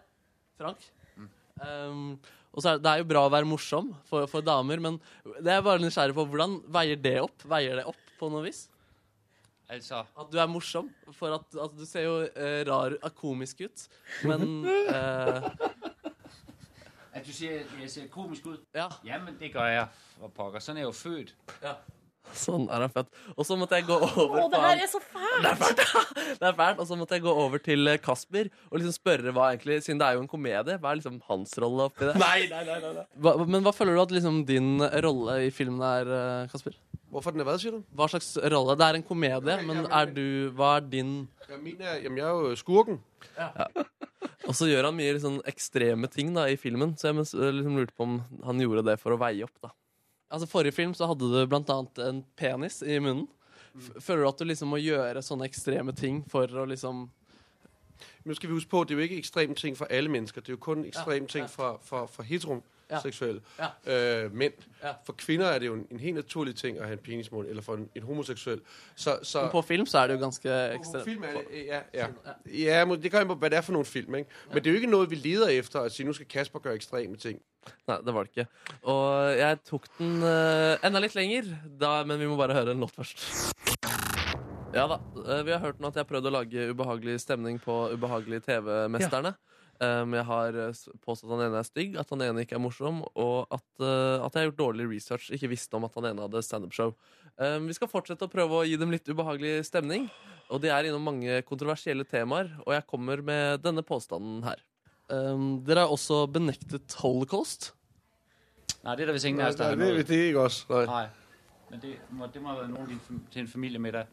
Speaker 4: Frank.
Speaker 2: Mm.
Speaker 4: Um, og så er det, det er jo bra å være morsom for, for damer, men det er jeg bare nysgjerrig på hvordan veier det opp? Veier det opp på noe vis?
Speaker 7: Altså,
Speaker 4: At du er morsom, for at altså, du ser jo eh, rar og komisk ut, men eh,
Speaker 7: at du ser, jeg ser komisk ud.
Speaker 4: Ja,
Speaker 7: Jamen, det gør jeg. For pokker, sådan er jeg jo født.
Speaker 4: sånn er han fett. Og så måtte jeg gå over
Speaker 3: Å, det
Speaker 4: på han-
Speaker 3: her er så fælt!
Speaker 4: Det er fælt, og så måtte jeg gå over til eh, Kasper og liksom spørre hva egentlig, siden det er jo en komedie, hva er liksom hans rolle oppi det? Nei, nei, nei, Hva, Men hva føler du at liksom din rolle i filmen er, eh, Kasper?
Speaker 6: Hvorfor den er hvad, siger du?
Speaker 4: Hva slags rolle? Det er en komedie, men er du, hva er din
Speaker 6: Jeg mener, jamen, jeg er jo skurken.
Speaker 4: Og så gjør han mye liksom, ekstreme ting da, i filmen, så jeg mens- eh, liksom, lurte på om han gjorde det for å veie opp. da. Altså Forrige film så hadde du blant annet en penis i munnen. F- Føler du at du liksom må gjøre sånne ekstreme ting for å liksom
Speaker 6: Men nu skal vi huske på, at det er jo ikke ekstrem ting for alle mennesker. Det er jo kun ekstrem ting for, for, for heteroseksuelle øh, mænd.
Speaker 4: Ja.
Speaker 6: For kvinder er det jo en, en helt naturlig ting at have en penismål, eller for en, en homoseksuel. Så, så,
Speaker 4: Men på film så er det jo ganske
Speaker 6: På
Speaker 4: ekstremt.
Speaker 6: film er det, ja, ja. ja men det kommer an på, hvad det er for nogle film. Ikke? Men det er jo ikke noget, vi leder efter at sige, nu skal Kasper gøre ekstreme ting.
Speaker 4: Nei, det var det ikke. Og jeg tok den eh, enda litt lenger, da, men vi må bare høre en låt først. Ja da, eh, Vi har hørt nå at jeg har prøvd å lage ubehagelig stemning på Ubehagelig TV-mesterne. Um, jeg har eh, s- påstått at han ene er stygg, at han ene ikke er morsom, og at, eh, at jeg har gjort dårlig research, ikke visste om at han ene hadde standup-show. Um, vi skal fortsette å prøve å gi dem litt ubehagelig stemning, og de er innom mange kontroversielle temaer, og jeg kommer med denne påstanden her. Um, dere har også benektet holocaust.
Speaker 7: Nej, det er der vist ingen af
Speaker 6: Nej,
Speaker 7: os, der har
Speaker 6: det ved
Speaker 7: noget.
Speaker 6: det ikke også. altså, Nej,
Speaker 7: Nej, men det må, det må have været nogen i en fam- til en familiemiddag.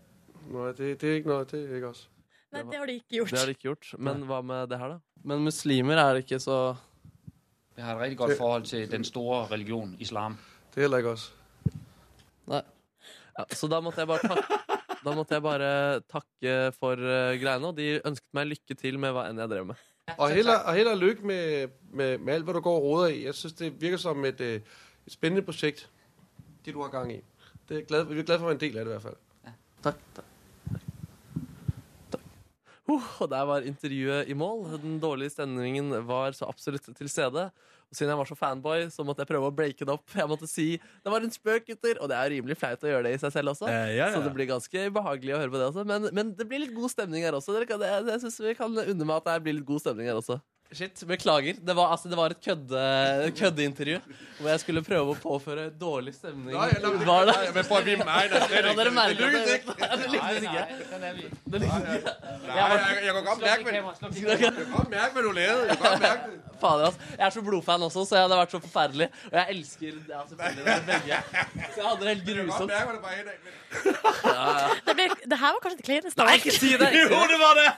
Speaker 6: nej det, det er ikke noget, det er ikke også.
Speaker 3: Nei, det har de ikke gjort.
Speaker 4: Det har de ikke gjort. Men hva med det her, da? Men muslimer er det ikke så
Speaker 7: Jeg har et rigtig godt forhold til den store religion, islam.
Speaker 6: Det er heller ikke også.
Speaker 4: ja, Så da måtte jeg bare takke da måtte jeg bare takke for eh, greiene, og de ønsket meg lykke til med hva enn jeg drev med.
Speaker 6: Og held og, og held og lykke med, med, med alt, hvad du går og roder i. Jeg synes, det virker som et, øh, et spændende projekt, det du har gang i. Det er glad, vi er glade for at være en del af det i hvert fald.
Speaker 4: Takk, takk. Uh, og der var intervjuet i mål. Den dårlige stemningen var så absolutt til stede. Og siden jeg var så fanboy, så måtte jeg prøve å breake det opp. Jeg måtte si det var en spøk, gutter. Og det er rimelig flaut å gjøre det i seg selv også.
Speaker 2: Eh, ja, ja.
Speaker 4: Så det blir ganske behagelig å høre på det også. Men, men det blir litt god stemning her også. Dere kan, jeg jeg syns vi kan unne meg at det blir litt god stemning her også. Shit, Beklager. Det var, altså, det var et kødde, køddeintervju hvor jeg skulle prøve å påføre dårlig stemning.
Speaker 6: Nå, ja, nå, men-
Speaker 4: var det?
Speaker 6: men for at vi nej, nej, slet
Speaker 4: Ja, dere merket
Speaker 6: lykkedes
Speaker 4: det.
Speaker 6: ikke.
Speaker 4: Det lyktes ikke.
Speaker 7: den er vi ikke.
Speaker 4: Det lyktes ikke.
Speaker 6: Nej, jeg, jeg kan godt mærke, hvad, jeg kan godt mærke, hvad du lavede. Jeg kan godt mærke det.
Speaker 4: Fader, ass. Jeg er så blodfan også, så jeg hadde vært så forferdelig. Og jeg elsker ja, selvfølgelig dere begge. Så jeg hadde det helt
Speaker 6: Jeg kan godt
Speaker 4: grusomt.
Speaker 6: mærke, hvad det var henad. Men...
Speaker 3: Det, ble, det her var kanskje det kleineste. av alt.
Speaker 4: si det!
Speaker 2: Jo, det var det!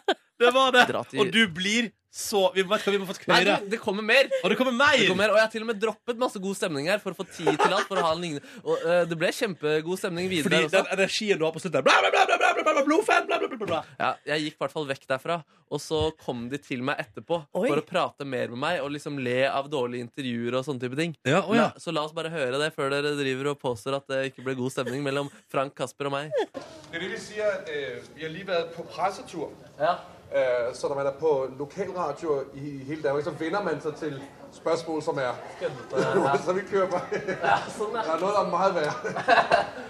Speaker 2: Det var det.
Speaker 4: Dra til-
Speaker 2: Og du blir så Vi vet hva vi må fått
Speaker 4: Nei,
Speaker 2: høre.
Speaker 4: det, det kommer mer!
Speaker 2: Og det kommer mer!
Speaker 4: Det kommer, og jeg har til og med droppet masse god stemning her for å få tid til alt. For å ha en lignende Og eh, det ble kjempegod stemning videre.
Speaker 2: Fordi
Speaker 4: der
Speaker 2: den
Speaker 4: også.
Speaker 2: energien du har på slutten der, bla, bla, bla, bla, bla, bla, bla, Blodfan, bla, bla, bla, bla.
Speaker 4: Ja, jeg gikk i hvert fall vekk derfra, og så kom de til meg etterpå
Speaker 3: Oi.
Speaker 4: for å prate mer med meg og liksom le av dårlige intervjuer og sånne type ting.
Speaker 2: Ja, å ja.
Speaker 4: La, så la oss bare høre det før dere driver og påstår at det ikke ble god stemning mellom Frank, Kasper og meg.
Speaker 6: Det er det, vi siger. Øh, vi har lige været på pressetur.
Speaker 4: Ja.
Speaker 6: Øh, så når man er på lokalradio i, i hele Danmark, så vender man sig til spørgsmål, som er... så vi kører bare... der er noget, der er meget værre.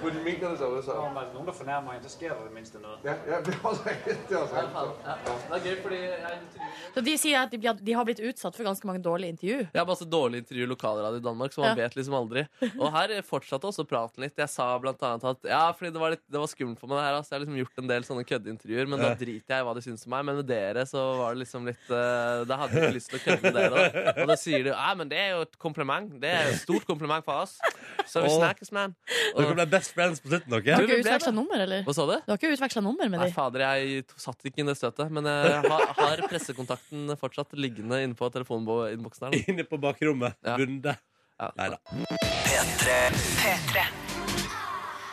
Speaker 6: Hvor de mener det derude, så...
Speaker 7: Om der er nogen, der fornærmer en, så sker der det mindste noget.
Speaker 6: Ja, ja, det er også rigtigt. Det er også rigtigt.
Speaker 4: Det er gøy fordi jeg intervjuer
Speaker 3: Så de sier at de, blir- de har blitt utsatt for ganske mange dårlige intervju.
Speaker 4: Jeg har masse dårlige intervjuer i lokalradio i Danmark, så man
Speaker 3: Ja.
Speaker 4: vet liksom aldri. Og her fortsatte også praten litt. Jeg sa blant annet at ja, fordi det var, litt, det var skummelt for meg, det her. Altså. Jeg har liksom gjort en del sånne køddeintervjuer, men da
Speaker 2: Ja.
Speaker 4: driter jeg i hva de syns om meg. Men med dere så var det liksom litt eh, Da hadde jeg ikke lyst til å kødde med dere. Da. Og da sier de ja, men det er jo et kompliment. Det er jo et stort kompliment for oss. Så vi
Speaker 2: Åh.
Speaker 4: snakkes, man.
Speaker 2: Dere
Speaker 4: Og,
Speaker 2: ble best friends på slutten, dere.
Speaker 3: Du har
Speaker 4: Du, vi
Speaker 3: ikke
Speaker 4: ble
Speaker 3: utveksla
Speaker 4: det.
Speaker 3: nummer, eller?
Speaker 4: hva sa du?
Speaker 3: Du har ikke utveksla nummer med
Speaker 4: Nei,
Speaker 3: dem?
Speaker 4: fader, jeg satt ikke i det støtet. Men jeg har, har pressekontakten fortsatt liggende inne på telefoninnboksen her. da.
Speaker 2: Inne på bakrommet.
Speaker 4: Ja.
Speaker 2: Runde.
Speaker 4: Ja.
Speaker 2: Nei da.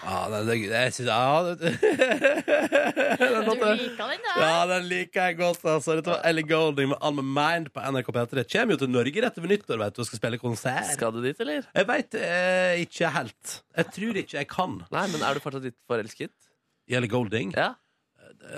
Speaker 2: Ja, den, den, jeg synes, ja, den, den,
Speaker 3: Du
Speaker 2: låten-
Speaker 3: liker den, da?
Speaker 2: ja, den liker jeg godt. Altså. Dette var Ellie Golding med Alma Mind på NRK P3. Kjem jo til Norge rett over nyttår vet du, og skal spille konsert.
Speaker 4: Skal du dit, eller?
Speaker 2: Jeg veit eh, ikke helt. Jeg tror ikke jeg kan
Speaker 4: Nei, men er du fortsatt litt forelsket?
Speaker 2: Ellie Golding.
Speaker 4: Ja.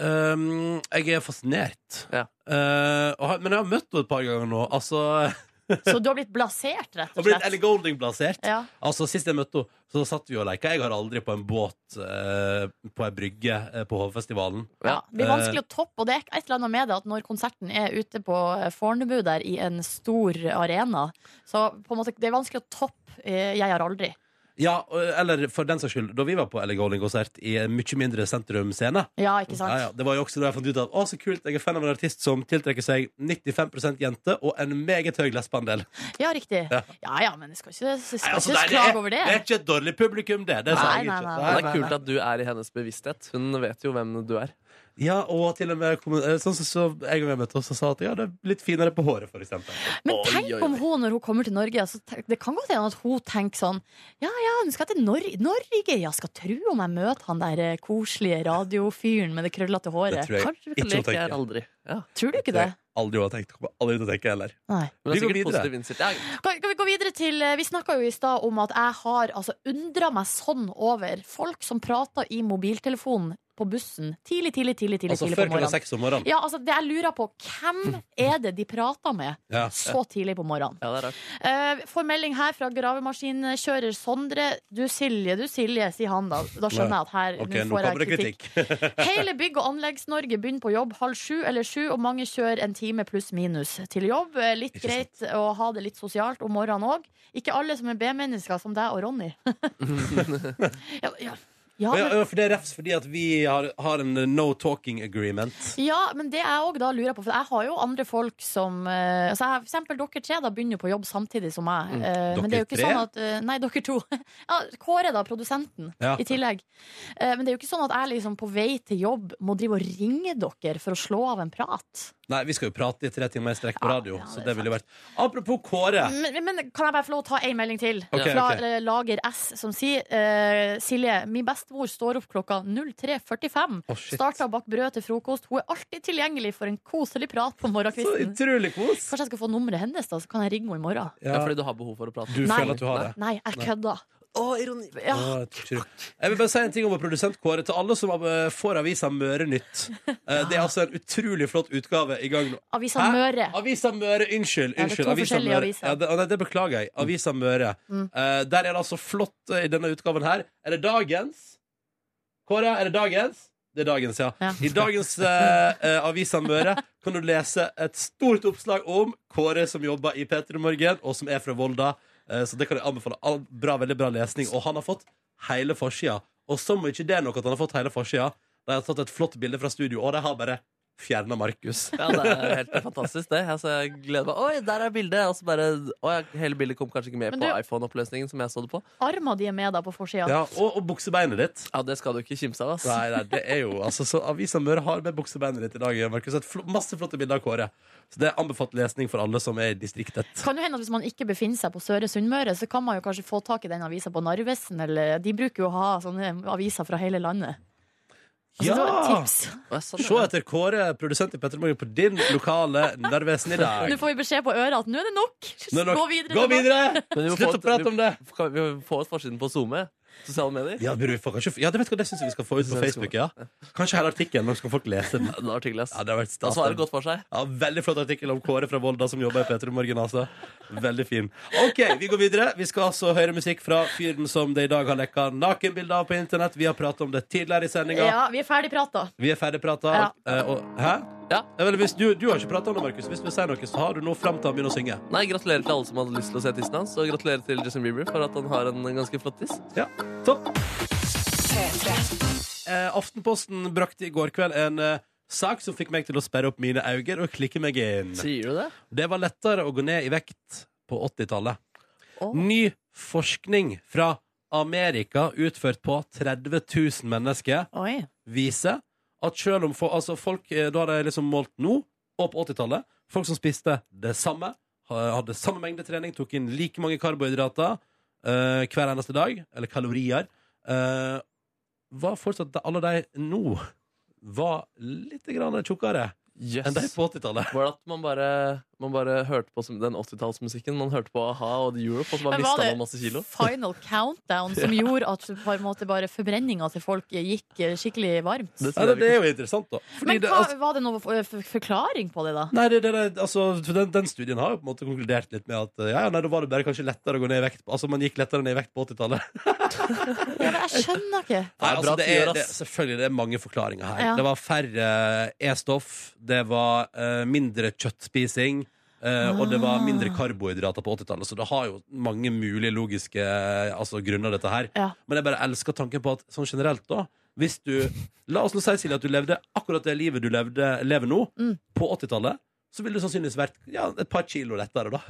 Speaker 2: Um, jeg er fascinert.
Speaker 4: Ja.
Speaker 2: Eh, og, har- men jeg har møtt henne et par ganger nå. Altså,
Speaker 3: Så du har blitt blasert, rett
Speaker 2: og
Speaker 3: og
Speaker 2: blitt Ellie
Speaker 3: slett?
Speaker 2: Golding-plassert.
Speaker 3: Ja.
Speaker 2: Altså, Sist jeg møtte henne, så satt vi og leika. Jeg har aldri på en båt eh, på ei brygge eh, på Hovefestivalen.
Speaker 3: Ja, det blir
Speaker 2: Eh,
Speaker 3: vanskelig å toppe, og det er et eller annet med det at når konserten er ute på eh, Fornebu der i en stor arena, så på en måte, det er vanskelig å toppe eh, Jeg har aldri.
Speaker 2: Ja, og- eller for den saks skyld, da vi var på Ellie Golding-konsert i en mye mindre sentrumscene
Speaker 3: Ja, ikke
Speaker 2: ja, ja,
Speaker 3: sant?
Speaker 2: Det var jo også da jeg fant ut at å, så kult, jeg er fan av en artist som tiltrekker seg 95 jente og en meget høy lesbeandel.
Speaker 3: Ja, riktig.
Speaker 2: Ja.
Speaker 3: Ja ja, men jeg skal ikke, jeg skal
Speaker 2: Nei, altså,
Speaker 3: ikke
Speaker 2: nei, det,
Speaker 3: klage
Speaker 2: er-
Speaker 3: over
Speaker 2: det
Speaker 3: det.
Speaker 2: er ikke et dårlig publikum, det. det sa
Speaker 3: Nei,
Speaker 2: jeg
Speaker 3: nei,
Speaker 2: ikke.
Speaker 3: nei,
Speaker 4: Det er kult at du er i hennes bevissthet. Hun vet jo hvem du er.
Speaker 2: Ja, og til og med kom- eh, sånn som så, en gang jeg møtte henne, så sa hun at ja, det er litt finere på håret, for eksempel.
Speaker 3: Men
Speaker 4: Oi,
Speaker 3: tenk
Speaker 4: oi,
Speaker 3: om
Speaker 4: oi.
Speaker 3: hun når hun kommer til Norge altså, tenk- Det kan godt hende at hun tenker sånn Ja, ja, hun skal til Nor Norge Ja, skal tro om jeg møter han der eh, koselige radiofyren Med det krøllete håret
Speaker 2: Det tror jeg
Speaker 3: Kanskje,
Speaker 2: ikke hun
Speaker 4: Lek jeg
Speaker 2: tenker.
Speaker 4: aldri. Ja.
Speaker 3: Tror du ikke det?
Speaker 2: Aldri hun har tenkt. Kommer aldri til å tenke heller.
Speaker 3: Nei
Speaker 4: Men det er
Speaker 2: Vi går
Speaker 4: sikkert
Speaker 2: videre.
Speaker 4: positiv innsikt. Ja,
Speaker 3: Kan, kan vi gå videre til eh, Vi snakka jo i stad om at jeg har altså, undra meg sånn over folk som prater i mobiltelefonen på på bussen tidlig, tidlig, tidlig, tidlig,
Speaker 2: Altså
Speaker 3: tidlig
Speaker 2: før
Speaker 3: på
Speaker 2: klokka
Speaker 3: morgenen.
Speaker 2: seks om morgenen.
Speaker 3: Ja, altså, det jeg lurer på, hvem er det de prater med
Speaker 2: Ja.
Speaker 3: så tidlig på morgenen?
Speaker 4: Ja, det er rart.
Speaker 3: Eh, får melding her fra gravemaskinkjører Sondre. Du Silje, du Silje, sier han da. Da skjønner jeg at her
Speaker 2: Ok,
Speaker 3: nå
Speaker 2: nå
Speaker 3: får
Speaker 2: kommer det
Speaker 3: jeg kritikk.
Speaker 2: kritikk.
Speaker 3: Hele Bygg- og Anleggs-Norge begynner på jobb halv sju eller sju, og mange kjører en time pluss minus til jobb. Eh, Litt
Speaker 2: Ikke
Speaker 3: greit å ha det litt sosialt om morgenen òg. Ikke alle som er B-mennesker, som deg og Ronny. ja, ja. Ja,
Speaker 2: Ja,
Speaker 3: men,
Speaker 2: ja, for det er refs fordi at vi har, har en eh, no talking agreement.
Speaker 3: ja, men det jeg òg da lurer på, for jeg har jo andre folk som eh, altså jeg, For eksempel dere tre da begynner på jobb samtidig som meg. eh, men det er jo
Speaker 2: Mm. Dere
Speaker 3: ikke
Speaker 2: tre?
Speaker 3: sånn at eh, Nei, dere to. ja, Kåre, da, produsenten,
Speaker 2: Ja.
Speaker 3: i tillegg. Eh, men det er jo ikke sånn at jeg liksom på vei til jobb må drive og ringe dere for å slå av en prat.
Speaker 2: Nei, vi skal jo prate i tre timer i strekk på
Speaker 3: Ja,
Speaker 2: radio.
Speaker 3: ja,
Speaker 2: Så
Speaker 3: det
Speaker 2: det
Speaker 3: er Mm,
Speaker 2: ville jo vært Apropos Kåre.
Speaker 3: Men, men kan jeg bare få lov å ta en melding til?
Speaker 2: Ok,
Speaker 3: Fra
Speaker 2: ok.
Speaker 3: eh, Lager S, som sier eh, Silje, min bestemor står opp klokka 03.45.
Speaker 2: Å, shit.
Speaker 3: Starta å bake brød til frokost. Hun er alltid tilgjengelig for en koselig prat på
Speaker 2: Så
Speaker 3: morgenkvisten.
Speaker 2: utrolig kos.
Speaker 3: Kanskje jeg skal få nummeret hennes, da, så kan jeg ringe henne i morgen.
Speaker 4: Det
Speaker 2: Ja,
Speaker 4: er fordi du har behov for å prate.
Speaker 2: du
Speaker 3: Nei.
Speaker 2: føler at du har det.
Speaker 3: Nei, jeg kødda.
Speaker 4: Å, ironi!
Speaker 3: Ja.
Speaker 2: Å, jeg tror ikke det. Jeg vil bare si en ting om vår produsent Kåre. Til alle som eh, får avisa Møre Nytt. Eh, Det er altså en utrolig flott utgave i gang nå.
Speaker 3: Avisa
Speaker 2: Hæ?
Speaker 3: Møre.
Speaker 2: Avisa Møre, unnskyld.
Speaker 3: Ja, det
Speaker 2: unnskyld.
Speaker 3: er to forskjellige aviser. Mm.
Speaker 2: Ja, det, å, nei, det beklager jeg. Avisa Møre. Eh, der er det altså flott eh, i denne utgaven her. Er det dagens? Kåre, er det dagens? Det er dagens, ja.
Speaker 3: Ja.
Speaker 2: I dagens eh, eh, Avisa Møre kan du lese et stort oppslag om Kåre som jobber i P3 Morgen, og som er fra Volda. Eh, så det kan jeg anbefale. All, bra, veldig bra lesning. Og han har fått hele forsida. Og som om ikke det er nok at han har fått hele forsida. De har tatt et flott bilde fra studio, og de har bare fjerna Markus.
Speaker 4: Ja, det er helt fantastisk, det. Altså, jeg gleder meg. Oi, der er bildet! Og så bare Å ja, hele bildet kom kanskje ikke med
Speaker 3: Men
Speaker 4: på
Speaker 3: du-
Speaker 4: iPhone-oppløsningen som jeg så det på.
Speaker 3: Arma di er med da på forsida.
Speaker 2: Ja, og, og buksebeinet ditt.
Speaker 4: Ja, det skal du ikke kimse av, ass.
Speaker 2: Nei, nei, det er jo altså, så Avisa Møre har med buksebeinet ditt i dag. Markus, et fl masse flotte bilder av Kåre. Så det er anbefalt lesning for alle som er i distriktet.
Speaker 3: Kan jo hende at Hvis man ikke befinner seg på Søre Sunnmøre, så kan man jo kanskje få tak i den avisa på Narvesen. Eller, de bruker jo å ha sånne aviser fra hele landet. Altså, det var et
Speaker 2: Ja!
Speaker 3: tips.
Speaker 4: Å, ja, sånn,
Speaker 2: Se
Speaker 4: ja.
Speaker 2: etter Kåre, produsent i Petter Morgen, på din lokale Narvesen i dag.
Speaker 3: Nå får vi beskjed på øret at nå er det nok!
Speaker 2: Nå er det nok.
Speaker 3: Gå videre!
Speaker 2: Gå
Speaker 3: til noe.
Speaker 2: videre!
Speaker 4: Men vi må
Speaker 2: Slutt
Speaker 4: få
Speaker 2: å
Speaker 4: et-
Speaker 2: prate om det!
Speaker 4: Kan vi få et forsiden på SoMe? Sosiale medier?
Speaker 2: Ja, men du får kanskje, ja det vet du hva, det syns jeg vi skal få ut på Facebook. ja Kanskje hele artikkelen, nå skal folk lese den. Altså,
Speaker 4: Det var tydelig, ass.
Speaker 2: Ja, det har vært
Speaker 4: Han
Speaker 2: stas.
Speaker 4: svarer godt for seg.
Speaker 2: Ja, Veldig flott artikkel om Kåre fra Volda som jobber i P3 Morgen. Altså. Veldig fin. OK, vi går videre. Vi skal altså høre musikk fra fyren som det i dag har lekka nakenbilder av på internett. Vi har pratet om det tidligere i sendinga.
Speaker 3: Ja, vi er ferdig prata.
Speaker 2: Vi er ferdigprata.
Speaker 3: Ja.
Speaker 2: Eh, og, hæ?
Speaker 4: Ja.
Speaker 2: Vel, hvis du, du har ikke prata om det, Markus. Hvis du vil si noe, så har du nå fram til han begynner å synge.
Speaker 4: Nei, Gratulerer til alle som hadde lyst til å se tissen hans, og gratulerer til Justin Bieber for at han har en ganske flott tiss.
Speaker 2: Ja, topp eh, Aftenposten brakte i går kveld en eh, sak som fikk meg til å sperre opp mine øyne og klikke meg inn.
Speaker 4: Sier du det?
Speaker 2: Det var lettere å gå ned i vekt på 80-tallet.
Speaker 3: Åh.
Speaker 2: Ny forskning fra Amerika utført på 30 000 mennesker
Speaker 3: Oi.
Speaker 2: viser at selv om for, altså folk eh, Da har de liksom målt nå, og på 80-tallet, folk som spiste det samme, ha- hadde samme mengde trening, tok inn like mange karbohydrater eh, hver eneste dag, eller kalorier, eh, var fortsatt Alle de nå var litt grann tjukkere
Speaker 4: Yes.
Speaker 2: enn de på 80-tallet.
Speaker 4: Var det at man bare, man bare hørte på som- den 80-tallsmusikken? Man hørte på A-ha og The Europe, og så bare
Speaker 3: Men var
Speaker 4: mista
Speaker 3: det-
Speaker 4: man masse kilo?
Speaker 3: Final countdown som gjorde at på en måte bare forbrenninga til folk gikk eh, skikkelig varmt.
Speaker 4: Det
Speaker 2: Ja,
Speaker 4: tror
Speaker 2: det,
Speaker 4: jeg
Speaker 2: det
Speaker 4: vi-
Speaker 2: er jo interessant, da. Fordi
Speaker 3: Men
Speaker 2: det,
Speaker 3: hva,
Speaker 2: altså,
Speaker 3: var det noen for- for- forklaring på det, da?
Speaker 2: nei, det, det, det, altså, for den, den studien har jo på en måte konkludert litt med at ja, ja, nei, da var det bare kanskje lettere å gå ned i vekt. Altså, man gikk lettere ned i vekt på 80-tallet.
Speaker 3: Ja, men jeg skjønner
Speaker 2: Nei,
Speaker 3: ikke.
Speaker 4: Ja,
Speaker 2: altså,
Speaker 4: bra
Speaker 2: det
Speaker 4: tiår,
Speaker 2: er, det,
Speaker 4: ass.
Speaker 2: selvfølgelig det er mange forklaringer her.
Speaker 3: Ja.
Speaker 2: Det var færre eh, E-stoff, det var eh, mindre kjøttspising, eh, og det var mindre karbohydrater på 80-tallet. Så det har jo mange mulige logiske eh, altså, grunner, dette her.
Speaker 3: Ja.
Speaker 2: Men jeg bare elsker tanken på at sånn generelt, da hvis du, La oss nå si Silje, at du levde akkurat det livet du levde, lever nå,
Speaker 3: Mm.
Speaker 2: på 80-tallet. Så ville du sannsynligvis vært ja, et par kilo lettere, da.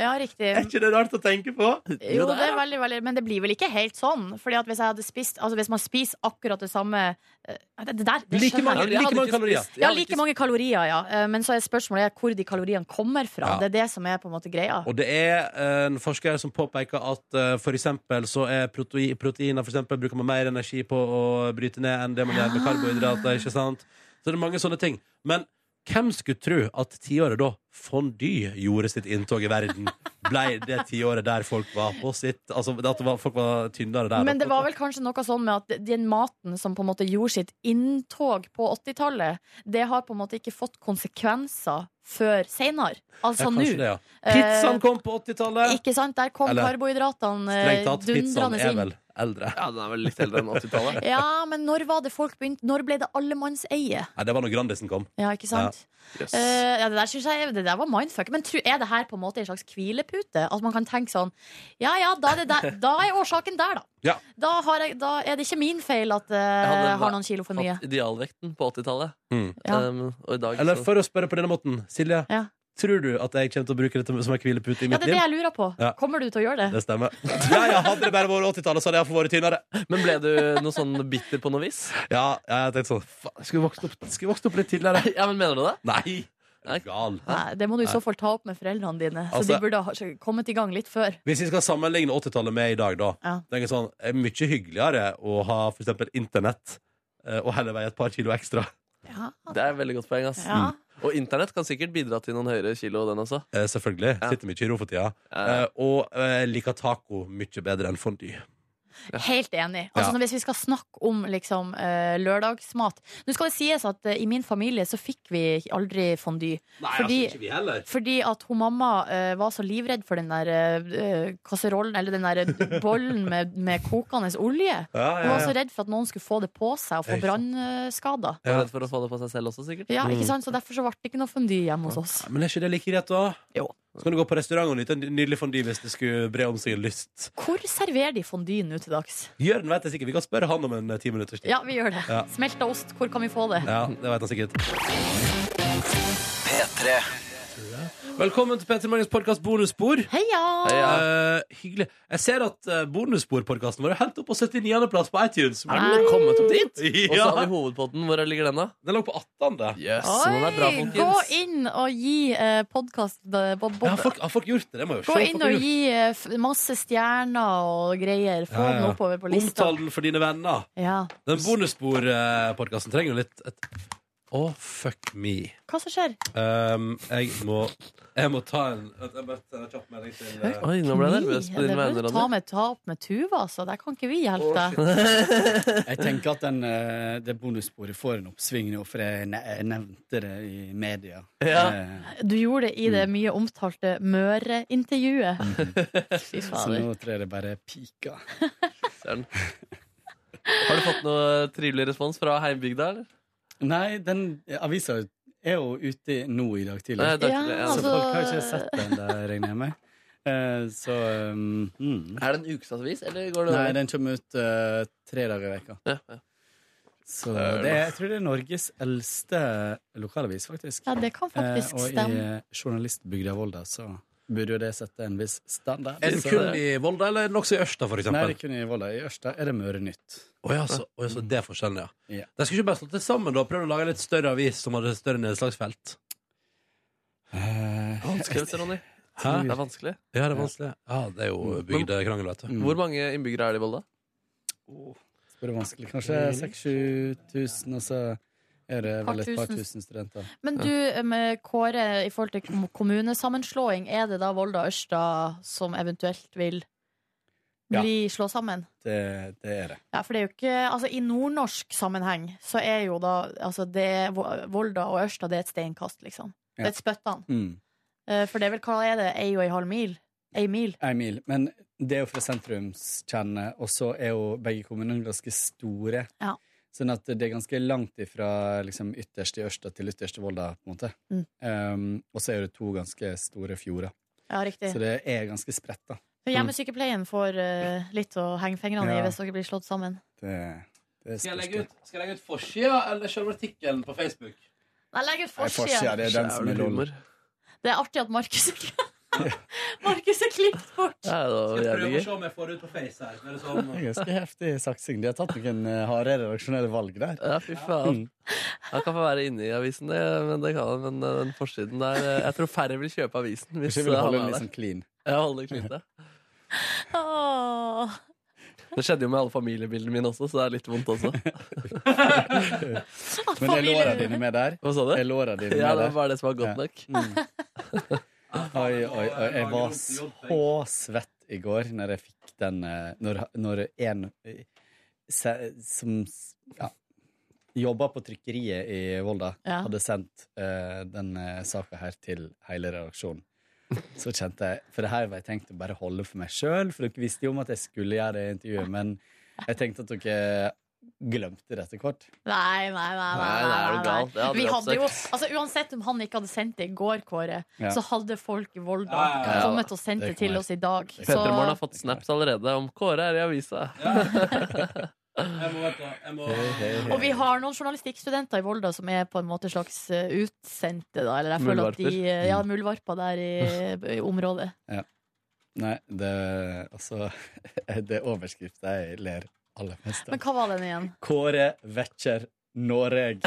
Speaker 3: Ja, riktig.
Speaker 2: Er ikke det rart å tenke på?
Speaker 3: Jo, det er veldig, veldig Men det blir vel ikke helt sånn. Fordi at hvis jeg hadde spist Altså, hvis man spiser akkurat det samme eh, Det, det der, det
Speaker 2: Like
Speaker 3: skjønner
Speaker 2: mange,
Speaker 3: jeg
Speaker 4: Jeg
Speaker 2: like
Speaker 3: ikke.
Speaker 4: hadde
Speaker 2: mange
Speaker 4: ikke
Speaker 2: kalorier.
Speaker 4: spist- jeg
Speaker 3: Ja,
Speaker 4: hadde
Speaker 3: like
Speaker 4: ikke
Speaker 3: mange kalorier, ja. Eh, Men så er spørsmålet er hvor de kaloriene kommer fra.
Speaker 2: Ja.
Speaker 3: Det er det som er på en måte greia.
Speaker 2: Og det er eh, en forsker som påpeker at eh, for eksempel så er protei- proteiner for eksempel, bruker man mer energi på å bryte ned enn det man gjør med karbohydrater. ikke sant? Så det er mange sånne ting. Men Hvem skulle tro at tiåret da Fondue gjorde sitt inntog i verden, blei det tiåret der folk var på sitt Altså at det var, folk var tynnere der?
Speaker 3: Men det var vel kanskje noe sånn med at den maten som på en måte gjorde sitt inntog på 80-tallet, det har på en måte ikke fått konsekvenser før seinere.
Speaker 2: Ja,
Speaker 3: Altså nå.
Speaker 2: kanskje det, ja.
Speaker 3: Eh,
Speaker 2: Pizzaen kom på 80-tallet!
Speaker 3: Ikke sant? Der kom
Speaker 2: Eller,
Speaker 3: karbohydratene eh,
Speaker 2: Strengt tatt, pizzaen
Speaker 3: dundrende
Speaker 2: er
Speaker 3: inn.
Speaker 2: vel eldre.
Speaker 4: Ja, den er vel litt eldre enn 80-tallet.
Speaker 3: Ja, men når var det folk begynte Når ble det allemannseie?
Speaker 2: Nei, det var når Grandisen kom.
Speaker 3: Ja, ikke sant?
Speaker 4: Yes.
Speaker 3: Eh, ja, det der synes jeg Det der var mindfuck. Men tru, er det her på en måte en slags hvilepute? At man kan tenke sånn Ja ja, da er, det der, da er årsaken der, da.
Speaker 2: Ja.
Speaker 3: Da, har jeg, da er det ikke min feil at eh,
Speaker 4: hadde
Speaker 3: jeg har
Speaker 4: vært-
Speaker 3: noen kilo for mye.
Speaker 4: Hatt idealvekten på 80-tallet.
Speaker 2: Mm.
Speaker 3: Ja.
Speaker 4: Um, og i dag
Speaker 2: Eller
Speaker 4: så-
Speaker 2: for å spørre på denne måten, Silje.
Speaker 3: Ja.
Speaker 2: Tror du at jeg kommer til å bruke dette som en hvilepute i
Speaker 3: Ja,
Speaker 2: mitt
Speaker 3: det er det jeg lurer på.
Speaker 2: Ja.
Speaker 3: Kommer du til å gjøre
Speaker 2: liv?
Speaker 3: det?
Speaker 2: Det stemmer. Ja, ja, hadde det bare vært 80-tallet, så hadde jeg iallfall vært tynnere.
Speaker 4: Men ble du noe sånn bitter på noe vis?
Speaker 2: Ja, jeg tenkte sånn faen, Skulle vokst opp, skulle vokst opp litt tidligere.
Speaker 4: Ja, men mener du det?
Speaker 2: Nei!
Speaker 4: Nei.
Speaker 2: Er du gal.
Speaker 3: Nei, det må du i så fall ta opp med foreldrene dine. Så
Speaker 2: Altså-
Speaker 3: de burde ha kommet i gang litt før.
Speaker 2: Hvis vi skal sammenligne 80-tallet med i dag, da
Speaker 3: Ja.
Speaker 2: tenker jeg sånn, er det mye hyggeligere å ha for eksempel internett eh, og heller veie et par kilo ekstra.
Speaker 3: Ja.
Speaker 4: Det er et veldig godt poeng. ass Mm.
Speaker 3: Ja.
Speaker 4: Og internett kan sikkert bidra til noen høyere kilo, den også.
Speaker 2: Eh, selvfølgelig.
Speaker 4: Ja.
Speaker 2: Sitter mye i ro for tida.
Speaker 4: Eh,
Speaker 2: Eh, og eh, liker taco mye bedre enn fondue.
Speaker 3: Helt enig. Altså
Speaker 2: Ja.
Speaker 3: Hvis vi skal snakke om liksom, eh, lørdagsmat Nå skal det sies at eh, i min familie så fikk vi aldri fondue.
Speaker 2: Nei, altså,
Speaker 3: Fordi-
Speaker 2: ikke vi heller.
Speaker 3: Fordi at hun mamma eh, var så livredd for den der eh, kasserollen, eller den der eh, bollen med, med kokende olje.
Speaker 2: Ja,
Speaker 3: Hun
Speaker 2: ja,
Speaker 3: var så
Speaker 2: ja.
Speaker 3: redd for at noen skulle få det på seg og få
Speaker 2: Ikke sant.
Speaker 3: brannskader.
Speaker 4: jeg
Speaker 2: Ja.
Speaker 4: er redd for å få det på seg selv også, sikkert.
Speaker 3: Ja,
Speaker 2: Mm.
Speaker 3: ikke sant? Så derfor så ble det ikke noe fondue hjemme hos oss.
Speaker 2: Men er ikke det like greit, da?
Speaker 3: Jo.
Speaker 2: Så kan du gå på restaurant og nyte en nydelig fondue hvis det skulle bre om seg en lyst.
Speaker 3: Hvor serverer de fondue nå til dags?
Speaker 2: Jørn vet det sikkert. Vi kan spørre han om en eh, ti minutters tid.
Speaker 3: Ja, vi gjør det.
Speaker 2: Ja.
Speaker 3: Smelta ost, hvor kan vi få det?
Speaker 2: Ja, det vet han sikkert. Velkommen til P3 Morgens podkast bonusspor.
Speaker 3: Heia!
Speaker 4: Heia.
Speaker 2: Eh, hyggelig. Jeg ser at uh, bonussporpodkasten vår er helt opp på 79.-plass på iTunes.
Speaker 3: Nei.
Speaker 2: Har den kommet opp dit?
Speaker 4: Og så
Speaker 2: Ja.
Speaker 4: har vi hovedpodden. Hvor ligger den, da?
Speaker 2: Den lå på 18.
Speaker 4: Yes, den er bra,
Speaker 3: Oi!
Speaker 4: folkens.
Speaker 3: Gå inn og gi eh, podkast Bob
Speaker 2: Ja,
Speaker 3: Bob.
Speaker 2: har, folk, har folk gjort det? Det må jeg jo
Speaker 3: Gå
Speaker 2: se.
Speaker 3: inn
Speaker 2: Folk har
Speaker 3: og
Speaker 2: gjort det.
Speaker 3: gi eh, f- masse stjerner og greier. Få
Speaker 2: Ja, ja.
Speaker 3: den oppover på lista.
Speaker 2: Omtal den for dine venner.
Speaker 3: Ja.
Speaker 2: Den bonussporpodkasten trenger jo litt et Å, fuck me.
Speaker 3: Hva som skjer?
Speaker 2: Um, jeg må Jeg må ta en vent, Jeg bare sender en kjapp melding til eh,
Speaker 4: Oi, nå ble jeg nervøs
Speaker 3: Kni.
Speaker 4: på dine
Speaker 3: det bør
Speaker 4: vegne,
Speaker 3: du ta
Speaker 4: Ronny.
Speaker 3: med ta opp med Tuva, altså. Der kan ikke vi hjelpe deg.
Speaker 8: Jeg tenker at den, eh, det bonussporet får en oppsving nå, for jeg ne- jeg nevnte det i media.
Speaker 4: Ja.
Speaker 8: Eh,
Speaker 3: Du gjorde det i det
Speaker 4: Mm.
Speaker 3: mye omtalte Møre-intervjuet.
Speaker 4: Mm.
Speaker 3: Fy
Speaker 8: Så
Speaker 3: fader.
Speaker 8: nå tror jeg det bare pika.
Speaker 4: Søren. Har du fått noe trivelig respons fra heimbygda, eller?
Speaker 8: Nei, den avisa er jo ute nå i dag
Speaker 4: Nei,
Speaker 8: tidlig.
Speaker 4: takk
Speaker 3: Ja,
Speaker 4: til deg.
Speaker 8: Så
Speaker 3: altså-
Speaker 8: folk har ikke sett den der, regner jeg med. Eh, Så um, mm.
Speaker 4: Er det en ukesavis, eller går det
Speaker 8: Nei, den kommer ut eh, tre dager i veka.
Speaker 4: Ja, ja.
Speaker 8: Så det er, jeg tror det er Norges eldste lokalavis, faktisk.
Speaker 3: Ja, det kan
Speaker 8: Eh,
Speaker 3: faktisk
Speaker 8: Og i
Speaker 3: stemme.
Speaker 8: eh, journalistbygda Volda så burde jo det sette en viss standard.
Speaker 2: Er den
Speaker 8: Så-
Speaker 2: kun i Volda, eller er den også i Ørsta, for
Speaker 8: Nei,
Speaker 2: eksempel?
Speaker 8: det er kun i Volda. I Ørsta er det Møre Nytt.
Speaker 2: Å ja, så, å ja, så det er forskjellen, ja.
Speaker 8: Ja.
Speaker 2: De skulle ikke bare slått det sammen da prøvd å lage en litt større avis som hadde større nedslagsfelt.
Speaker 8: Eh,
Speaker 4: Vanskelig, vet du, Ronny.
Speaker 2: Hæ?
Speaker 4: Det er vanskelig.
Speaker 2: Ja, det er vanskelig. Ja, det er jo bygdekrangel, vet du.
Speaker 8: Mm.
Speaker 4: Hvor mange innbyggere er det i Volda?
Speaker 8: spør du vanskelig. Kanskje 6000-7000, og så er det vel et par
Speaker 3: tusen.
Speaker 8: tusen studenter.
Speaker 3: Men du, eh, med Kåre, i forhold til kom- kommunesammenslåing, er det da Volda og Ørsta som eventuelt vil
Speaker 8: Ja.
Speaker 3: bli slå sammen?
Speaker 8: Det, det er det.
Speaker 3: Ja, for det er jo ikke Altså, i nordnorsk sammenheng så er jo da Altså, det er Vo- Volda og Ørsta, det er et steinkast, liksom. Det er et spyttan.
Speaker 8: Mm.
Speaker 3: Eh, For det er vel, hva er det, ei og ei halv mil? Ei mil?
Speaker 8: Ei mil. Men det er jo fra sentrumskjernen, og så er jo begge kommunene ganske store.
Speaker 3: Ja.
Speaker 8: Sånn at det er ganske langt ifra liksom, ytterst i Ørsta til ytterst i Volda, på en måte.
Speaker 3: Mm.
Speaker 8: Um, og så er det to ganske store fjorder.
Speaker 3: Ja, riktig.
Speaker 8: Så det er ganske spredt, da.
Speaker 3: Så Hjemmesykepleien får eh, litt å henge fingrene i
Speaker 8: Ja.
Speaker 3: hvis dere blir slått sammen.
Speaker 8: Det, det
Speaker 2: Skal jeg
Speaker 8: spørs
Speaker 2: legge
Speaker 8: det.
Speaker 2: ut, skal jeg legge ut forsida eller selve artikkelen på Facebook?
Speaker 3: Nei, legg ut
Speaker 8: Nei, forsida,
Speaker 3: forsida!
Speaker 8: det er den som
Speaker 4: Jævlig
Speaker 8: er lol.
Speaker 4: humor.
Speaker 3: Det er artig at Markus Markus er klippet bort!
Speaker 4: Ja, det var
Speaker 2: Skal jeg
Speaker 4: jævlig
Speaker 2: prøve å
Speaker 4: gøy.
Speaker 2: se om jeg får det ut på Face her? Er det sånn?
Speaker 8: Det er ganske heftig saksing. De har tatt noen eh, harde redaksjonelle valg der.
Speaker 4: Ja, fy faen. Han kan få være inne i avisen, det, men det kan han. Men eh, den forsiden der eh, Jeg tror færre vil kjøpe avisen hvis
Speaker 8: Kanskje jeg ville
Speaker 4: eh,
Speaker 8: holde
Speaker 4: han er
Speaker 8: den litt
Speaker 4: der.
Speaker 8: sånn clean.
Speaker 4: Jeg holder det klinte.
Speaker 3: Åh.
Speaker 4: Det skjedde jo med alle familiebildene mine også, så det er litt vondt også.
Speaker 8: Men er låra dine med der?
Speaker 4: Hva sa du?
Speaker 8: Er låra dine
Speaker 4: Ja,
Speaker 8: med
Speaker 4: det
Speaker 8: der?
Speaker 4: var det som var godt nok.
Speaker 8: Oi, oi, oi. Jeg var så svett i går når jeg fikk den eh, Når, når en eh, se- som s- ja, jobba på trykkeriet i Volda,
Speaker 3: Ja.
Speaker 8: hadde sendt eh, den uh, saka her til hele redaksjonen. Så kjente jeg For det her var jeg tenkt å bare holde for meg sjøl, for dere visste jo om at jeg skulle gjøre det intervjuet, men jeg tenkte at dere glemte det etter hvert.
Speaker 3: Nei, nei, nei. nei,
Speaker 4: Nei, det er jo
Speaker 3: nei, nei.
Speaker 4: galt. Det hadde
Speaker 3: Vi
Speaker 4: jeg
Speaker 3: hadde jo,
Speaker 4: oppsøkt.
Speaker 3: altså, uansett om han ikke hadde sendt det i går, Kåre,
Speaker 8: Ja.
Speaker 3: så hadde folk i Volda
Speaker 2: Ja,
Speaker 4: ja, ja.
Speaker 3: kommet og sendt
Speaker 8: Det
Speaker 3: det til
Speaker 8: kommer.
Speaker 3: oss i dag. Så
Speaker 4: Petremorgen har fått snaps allerede om Kåre er i avisa.
Speaker 2: Jeg må, vet du, jeg må...
Speaker 3: og vi har noen journalistikkstudenter i Volda som er på en måte slags eh, utsendte, da. Eller jeg føler at de eh, Ja, muldvarper der i, i området.
Speaker 8: Nei, det Altså, det er overskrifta jeg ler aller mest av.
Speaker 3: Men hva var den igjen?
Speaker 8: Kåre vekker Noreg.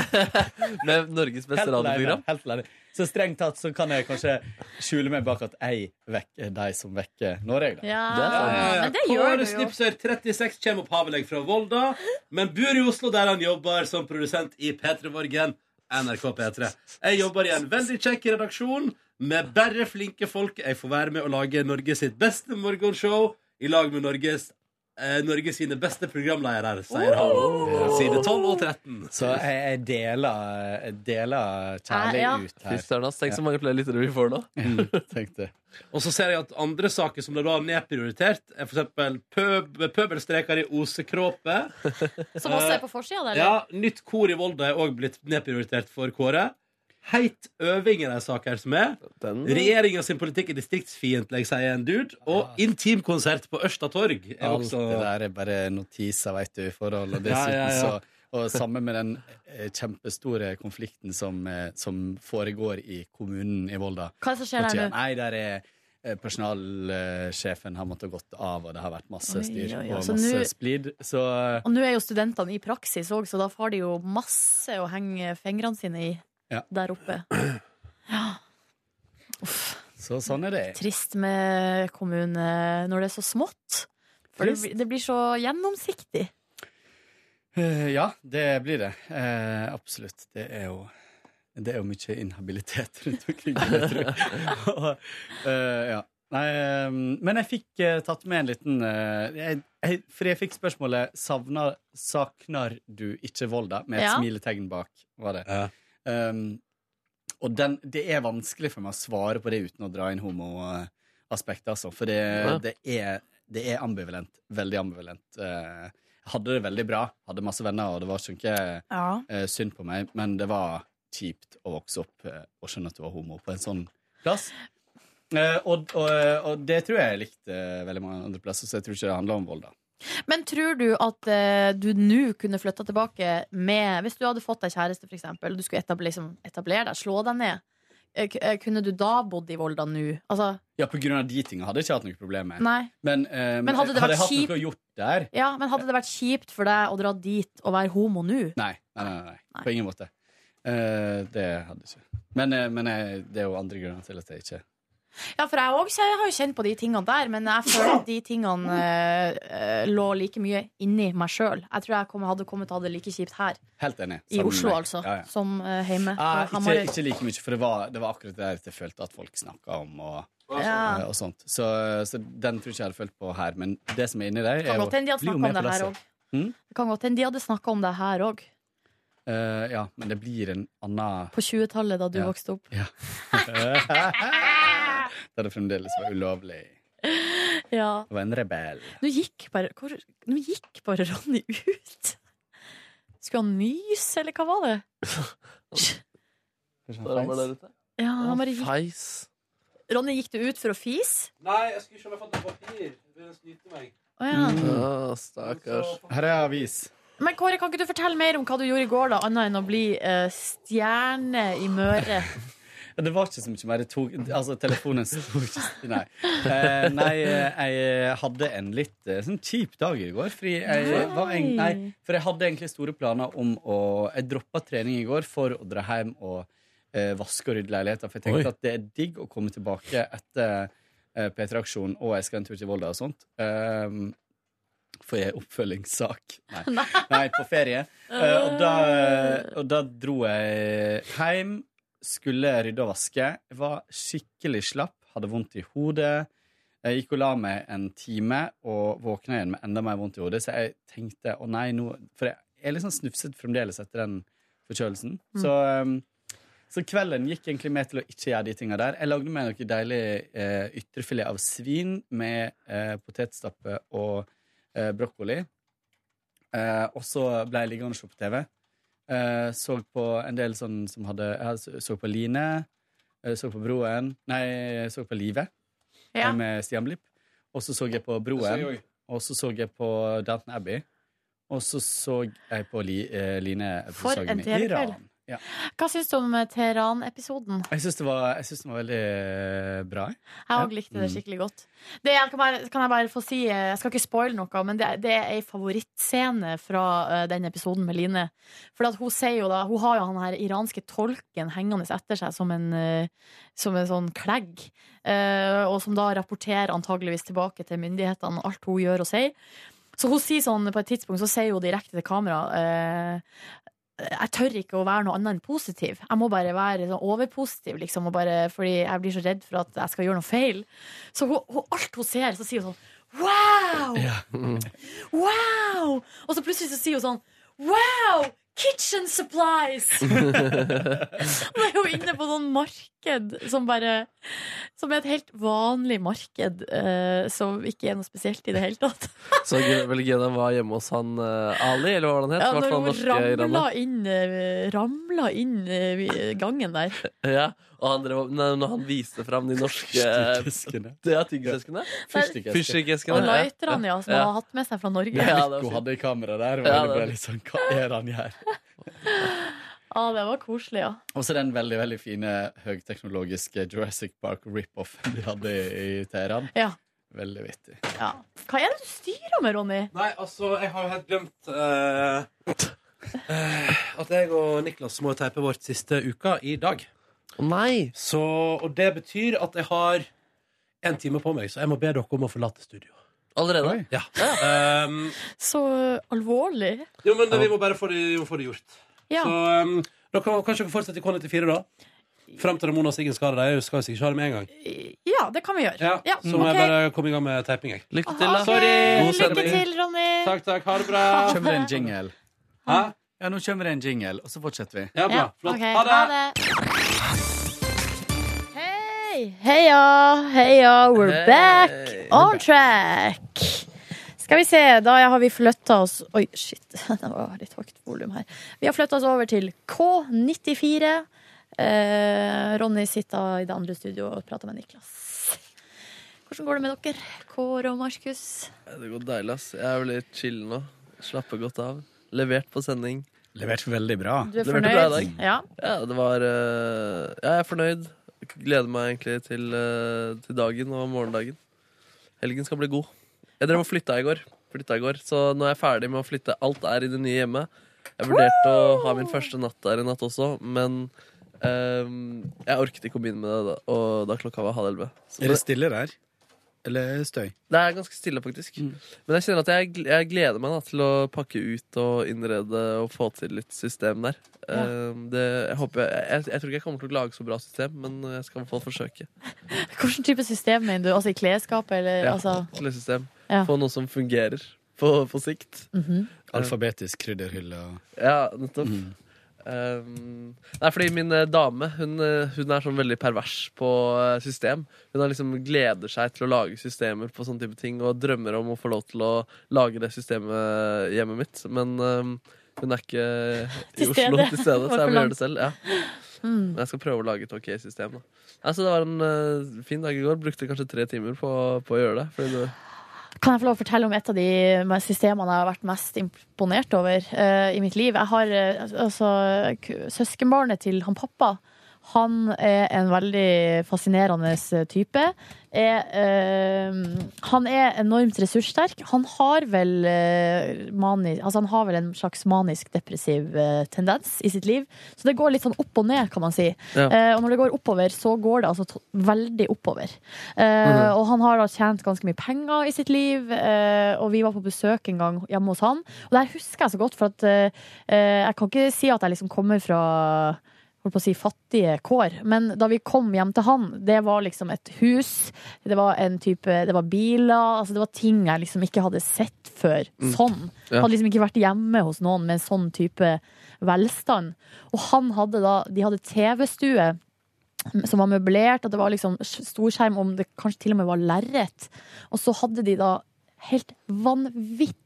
Speaker 4: Med Norges beste radioprogram.
Speaker 8: helt alene. Så strengt tatt så kan jeg kanskje skjule meg bak at jeg vekker de som vekker Noreg. Da.
Speaker 3: Ja,
Speaker 4: Det er sant.
Speaker 2: Ja, ja, ja.
Speaker 3: Men det gjør
Speaker 2: Kåre
Speaker 3: du jo.
Speaker 2: Snipser 36 kommer opphavelig fra Volda, men bor i Oslo, der han jobber som produsent i P3 Morgen. NRK P3. Jeg jobber i en veldig kjekk redaksjon med bare flinke folk. Jeg får være med å lage Norge sitt beste morgenshow i lag med Norges eh, Norge sine beste programledere, sier han.
Speaker 3: Oh!
Speaker 2: Side 12 og 13.
Speaker 8: Så jeg, jeg deler, jeg deler
Speaker 3: Nei,
Speaker 8: kjærlig
Speaker 3: ja.
Speaker 8: ut
Speaker 4: Fy
Speaker 8: her.
Speaker 4: søren, ass. Tenk så mange flere lyttere vi får nå.
Speaker 8: Tenkte.
Speaker 2: Og så ser jeg at andre saker som ble da nedprioritert, er for eksempel pøb, pøbelstreker i Osekråpet.
Speaker 3: Som også er på forsida der.
Speaker 2: Ja, Nytt kor i Volda er òg blitt nedprioritert for Kåre. Heit øving er ei sak her som er.
Speaker 4: Den.
Speaker 2: Regjeringa sin politikk er distriktsfiendtlig, sier en dude. Og intimkonsert på Ørsta torg er
Speaker 8: Alt
Speaker 2: også
Speaker 8: det der er bare notiser, veit du, i forhold. Og
Speaker 2: Ja, ja,
Speaker 8: dessuten
Speaker 2: ja.
Speaker 8: så og sammen med den eh, kjempestore konflikten som, eh, som foregår i kommunen i Volda.
Speaker 3: Hva er det som skjer
Speaker 8: Og
Speaker 3: der
Speaker 8: tjener-
Speaker 3: nå?
Speaker 8: Nei, der er eh, personalsjefen har måttet gått av, og det har vært masse
Speaker 3: Oi,
Speaker 8: styr
Speaker 3: oi, oi.
Speaker 8: og
Speaker 3: Så
Speaker 8: masse
Speaker 3: nå-
Speaker 8: splid. Så
Speaker 3: Og nå er jo studentene i praksis òg, så da har de jo masse å henge fingrene sine i
Speaker 8: Ja.
Speaker 3: der oppe.
Speaker 8: Så sånn er det.
Speaker 3: Trist med kommune når det er så smått. For det,
Speaker 8: Trist.
Speaker 3: blir- det blir så gjennomsiktig.
Speaker 8: Eh, Ja, det blir det. Eh, absolutt. Det er jo det er jo mye inhabilitet rundt omkring, vil jeg tro. Og, eh, ja. Nei, eh, men jeg fikk eh, tatt med en liten eh, jeg, jeg, For jeg fikk spørsmålet savner, 'Saknar du ikke Volda?' med et
Speaker 3: Ja.
Speaker 8: smiletegn bak. var det.
Speaker 2: Ja.
Speaker 8: Um, og den, det er vanskelig for meg å svare på det uten å dra inn homoaspektet, altså. For det,
Speaker 4: Ja.
Speaker 8: det, er, det er ambivalent. Veldig ambivalent. Eh, Jeg hadde det veldig bra. Hadde masse venner, og det var sånn ikke eh, synd på meg, men det var kjipt å vokse opp eh, og skjønne at du var homo på en sånn plass. Eh, og, og, og det tror jeg jeg likte eh, veldig mange andre plasser, så jeg tror ikke det handler om vold, da.
Speaker 3: Men tror du at eh, du nå kunne flytta tilbake med Hvis du hadde fått deg kjæreste, f.eks., og du skulle etablere, liksom, etablere deg, slå deg ned, eh, k- eh, kunne du da bodd i Volda nå? Altså,
Speaker 8: Ja, på grunn av de tinga hadde jeg ikke hatt noe problem med.
Speaker 3: nei.
Speaker 8: Men, eh,
Speaker 3: Men hadde det vært
Speaker 8: jeg hatt
Speaker 3: kjipt-
Speaker 8: noe å gjort der
Speaker 3: Ja, men hadde det vært kjipt for deg å dra dit og være homo nå?
Speaker 8: Nei, nei, nei, nei.
Speaker 3: Nei.
Speaker 8: på ingen måte. Eh, det hadde jeg ikke. Men, eh, men eh, det er jo andre grunner til at jeg ikke
Speaker 3: Ja, for jeg, også, jeg har jo kjent på de tingene der, men jeg føler at de tingene eh, eh, lå like mye inni meg sjøl. Jeg tror jeg kom, hadde kommet til å ha det like kjipt her,
Speaker 8: Helt enig.
Speaker 3: i
Speaker 8: Sammen
Speaker 3: Oslo
Speaker 8: med-
Speaker 3: altså,
Speaker 8: Ja, ja.
Speaker 3: som eh, hjemme. på
Speaker 8: Ah, ikke,
Speaker 3: Hamarøy.
Speaker 8: ikke like mye, for det var, det var akkurat det der at jeg følte at folk snakka om og, eh,
Speaker 3: ja.
Speaker 8: og sånt. Så, eh, så den tror jeg ikke jeg hadde følt på her. Men det som er inni deg, er
Speaker 3: Kan
Speaker 8: jo
Speaker 3: godt hende de hadde
Speaker 8: blir jo
Speaker 3: snakka om
Speaker 8: med
Speaker 3: det
Speaker 8: på
Speaker 3: her
Speaker 8: lasset.
Speaker 3: òg.
Speaker 8: Mm?
Speaker 3: Det kan godt hende de hadde snakka om det her òg,
Speaker 8: Eh, ja, men det blir en annen
Speaker 3: på 20-tallet, da du
Speaker 8: Ja.
Speaker 3: vokste opp.
Speaker 8: Der det fremdeles var ulovlig.
Speaker 3: Ja.
Speaker 8: Det var en rebell.
Speaker 3: Nå gikk bare, hvor, nå gikk bare Ronny ut. Skulle han nyse, eller hva var det?
Speaker 4: Der han var der ute.
Speaker 3: Ja, han bare gikk.
Speaker 4: Feis.
Speaker 3: Ronny, gikk du ut for å fise?
Speaker 2: Nei, jeg skulle ikke ha fått noe papir. Det snyter meg.
Speaker 3: Å ja.
Speaker 4: Ah, Stakkars.
Speaker 8: Her er avis.
Speaker 3: Men Kåre, kan ikke du fortelle mer om hva du gjorde i går, da, annet enn å bli eh, stjerne i Møre?
Speaker 8: Ja, Det var ikke så mye mer. Det tok, altså, telefonen sto ikke Nei. Eh, nei, eh, jeg hadde en litt eh, sånn kjip dag i går. Fordi jeg, var en, nei, for jeg hadde egentlig store planer om å Jeg droppa trening i går for å dra hjem og eh, vaske og rydde leiligheter. For jeg tenkte at det er digg å komme tilbake etter eh, P3-aksjonen og jeg skal en tur til Volda og sånt. Eh, For jeg er oppfølgingssak. Nei, Nei på ferie. Eh, og, da, og da dro jeg hjem, skulle rydde og vaske. Jeg var skikkelig slapp, hadde vondt i hodet. Jeg gikk og la meg en time og våkna igjen med enda mer vondt i hodet, så jeg tenkte å nei, nå For jeg er litt sånn snufset fremdeles etter den forkjølelsen. Så, eh, så kvelden gikk egentlig med til å ikke gjøre de tinga der. Jeg lagde meg noe deilig eh, ytrefilet av svin med eh, potetstappe og eh, brokkoli. Eh, og så ble jeg liggende og se på TV. Eh, så på en del sånn som hadde jeg Så på Line. eh, Så på Broen. Nei, jeg så på Live
Speaker 3: Ja.
Speaker 8: eh, med Stian Blipp. Og så så jeg på Broen. Og så så jeg på Downton Abbey. Og så så jeg på li, eh, Line
Speaker 3: For en
Speaker 8: episoden i
Speaker 3: TV-kveld.
Speaker 8: Iran. Ja.
Speaker 3: Hva syns du om eh, Teheran-episoden?
Speaker 8: Jeg syns det, var- jeg syns den var veldig eh, bra. jeg.
Speaker 3: Jeg òg likte det
Speaker 8: Mm.
Speaker 3: skikkelig godt. Det jeg kan, bare, kan jeg bare få si eh, Jeg skal ikke spoile noe, men det, det er ei favorittscene fra eh, den episoden med Line. For at hun sier jo da Hun har jo han her iranske tolken hengende etter seg som en, eh, som en sånn klegg. eh, og som da rapporterer antageligvis tilbake til myndighetene alt hun gjør og sier. Så hun sier sånn på et tidspunkt så sier hun direkte til kamera eh, jeg tør ikke å være noe annet enn positiv. Jeg må bare være sånn overpositiv, liksom, og bare, fordi jeg blir så redd for at jeg skal gjøre noe feil. Så hun, hun, alt hun ser, så sier hun sånn Wow! Wow! Og så plutselig så sier hun sånn Wow! Kitchen supplies! Hun er jo inne på sånn marked som bare Som er et helt vanlig marked, eh, som ikke er noe spesielt i det hele tatt.
Speaker 4: Så Belgiana var hjemme hos han eh, Ali, eller hva var han het?
Speaker 3: Ja,
Speaker 4: I hvert
Speaker 3: når
Speaker 4: fall
Speaker 3: hun
Speaker 4: norske
Speaker 3: ramla
Speaker 4: iraner.
Speaker 3: inn, eh, ramla inn eh, gangen der.
Speaker 4: Ja, og han drev, nei, når han viste fram de norske
Speaker 8: Fyrstikkeskene.
Speaker 4: Det er tyggiseskene?
Speaker 8: Fyrstikkeske.
Speaker 4: Fyrstikkeskene.
Speaker 3: Og
Speaker 4: ja.
Speaker 3: lighterne, ja, som
Speaker 4: Ja.
Speaker 3: han har hatt med seg fra Norge. Ja,
Speaker 4: Ja. det var
Speaker 8: Nico
Speaker 4: fint.
Speaker 8: hadde i kamera der. Var
Speaker 4: Ja,
Speaker 8: det
Speaker 4: det var
Speaker 8: bare litt sånn, Hva er det han gjør?
Speaker 3: det var koselig, ja.
Speaker 8: Og så den veldig veldig fine høyteknologiske Jurassic Park rip-offen de hadde i Teheran.
Speaker 3: ja.
Speaker 8: Veldig vittig.
Speaker 3: ja. Hva er det du styrer med, Ronny?
Speaker 2: Nei, altså, jeg har jo helt glemt eh, eh, at jeg og Niklas må teipe vårt siste uka i dag.
Speaker 4: Å, Nei!
Speaker 2: Så, og det betyr at jeg har en time på meg, så jeg må be dere om å forlate studio.
Speaker 4: Allerede?
Speaker 2: Ja. Um,
Speaker 3: Så alvorlig.
Speaker 2: jo, men vi må bare få det, vi må få det gjort.
Speaker 3: Ja.
Speaker 2: Så um, dere kan kanskje dere fortsette i K94, da? Frem til Ramona og Siggen skal ha det. De skal jo sikkert ha det med en gang.
Speaker 3: ja, det kan vi gjøre.
Speaker 2: Ja,
Speaker 3: Ja,
Speaker 2: så må
Speaker 3: ok.
Speaker 2: jeg bare komme i gang med teiping, jeg.
Speaker 4: Lykke til, da.
Speaker 3: Ok,
Speaker 2: God
Speaker 3: Lykke
Speaker 2: sending.
Speaker 3: til, Ronny.
Speaker 2: Takk, takk. Ha det bra.
Speaker 8: Kommer det en jingle?
Speaker 2: Hæ?
Speaker 8: Ja, nå kommer det en jingle, og så fortsetter vi.
Speaker 2: Ja, bra.
Speaker 3: Ja,
Speaker 2: Flott.
Speaker 3: ok.
Speaker 2: Ha det.
Speaker 3: Hei, heia, heia, we're
Speaker 4: Hei.
Speaker 3: back
Speaker 4: We're
Speaker 3: on track. Skal vi se, da har vi flytta oss Oi, shit, det var litt høyt volum her. Vi har flytta oss over til K94. Eh, Ronny sitter i det andre studioet og prater med Niklas. Hvordan går det med dere, Kåre og Markus?
Speaker 4: Det går deilig, ass. Jeg er veldig chill nå. Slapper godt av. Levert på sending.
Speaker 8: Levert veldig bra.
Speaker 3: Du er
Speaker 4: Leverte bra i
Speaker 3: fornøyd?
Speaker 4: dag.
Speaker 3: Ja.
Speaker 4: Ja, det var eh, Ja, jeg er fornøyd. Gleder meg egentlig til, eh, til dagen og morgendagen. Helgen skal bli god. Jeg drev og flytta i går, flytta i går, så nå er jeg ferdig med å flytte. Alt er i det nye hjemmet. Jeg vurderte å ha min første natt der i natt også, men eh, jeg orket ikke å begynne med det da, og da klokka var halv elleve. Så
Speaker 8: Er det stille der? Eller støy?
Speaker 4: det er ganske stille, faktisk.
Speaker 3: Mm.
Speaker 4: Men jeg kjenner at jeg, gl- jeg gleder meg da, til å pakke ut og innrede og få til litt system der. Ehm, det, jeg, håper, jeg, jeg, jeg tror ikke jeg kommer til å lage så bra system, men jeg skal i hvert fall forsøke.
Speaker 3: Hvilken type system mener du? Altså i klesskapet, eller?
Speaker 4: Ja,
Speaker 3: Altså,
Speaker 4: til et system.
Speaker 3: Ja.
Speaker 4: Få noe som fungerer på, på sikt.
Speaker 8: Alfabetisk krydderhylle og
Speaker 4: Ja, nettopp. Ehm, nei, fordi min eh, dame hun, eh, hun er sånn veldig pervers på eh, system. Hun har liksom gleder seg til å lage systemer på sånne type ting og drømmer om å få lov til å lage det systemet hjemme mitt. Men ehm, hun er ikke i
Speaker 3: Til
Speaker 4: Oslo
Speaker 3: stede.
Speaker 4: til stede,
Speaker 3: Var
Speaker 4: så jeg
Speaker 3: for
Speaker 4: må
Speaker 3: langt. Mm.
Speaker 4: gjøre det selv. Ja. Men jeg skal prøve å lage et ok system. Da. Nei, så det var en eh, fin dag i går. Brukte kanskje tre timer på, på å gjøre det. Fordi det
Speaker 3: Kan jeg få lov å fortelle om et av de systemene jeg har vært mest imponert over eh, i mitt liv? Jeg har eh, altså, k- Søskenbarnet til han pappa Han er en veldig fascinerende eh, type. Er, eh, han er enormt ressurssterk. Han har vel eh, mani, altså han har vel en slags manisk-depressiv eh, tendens i sitt liv. Så det går litt sånn opp og ned, kan man si.
Speaker 4: Ja.
Speaker 3: Eh, og når det går oppover, så går det altså to- veldig oppover. Eh, Og han har da tjent ganske mye penger i sitt liv, eh, og vi var på besøk en gang hjemme hos han. Og det her husker jeg så godt, for at eh, eh, jeg kan ikke si at jeg liksom kommer fra holdt på å si fattige kår, men da vi kom hjem til han, det var liksom et hus, det var en type, det var biler, altså det var ting jeg liksom ikke hadde sett før, sånn.
Speaker 4: Ja.
Speaker 3: Hadde liksom ikke vært hjemme hos noen med en sånn type velstand. Og han hadde da, de hadde TV-stue som var møblert, og det var liksom storskjerm om det kanskje til og med var lerret. Og så hadde de da helt vanvittig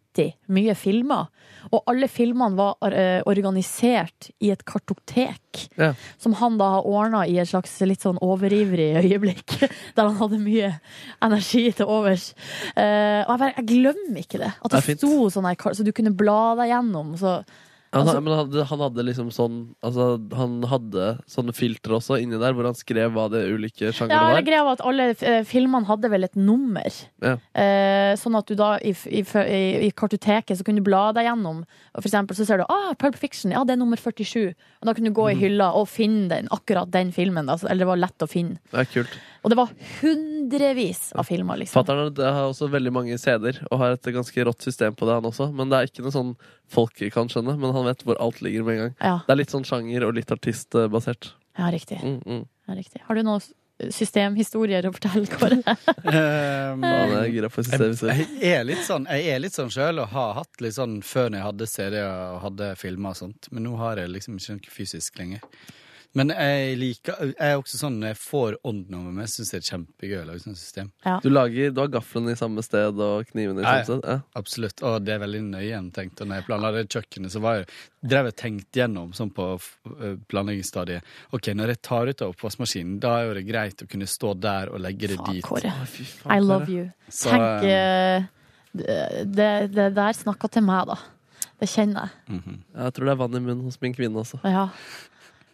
Speaker 3: mye filmer. Og alle filmene var eh, organisert i et kartotek.
Speaker 4: Ja.
Speaker 3: Som han da har ordna i et slags litt sånn overivrig øyeblikk. Der han hadde mye energi til overs. Eh, og jeg, bare, jeg glemmer ikke det. At det,
Speaker 4: Det er fint.
Speaker 3: sto sånn her, kar- så du kunne bla deg gjennom. Så
Speaker 4: Han,
Speaker 3: Altså-
Speaker 4: men han hadde, han hadde liksom sånn altså, Han hadde sånne filtre også inni der, hvor han skrev hva det ulike
Speaker 3: Ja,
Speaker 4: sjangerne
Speaker 3: eller greia var at alle eh, filmene hadde vel et nummer.
Speaker 4: Ja.
Speaker 3: Eh, sånn at du da i, f- i, f- i, i kartoteket så kunne du bla deg gjennom. Og for eksempel så ser du ah, Pulp Fiction, ja det er nummer 47. Og da kunne du gå
Speaker 4: Mm.
Speaker 3: i hylla og finne den, akkurat den filmen. Da. Så- Eller det var lett å finne.
Speaker 4: var. Det er kult.
Speaker 3: Og det var hundrevis av filmer, liksom.
Speaker 4: Fatteren har også veldig mange CD-er, og har et ganske rått system på det, han også. Men det er ikke noe sånn folk kan skjønne, men han vet hvor alt ligger med en gang.
Speaker 3: Ja,
Speaker 4: Det er litt sånn sjanger og litt artistbasert.
Speaker 3: ja, riktig,
Speaker 4: Mm, mm.
Speaker 3: ja, riktig. Har du noen s- systemhistorier å fortelle, Kåre?
Speaker 4: Ja, det
Speaker 8: Um,
Speaker 4: er gira for
Speaker 8: jeg,
Speaker 4: systemet sitt.
Speaker 8: jeg er litt sånn Jeg er litt sånn sjøl, og har hatt litt sånn før når jeg hadde CD-er og hadde filmer og sånt. Men nå har jeg liksom ikke noe fysisk lenger. Men jeg liker Jeg er også sånn når jeg får ånden over meg, syns jeg det er kjempegøy å lage sånne system.
Speaker 4: Du, lager, du har gaflene i samme sted og knivene i
Speaker 8: Ja,
Speaker 4: samme
Speaker 8: ja.
Speaker 4: sted. Ja.
Speaker 8: Absolutt. Og det er veldig nøye gjennomtenkt. Og når jeg planla det kjøkkenet, så var jeg, drev jeg tenkt gjennom sånn på f- planleggingsstadiet. Ok, når jeg tar ut av oppvaskmaskinen, da er jo det greit å kunne stå der og legge det
Speaker 3: Faen,
Speaker 8: dit.
Speaker 3: Kåre.
Speaker 4: Å, fy faen, Klara.
Speaker 3: I love you.
Speaker 8: Så,
Speaker 3: Tenk
Speaker 8: eh,
Speaker 3: eh, det, det der snakka til meg, da. Det kjenner jeg.
Speaker 8: mhm.
Speaker 4: Jeg tror det er vann i munnen hos min kvinne også.
Speaker 3: Ja.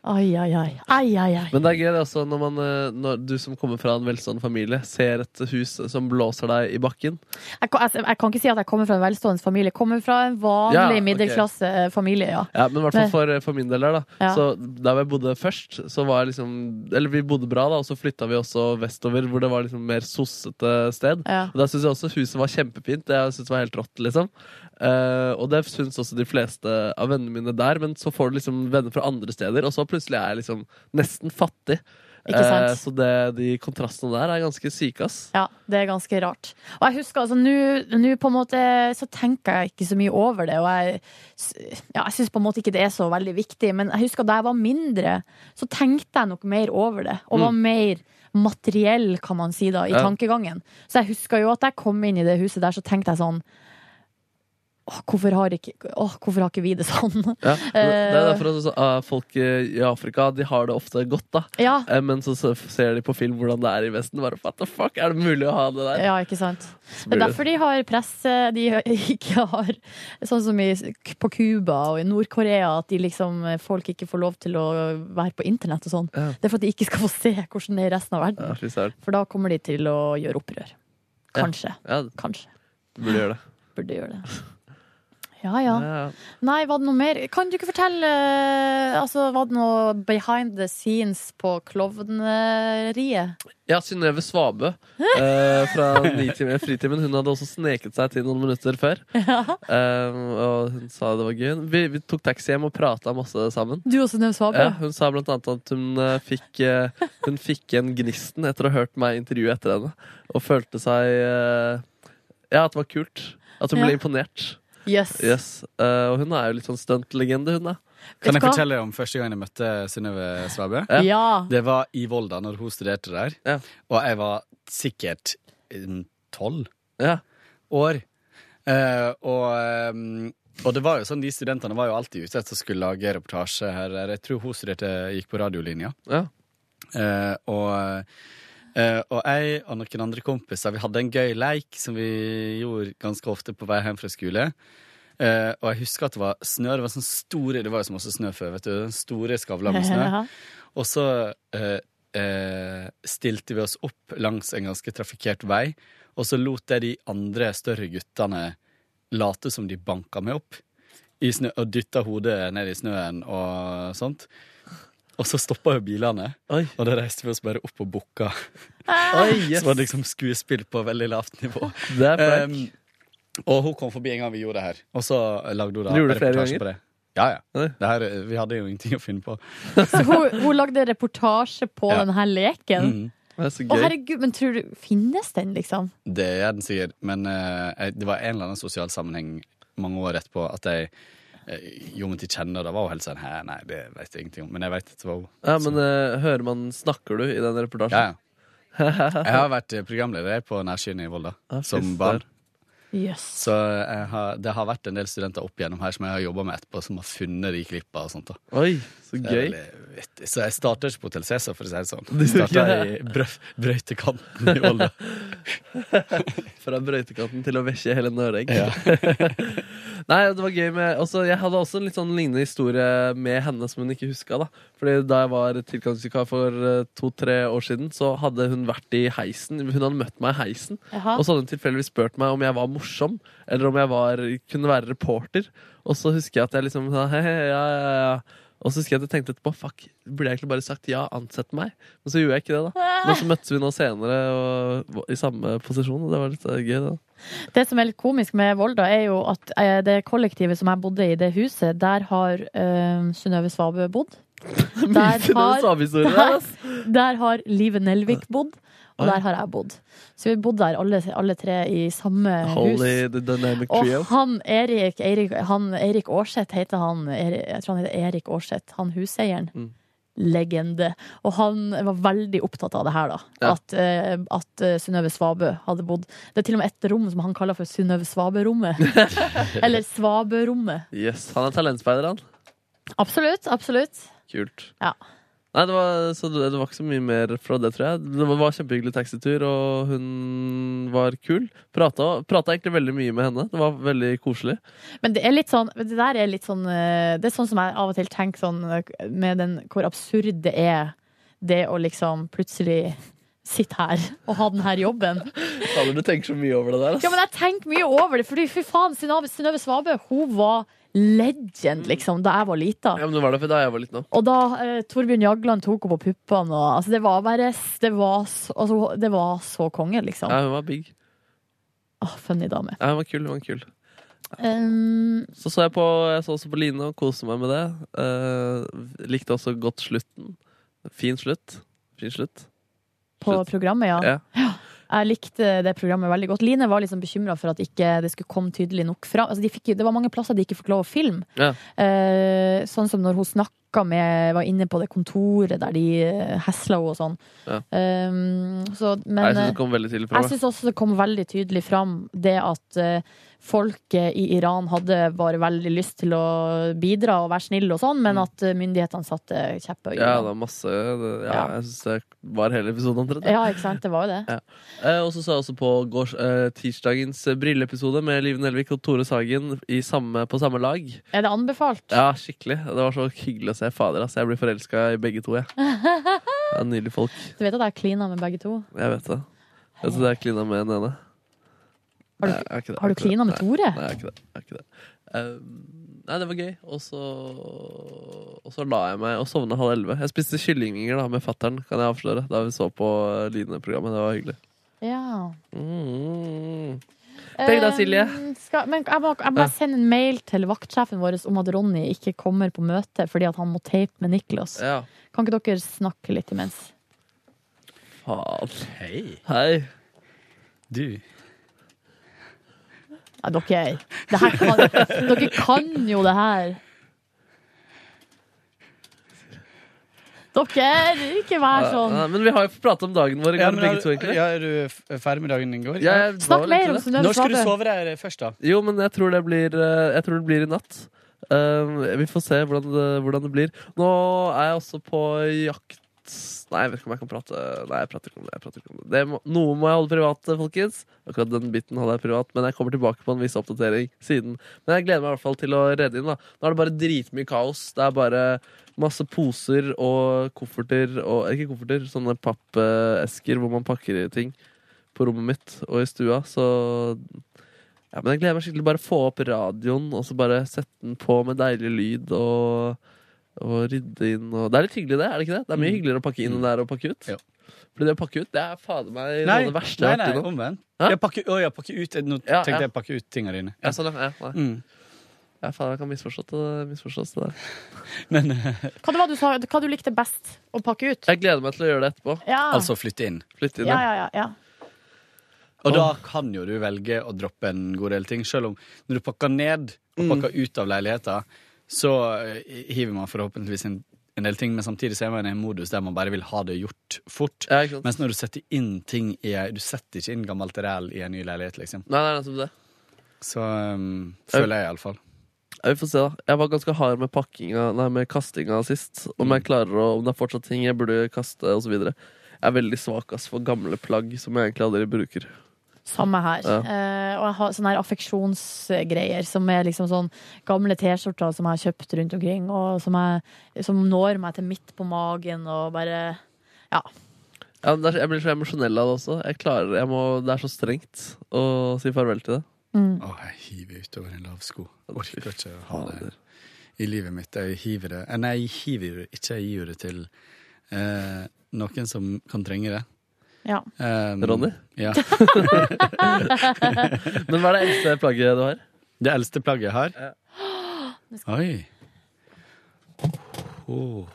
Speaker 3: Ai, ai, ai. ai, ai, ai.
Speaker 4: Men det er gøy det er også når, man, eh, når du som kommer fra en velstående familie, ser et hus som blåser deg i bakken.
Speaker 3: Jeg, kan- altså, jeg, jeg kan ikke si at jeg kommer fra en velstående familie. Jeg kommer fra en vanlig
Speaker 4: Ja, ok.
Speaker 3: middelklassefamilie, ja.
Speaker 4: Ja, men i hvert fall for, eh, for min del her, da.
Speaker 3: Ja.
Speaker 4: Så der hvor jeg bodde først, så var jeg liksom Eller vi bodde bra, da, og så flytta vi også vestover, hvor det var liksom mer sossete sted.
Speaker 3: ja.
Speaker 4: Og Der syns jeg også huset var kjempefint. Det jeg synes var helt rått, liksom. Eh, og det syns også de fleste av vennene mine der, men så får du liksom venner fra andre steder, og så plutselig er jeg liksom nesten fattig.
Speaker 3: Ikke sant?
Speaker 4: Eh, så det, de kontrastene der er ganske syke, ass.
Speaker 3: Ja, det er ganske rart. Og jeg husker altså, nå nå på en måte så tenker jeg ikke så mye over det, og jeg, s- ja, jeg syns på en måte ikke det er så veldig viktig, men jeg husker da jeg var mindre, så tenkte jeg nok mer over det, og var mer materiell, kan man si da, i
Speaker 4: Ja.
Speaker 3: tankegangen. Så jeg husker jo at jeg kom inn i det huset der, så tenkte jeg sånn Åh, hvorfor har ikke, åh, hvorfor har ikke vi det sånn?
Speaker 4: Ja. Det er derfor også, eh, folk eh, i Afrika de har det ofte godt, da.
Speaker 3: Ja,
Speaker 4: Eh, Men så så ser de på film hvordan det er i Vesten. Bare, What the fuck, Er det mulig å ha det der?
Speaker 3: ja ikke sant?
Speaker 4: Så
Speaker 3: Det
Speaker 4: blir
Speaker 3: er derfor de har press eh, de ikke har Sånn som i, på Cuba og i Nord-Korea, at de liksom, eh, folk ikke får lov til å være på internett og sånn.
Speaker 4: Ja.
Speaker 3: Det er for at de ikke skal få se hvordan det er i resten av
Speaker 4: ja,
Speaker 3: verden.
Speaker 4: fy søren.
Speaker 3: For da kommer de til å gjøre opprør.
Speaker 4: Ja.
Speaker 3: Kanskje.
Speaker 4: ja, du
Speaker 3: Kanskje.
Speaker 4: burde gjøre det.
Speaker 3: Burde gjøre det. Ja, ja.
Speaker 4: Ja, ja.
Speaker 3: Nei, var det noe mer? Kan du ikke fortelle eh, altså, Var det noe behind the scenes på klovneriet?
Speaker 4: Ja, Synnøve Svabø eh, fra Nitimen- Fritimen. Hun hadde også sneket seg til noen minutter før. Eh, og hun sa det var gøy. Vi, vi tok taxi hjem og prata masse sammen.
Speaker 3: Du også, Nøv Svabø?
Speaker 4: Ja, hun sa blant annet at hun eh, fikk, eh, hun fikk igjen gnisten etter å ha hørt meg intervjue etter henne. Og følte seg eh, Ja, at det var kult. At hun
Speaker 3: Ja.
Speaker 4: ble imponert.
Speaker 3: Yes.
Speaker 4: Yes. Eh, og hun er jo litt sånn stuntlegende, hun, da.
Speaker 3: Vet
Speaker 8: Kan
Speaker 3: du
Speaker 8: jeg
Speaker 3: hva?
Speaker 8: fortelle om første gang jeg møtte Synnøve Svabø?
Speaker 4: Ja.
Speaker 3: Ja.
Speaker 8: Det var i Volda, når hun studerte der.
Speaker 4: Ja.
Speaker 8: Og jeg var sikkert mm, tolv
Speaker 4: Ja.
Speaker 8: år. Eh, og, eh, og det var jo sånn, de studentene var jo alltid ute etter å skulle lage reportasje her. eller Jeg tror hun studerte, gikk på radiolinja.
Speaker 4: Ja.
Speaker 8: Eh, og, eh, og jeg og noen andre kompiser Vi hadde en gøy leik som vi gjorde ganske ofte på vei hjem fra skole. Eh, og jeg husker at det var snø. Det var sånn store, det var jo så masse snø før, vet du. Den store skavla med snø. Og så eh, eh, stilte vi oss opp langs en ganske trafikkert vei, og så lot jeg de andre større guttene late som de banka meg opp i snø, og dytta hodet ned i snøen og sånt. Og så stoppa jo bilene,
Speaker 4: Oi.
Speaker 8: og da reiste vi oss bare opp og bukka.
Speaker 4: Oi, yes.
Speaker 8: Så var det liksom skuespill på veldig lavt nivå.
Speaker 4: Det er Frank.
Speaker 8: Um, og hun kom forbi en gang vi gjorde det her, og så lagde hun da
Speaker 4: Du gjorde det flere
Speaker 8: reportasje
Speaker 4: ganger?
Speaker 8: på det. Ja, ja.
Speaker 4: Oi.
Speaker 8: Det her, eh, vi hadde jo ingenting å finne på.
Speaker 3: Så hun, hun lagde reportasje på
Speaker 8: Ja.
Speaker 3: denne leken.
Speaker 8: Mm.
Speaker 4: Det er så
Speaker 3: Å,
Speaker 4: gøy.
Speaker 3: herregud, men tror du Finnes den, liksom?
Speaker 8: Det er den sikkert, men eh, jeg- det var en eller annen sosial sammenheng mange år etterpå at jeg eh, gjorde meg til kjenne, og da var hun helt sånn Hæ, nei, det vet jeg ingenting om. Men jeg vet at det var hun.
Speaker 4: Ja, men eh, hører man Snakker du i den reportasjen?
Speaker 8: Ja, ja. Jeg har vært eh, programleder på Nærsynet i Volda
Speaker 4: Ja, fy
Speaker 8: som barn.
Speaker 4: søren.
Speaker 3: Jøss.
Speaker 8: Så eh, jeg har, det har vært en del studenter opp igjennom her som jeg har jobba med etterpå, som har funnet de klippa og sånt. da
Speaker 4: Oi, så
Speaker 8: Det er
Speaker 4: gøy.
Speaker 8: veldig vittig. Så jeg starter ikke på Hotel Cæsar, for å si det sånn.
Speaker 4: Du
Speaker 8: Jeg starter
Speaker 4: gjør
Speaker 8: i brø- brøytekanten i Volda.
Speaker 4: Fra brøytekanten til å vekke hele Nøreng.
Speaker 8: Ja.
Speaker 4: Nei, det var gøy med også, Jeg hadde også en litt sånn lignende historie med henne som hun ikke huska. Da Fordi da jeg var tilgangsvikar for eh, to-tre år siden, så hadde hun vært i heisen. Hun hadde møtt meg i heisen,
Speaker 3: Jaha.
Speaker 4: og så hadde hun tilfeldigvis spurt meg om jeg var morsom, eller om jeg var, kunne være reporter. Og så husker jeg at jeg liksom sa, hei, hei, ja, ja, ja. Og så husker jeg at jeg tenkte etterpå fuck, burde jeg egentlig bare sagt ja, ansett meg? Men så gjorde jeg ikke det, da. Men så møttes vi nå senere og, var i samme posisjon, og det var litt eh, gøy, det. da.
Speaker 3: Det som er litt komisk med Volda, er jo at eh, det kollektivet som jeg bodde i, det huset, der har eh, Synnøve Svabø bodd. Der
Speaker 4: Synnøve
Speaker 3: har,
Speaker 4: Svabe-historie,
Speaker 3: Nei.
Speaker 4: ass.
Speaker 3: der har Live Nelvik bodd,
Speaker 4: Oi.
Speaker 3: og der har jeg bodd. Så vi bodde der alle, alle tre i samme hus.
Speaker 4: Holy the dynamic trio.
Speaker 3: Og han Erik, Erik, han, Erik Aarseth heter han. Erik, jeg tror han heter Erik Aarseth, han huseieren.
Speaker 4: Mm.
Speaker 3: Legende. Og han var veldig opptatt av det her, da.
Speaker 4: Ja.
Speaker 3: At, eh, at eh, Synnøve Svabø hadde bodd. Det er til og med et rom som han kaller for Synnøve Svabø-rommet. Eller Svabø-rommet.
Speaker 4: Yes, Han er talentspeider, han.
Speaker 3: Absolutt, absolutt.
Speaker 4: Kult.
Speaker 3: Ja.
Speaker 4: Nei, det var, så det, det var ikke så mye mer fra det, tror jeg. Det var, var kjempehyggelig taxitur, og hun var kul. Prata, prata egentlig veldig mye med henne. Det var veldig koselig.
Speaker 3: Men det er litt sånn Det der er litt sånn eh, Det er sånn som jeg av og til tenker sånn eh, med den hvor absurd det er, det å liksom plutselig sitte her og ha den her jobben.
Speaker 4: Fader, du tenker så mye over det der. ass.
Speaker 3: Ja, men jeg tenker mye over det, fordi fy faen, Synnøve Synnøve Svabø, hun var legend, liksom, da jeg var lita.
Speaker 4: Ja, men det var derfor da jeg var liten òg.
Speaker 3: Og da eh, Torbjørn Jagland tok henne på puppene og altså, Det var bare s- Det var, s- altså, det var så konge, liksom.
Speaker 4: Ja, hun var big.
Speaker 3: Åh, funny dame.
Speaker 4: Ja, hun var kul. hun var kul
Speaker 3: Um,
Speaker 4: Så så jeg på Jeg så også på Line og koste meg med det. Eh, likte også godt slutten. Fin slutt. Fin slutt.
Speaker 3: på
Speaker 4: Slutt.
Speaker 3: programmet, ja.
Speaker 4: Ja.
Speaker 3: Jeg likte det programmet veldig godt. Line var liksom bekymra for at ikke det skulle komme tydelig nok fram. Altså, de fikk, jo- det var mange plasser de ikke fikk lov å filme.
Speaker 4: Ja.
Speaker 3: Eh, sånn som når hun snakka med Var inne på det kontoret der de eh, hesla henne og sånn.
Speaker 4: Ja.
Speaker 3: Um, så, men,
Speaker 4: Nei,
Speaker 3: eh,
Speaker 4: jeg syns det kom veldig tidlig fra.
Speaker 3: jeg syns også det kom veldig tydelig fram det at eh, folket i Iran hadde bare veldig lyst til å bidra og være snill og sånn, men
Speaker 4: Mm.
Speaker 3: at eh, myndighetene satte kjepper i
Speaker 4: Ja, det
Speaker 3: hjulene.
Speaker 4: var masse det, ja,
Speaker 3: Ja.
Speaker 4: Jeg syns det var hele episoden omtrent.
Speaker 3: Ja, ikke sant. Det var jo det.
Speaker 4: Eh, Og så så jeg også på gårs, eh, tirsdagens eh, brilleepisode med Liv Nelvik og Tore Sagen i samme, på samme lag.
Speaker 3: Er det anbefalt?
Speaker 4: Ja, skikkelig. Det var så hyggelig å se fader. Altså. Jeg blir forelska i begge to. Jeg. Det er Nydelige folk.
Speaker 3: Du vet at jeg klina med begge to?
Speaker 4: Jeg vet det. Jeg tror jeg klina med den ene.
Speaker 3: Har du-
Speaker 4: Nei, jeg ikke det.
Speaker 3: Har
Speaker 4: Jeg ikke
Speaker 3: du
Speaker 4: det.
Speaker 3: klina med Tore?
Speaker 4: Nei, jeg har ikke det. Jeg har ikke det. Um, nei, det var gøy. Og så, og så la jeg meg og sovna halv elleve. Jeg spiste kyllingvinger da, med fattern, kan jeg avsløre. Da vi så på eh, Line-programmet. Det var hyggelig.
Speaker 3: Ja.
Speaker 4: Mm. Tenk da,
Speaker 3: Eh,
Speaker 4: Silje.
Speaker 3: Skal, men jeg må, jeg må
Speaker 4: Ja.
Speaker 3: bare sende en mail til vaktsjefen vår om at Ronny ikke kommer på møte fordi at han må tape med Niklas.
Speaker 4: Ja.
Speaker 3: Kan ikke dere snakke litt imens?
Speaker 4: Faen.
Speaker 8: Hei,
Speaker 4: Hei.
Speaker 8: du.
Speaker 3: Nei, dere, det her kan, dere kan jo det her. Dere, ikke vær sånn.
Speaker 4: Nei, men vi har jo pratet om dagen vår i
Speaker 8: Ja,
Speaker 4: går,
Speaker 8: men
Speaker 4: begge to,
Speaker 8: er,
Speaker 4: egentlig.
Speaker 8: ja, er du f- ferdig med dagen din i går?
Speaker 4: Jeg var
Speaker 3: Snakk
Speaker 4: vel
Speaker 3: mer
Speaker 4: ikke
Speaker 3: om
Speaker 4: det.
Speaker 3: Synnøve
Speaker 8: Når skal du
Speaker 3: Svabø.
Speaker 8: sove deg først, da?
Speaker 4: Jo, men jeg tror det blir, eh, jeg tror det blir i natt. Eh, Um, vi får se hvordan det, hvordan det blir. Nå er jeg også på jakt Nei, jeg vet ikke om jeg kan prate. Nei, jeg prater ikke om det. Jeg prater ikke om det. det må, noe må jeg holde privat, eh, folkens. Akkurat den biten holder jeg privat, men jeg kommer tilbake på en viss oppdatering siden. Men jeg gleder meg i hvert fall til å redde inn. da. Nå er det bare dritmye kaos. Det er bare masse poser og kofferter og Ikke kofferter, sånne pappesker hvor man pakker i ting på rommet mitt og i stua, så ja, men jeg gleder meg skikkelig. Bare få opp radioen, og så bare sette den på med deilig lyd. Og, og rydde inn og Det er litt hyggelig, det. er det ikke det? Det er mye hyggeligere å pakke inn enn det er å pakke ut.
Speaker 8: Mm. Ja.
Speaker 4: Fordi det å pakke ut, det er fader meg noe
Speaker 8: Nei,
Speaker 4: av det verste
Speaker 8: nei,
Speaker 4: jeg har
Speaker 8: nei
Speaker 4: vært innom.
Speaker 8: omvendt.
Speaker 4: Hæ?
Speaker 8: Jeg pakker, å, jeg pakker ut Nå
Speaker 4: Ja, ja.
Speaker 8: tenkte jeg pakke ut tingene dine.
Speaker 4: Ja, sånn, ja, ja, nei.
Speaker 8: Mm.
Speaker 4: ja, fader, jeg kan misforstås det, misforstås det der.
Speaker 8: Men eh,
Speaker 3: Hva det var du sa hva du likte best å pakke ut?
Speaker 4: Jeg gleder meg til å gjøre det etterpå.
Speaker 3: Ja.
Speaker 8: altså flytte inn.
Speaker 4: Flytte inn. Ja,
Speaker 3: ja, ja, ja, ja.
Speaker 8: Og da kan jo du velge å droppe en god del ting, selv om når du pakker ned og pakker ut av leiligheten, så eh, hiver man forhåpentligvis en, en del ting, men samtidig så er man i en modus der man bare vil ha det gjort fort.
Speaker 4: ikke sant?
Speaker 8: Mens når du setter inn ting i ei Du setter ikke inn gammelt ræl i en ny leilighet, liksom.
Speaker 4: Nei, nei, nettopp det.
Speaker 8: Så um, føler jeg iallfall.
Speaker 4: Ja, Vi får se, da. Jeg var ganske hard med pakkinga, nei, med kastinga sist. Om jeg klarer å, om det er fortsatt ting jeg burde kaste, osv. Jeg er veldig svak ass, for gamle plagg som jeg egentlig aldri bruker.
Speaker 3: Samme her.
Speaker 4: Ja.
Speaker 3: Eh, og jeg har sånne her affeksjonsgreier som er liksom sånn gamle T-skjorter som jeg har kjøpt rundt omkring, og som, jeg, som når meg til midt på magen og bare
Speaker 4: Ja, men det er, jeg blir så emosjonell av det også. Jeg klarer, jeg må, det er så strengt å si farvel til det.
Speaker 3: mm.
Speaker 8: Å, jeg hiver utover en lav sko. Orker ikke å ha det i livet mitt. Jeg hiver det eh, Nei, jeg hiver det ikke. Jeg gir det til eh, noen som kan trenge det.
Speaker 3: Ja.
Speaker 8: Um,
Speaker 4: Ronny?
Speaker 8: Ja.
Speaker 4: Men hva er det eldste plagget du har?
Speaker 8: Det eldste plagget jeg har. Oi. Oh.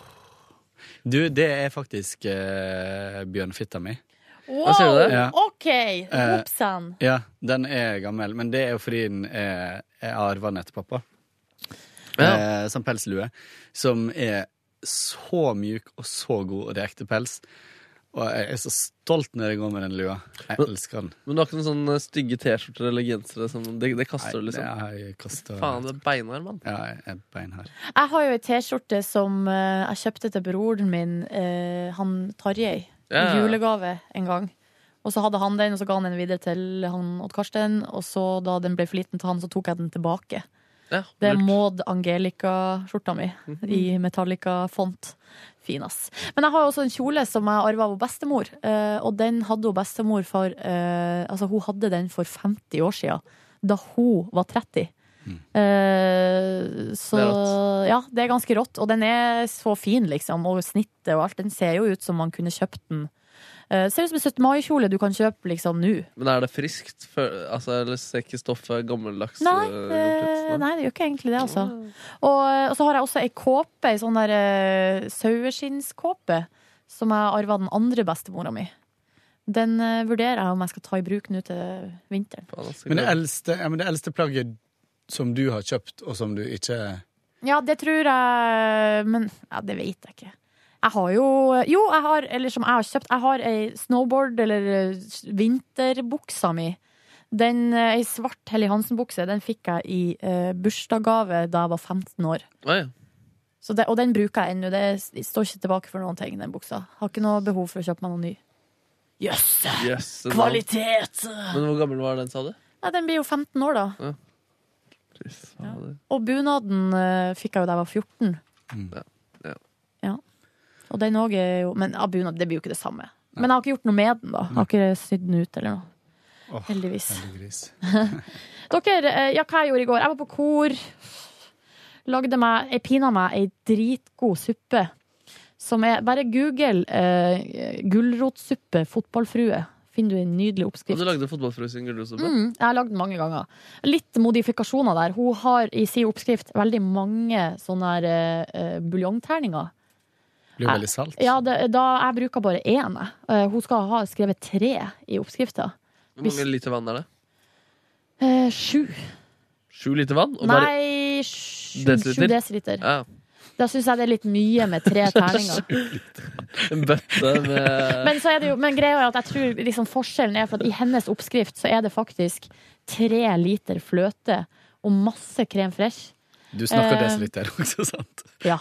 Speaker 8: Du, det er faktisk eh, bjørnfitta mi.
Speaker 3: Wow,
Speaker 4: sier du det?
Speaker 8: Ja.
Speaker 3: OK! Opsan.
Speaker 8: Ja, den er gammel, men det er jo fordi den er, er arva den etter pappa.
Speaker 4: Ja.
Speaker 8: Eh, som pelslue. Som er så mjuk og så god, og det er ekte pels. Og jeg er så stolt når jeg går med den lua. Jeg elsker den.
Speaker 4: Men du har ikke noen sånne stygge T-skjorter eller gensere? Som, det, det kaster du,
Speaker 8: det
Speaker 4: liksom.
Speaker 8: har jeg kastet
Speaker 4: Faen, det er beinhard, mann.
Speaker 8: Ja, jeg er beinhard.
Speaker 3: Jeg har jo ei T-skjorte som eh, jeg kjøpte til broren min, eh, han Tarjei, i
Speaker 4: Ja.
Speaker 3: julegave en gang. Og så hadde han den, og så ga han den videre til han Odd Karsten. Og så da den ble for liten til han, så tok jeg den tilbake.
Speaker 4: Ja,
Speaker 3: Det er
Speaker 4: lurt. Mhm.
Speaker 3: Maud Angelica-skjorta mi i Metallica-font. Fin, ass. Men jeg har jo også en kjole som jeg arva av bestemor. eh, Og den hadde hun bestemor for eh, Altså, hun hadde den for 50 år siden, da hun var 30. Eh, så
Speaker 4: Mm. Det er rått.
Speaker 3: Ja, det er ganske rått. Og den er så fin, liksom. Og snittet og alt. Den ser jo ut som man kunne kjøpt den. Eh, ser ut som en 17. mai-kjole du kan kjøpe liksom nå.
Speaker 4: Men er det friskt? Fø- altså, eller ser ikke stoffet gammeldags
Speaker 3: Nei,
Speaker 4: eh, gjort
Speaker 3: det,
Speaker 4: ut?
Speaker 3: nei, det gjør ikke egentlig det, altså. Og, og så har jeg også ei kåpe, ei sånn der eh, saueskinnskåpe, som jeg arva den andre bestemora mi. Den eh, vurderer jeg om jeg skal ta i bruk nå til vinteren.
Speaker 4: Faen, altså,
Speaker 8: Men det eldste, ja, men det eldste plagget som du har kjøpt, og som du ikke
Speaker 3: Ja, det tror jeg Men ja, det vet jeg ikke. Jeg har jo Jo, jeg har, eller som jeg har kjøpt, jeg har ei snowboard- eller eh, vinterbuksa mi. Den, eh, ei svart Helly Hansen-bukse, den fikk jeg i eh, bursdagsgave da jeg var 15 år.
Speaker 4: Oi,
Speaker 3: Så det, og den bruker jeg ennå. Det s- står ikke tilbake for noen ting, den buksa. Har ikke noe behov for å kjøpe meg noen ny. Jøss!
Speaker 4: jøsse navn.
Speaker 3: kvalitet!
Speaker 4: Men hvor gammel var den, sa du?
Speaker 3: Nei, den blir jo 15 år, da.
Speaker 4: Fy fader.
Speaker 3: Og bunaden eh, fikk jeg jo da jeg var 14.
Speaker 4: Ja, ja.
Speaker 3: Ja. Og den òg er jo Men ja, bunad det blir jo ikke det samme. Men jeg har ikke gjort noe med den, da. Jeg har ikke sydd den ut eller noe.
Speaker 8: Åh,
Speaker 3: Heldigvis.
Speaker 8: Gris.
Speaker 3: Dere, eh, ja, hva jeg gjorde i går? Jeg var på kor. Lagde meg, jeg pina meg ei dritgod suppe. Som er Bare google eh, gulrotsuppe fotballfrue. Finner du en nydelig
Speaker 4: Og
Speaker 3: oppskrift.
Speaker 4: du lagde fotballfrue sin gulrotsuppe?
Speaker 3: Mm, jeg har lagd den mange ganger. Litt modifikasjoner der. Hun har i sin oppskrift veldig mange sånne her, eh, eh, buljongterninger.
Speaker 8: Blir jo veldig salt.
Speaker 3: Ja, det, da, jeg bruker bare én. jeg. Eh, hun skal ha skrevet tre i oppskrifta.
Speaker 4: Hvor mange liter vann er det?
Speaker 3: Eh, sju.
Speaker 4: Sju liter vann? Og bare,
Speaker 3: Nei, sju
Speaker 4: Desiliter?
Speaker 3: sju desiliter.
Speaker 4: ja,
Speaker 3: Da syns jeg det er litt mye med tre terninger.
Speaker 4: en bøtte med
Speaker 3: Men, så er det jo, men greia er at jeg tror liksom forskjellen er for at i hennes oppskrift så er det faktisk tre liter fløte og masse krem fresh.
Speaker 8: Du snakker
Speaker 3: Eh,
Speaker 8: desiliter også, sant?
Speaker 3: Ja.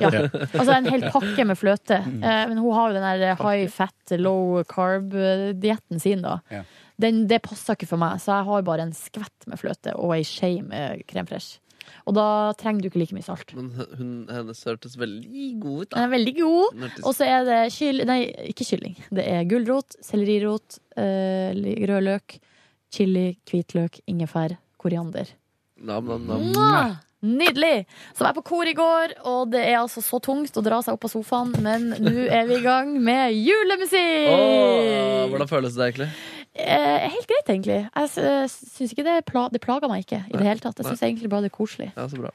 Speaker 3: ja. Altså en hel pakke med fløte. Eh, men hun har jo den der high fat, low carb-dietten sin, da.
Speaker 8: Ja.
Speaker 3: Den, det passer ikke for meg, så jeg har bare en skvett med fløte og ei skje med krem fresh. Og da trenger du ikke like mye salt.
Speaker 4: Men hun, hennes hørtes veldig god ut.
Speaker 3: Den
Speaker 4: Da.
Speaker 3: er veldig god.
Speaker 4: Hun hørtes-
Speaker 3: Og så er det kyll... Nei, ikke kylling. Det er gulrot, sellerirot, eh, rød løk, chili, hvitløk, ingefær, koriander.
Speaker 4: Nam, nam, nam.
Speaker 3: Mwah! Nydelig! Så var jeg på kor i går, og det er altså så tungt å dra seg opp av sofaen, men nå er vi i gang med
Speaker 4: Åh,
Speaker 3: julemusikk!
Speaker 4: hvordan føles det egentlig?
Speaker 3: Eh, helt greit, egentlig. Jeg s- eh, syns ikke det, pla det plager meg ikke i det hele tatt. Jeg syns egentlig bare det er koselig.
Speaker 4: Ja, så bra.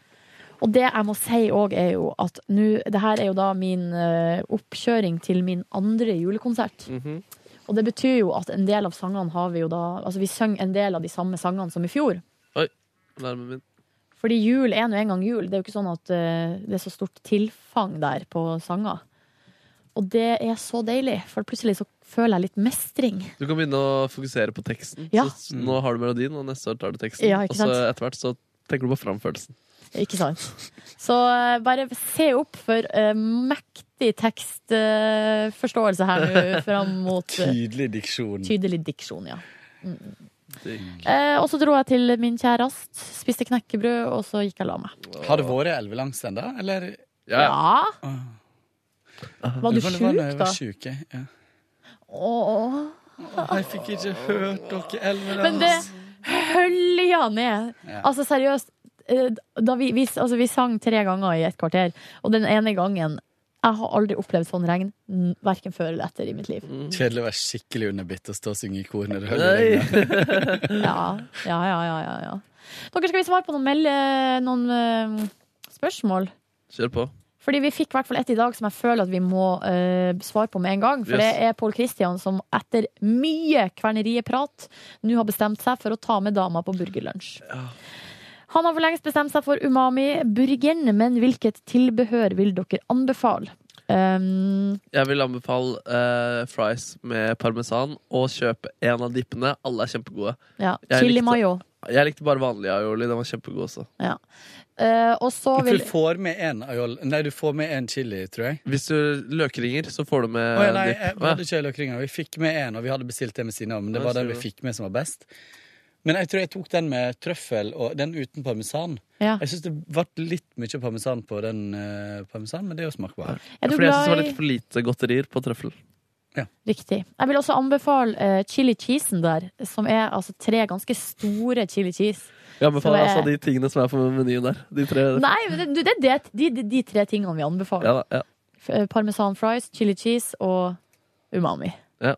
Speaker 3: Og det jeg må si òg, er jo at nå Det her er jo da min eh, oppkjøring til min andre julekonsert.
Speaker 4: Mhm.
Speaker 3: Og det betyr jo at en del av sangene har vi jo da Altså vi synger en del av de samme sangene som i fjor.
Speaker 4: Alarmen min.
Speaker 3: Fordi jul er nå en gang jul. Det er jo ikke sånn at eh, det er så stort tilfang der på sanger. Og det er så deilig, for plutselig så føler jeg litt mestring.
Speaker 4: Du kan begynne å fokusere på teksten.
Speaker 3: Ja.
Speaker 4: Så, s- nå har du melodien, og neste år tar du teksten.
Speaker 3: Ja,
Speaker 4: og
Speaker 3: ikke
Speaker 4: så
Speaker 3: sant?
Speaker 4: etter hvert så tenker du på framførelsen.
Speaker 3: Ikke sant? Så eh, bare se opp for eh, mektig tekstforståelse her nå fram mot eh,
Speaker 8: Tydelig diksjon.
Speaker 3: tydelig diksjon, ja. Mm,
Speaker 4: Digg.
Speaker 3: Eh, og så dro jeg til min kjærest, spiste knekkebrød, og så gikk jeg og la meg.
Speaker 8: Har det vært elvelangs ennå, eller?
Speaker 4: Ja, ja.
Speaker 3: Ja!
Speaker 8: Ah.
Speaker 3: Var du
Speaker 8: Det det når
Speaker 3: sjuk,
Speaker 8: jeg
Speaker 3: da?
Speaker 8: var sjuk, jeg, ja.
Speaker 3: Åh.
Speaker 8: Åh, jeg fikk ikke hørt dere elvelangs.
Speaker 3: Men det hølja ned.
Speaker 8: Ja.
Speaker 3: Altså, seriøst. eh, Da vi, vi, altså, vi sang tre ganger i et kvarter, og den ene gangen Jeg har aldri opplevd sånn regn, n- verken før eller etter i mitt liv.
Speaker 8: Kjedelig å være skikkelig underbitt og stå og synge i kor når du hører det.
Speaker 4: Nei.
Speaker 3: Ja, ja, ja, ja, ja, ja. Dere skal vi svare på noen, melde, noen eh, spørsmål.
Speaker 4: Kjør på.
Speaker 3: Fordi vi fikk i hvert fall ett i dag som jeg føler at vi må eh, svare på med en gang. For
Speaker 4: Yes.
Speaker 3: det er Pål Kristian som etter mye kvernerieprat nå har bestemt seg for å ta med dama på burgerlunsj. Han har for lengst bestemt seg for umami-burgeren, men hvilket tilbehør vil dere anbefale? Um,
Speaker 4: Jeg vil anbefale eh, fries med parmesan og kjøpe en av dippene. Alle er kjempegode.
Speaker 3: ja,
Speaker 4: Jeg
Speaker 3: chili
Speaker 4: likte-
Speaker 3: mayo.
Speaker 4: Jeg likte bare vanlig aioli. Den var kjempegod også.
Speaker 3: Eh, og så vil
Speaker 8: Du får med en aiol Nei, du får med en chili, tror jeg. Eh,
Speaker 4: Hvis du løkringer, så får du med
Speaker 8: Å, ja, nei,
Speaker 4: dipp.
Speaker 8: jeg,
Speaker 4: Å,
Speaker 8: vi
Speaker 4: ja.
Speaker 8: hadde ikke løkringer. Vi fikk med en, og vi hadde bestilt det med sine òg, men det
Speaker 4: Ja,
Speaker 8: var den
Speaker 4: så-
Speaker 8: vi fikk med som var best. Men jeg tror jeg tok den med trøffel, og den uten parmesan.
Speaker 3: ja.
Speaker 8: Jeg syns det ble litt mye parmesan på den eh, parmesan, men det er jo smakbart.
Speaker 3: Er du
Speaker 4: Fordi jeg synes det var
Speaker 3: glad i
Speaker 4: litt for lite godterier på trøffel.
Speaker 3: Riktig. Jeg vil også anbefale eh, chili cheesen der, som er altså tre ganske store chili cheese.
Speaker 4: Jeg anbefaler
Speaker 3: Så det-
Speaker 4: altså de tingene som er på menyen der. De tre
Speaker 3: Nei, men det, det er det, de, de, de tre tingene vi anbefaler.
Speaker 4: ja, da, ja.
Speaker 3: F- eh, Parmesan fries, chili cheese og umami.
Speaker 4: Ja.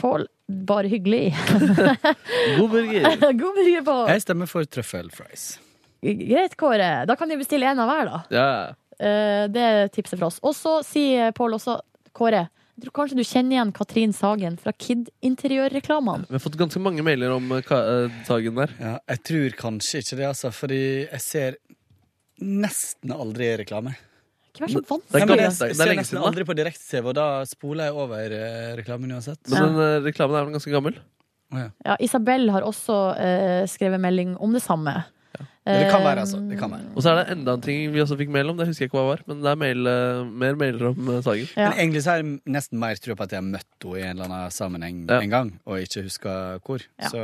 Speaker 3: Pål, bare hyggelig.
Speaker 4: God burger.
Speaker 3: God burger på.
Speaker 8: Jeg stemmer for trøffelfries.
Speaker 3: Greit, Kåre. Da kan du bestille en av hver, da.
Speaker 4: Ja.
Speaker 3: Eh, Det er tipset fra oss. Og så sier eh, Pål også, Kåre, jeg tror kanskje du kjenner igjen Katrin Sagen fra Kid Interiørreklamene.
Speaker 4: Vi har fått ganske mange mailer om eh, ka- eh, dagen der.
Speaker 8: Ja, jeg tror kanskje ikke det, altså, fordi jeg ser nesten aldri reklame.
Speaker 3: Ikke vær så
Speaker 4: Det
Speaker 8: Nei,
Speaker 4: er
Speaker 8: men
Speaker 3: vanskelig.
Speaker 4: gammelt,
Speaker 8: jeg
Speaker 4: det er-
Speaker 8: ser
Speaker 4: det er lenge
Speaker 8: nesten
Speaker 4: siden, da.
Speaker 8: aldri på direkte-TV, og da spoler jeg over eh, reklamen uansett.
Speaker 4: Men
Speaker 3: Ja.
Speaker 4: den eh, reklamen er vel ganske gammel?
Speaker 3: Ja, Isabel har også eh, skrevet melding om det samme. Eh,
Speaker 8: Men det kan være, altså. Det kan være.
Speaker 4: Og så er det enda en ting vi også fikk mail om. Det husker jeg ikke hva var, men det er mail, eh, mer mailer om eh, Sagen.
Speaker 3: Ja.
Speaker 8: Men egentlig så har jeg nesten mer trua på at jeg har møtt henne i en eller annen sammenheng
Speaker 4: Ja.
Speaker 8: en gang, og ikke huska hvor.
Speaker 3: Ja.
Speaker 8: Så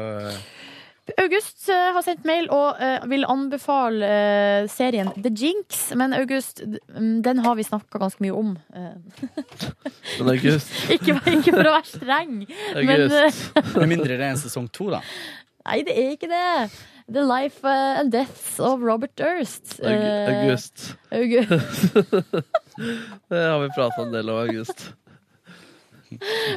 Speaker 3: August eh, har sendt mail og eh, vil anbefale eh, serien The Jinx. Men August, d- mm, den har vi snakka ganske mye om. Eh,
Speaker 4: Men august,
Speaker 3: ikke, ikke for å være streng, men
Speaker 4: august.
Speaker 3: eh,
Speaker 8: med mindre det er en sesong to, da.
Speaker 3: Nei, det er ikke det. The Life eh, and Deaths of Robert Durst.
Speaker 4: Aug-
Speaker 3: Eh,
Speaker 4: August.
Speaker 3: August.
Speaker 4: Det har vi prata en del om, August.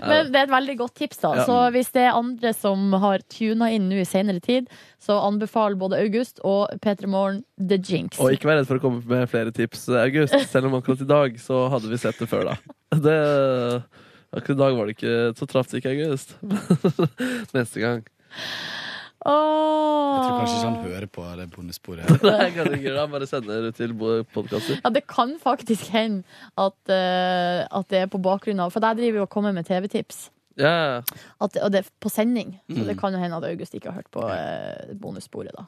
Speaker 3: Men det er et veldig godt tips, da.
Speaker 4: Ja.
Speaker 3: Så hvis det er andre som har tuna inn nå i senere tid, så anbefaler både August og P3 Morgen The Jinx.
Speaker 4: Og ikke vær redd for å komme med flere tips, eh, August. Selv om akkurat i dag så hadde vi sett det før, da. Det, akkurat i dag var det ikke Så traff det ikke August. Neste gang.
Speaker 3: Åh.
Speaker 8: Jeg tror kanskje ikke han hører på det bondesporet. her.
Speaker 4: Nei, jeg kan ikke gjøre det. Han bare sender til podkaster.
Speaker 3: Ja, det kan faktisk hende at, eh, at det er på bakgrunn av For jeg driver jo og kommer med TV-tips.
Speaker 4: Ja,
Speaker 3: At, og det er
Speaker 4: Mm.
Speaker 3: på sending, så det kan jo hende at August ikke har hørt på eh, bonussporet, da.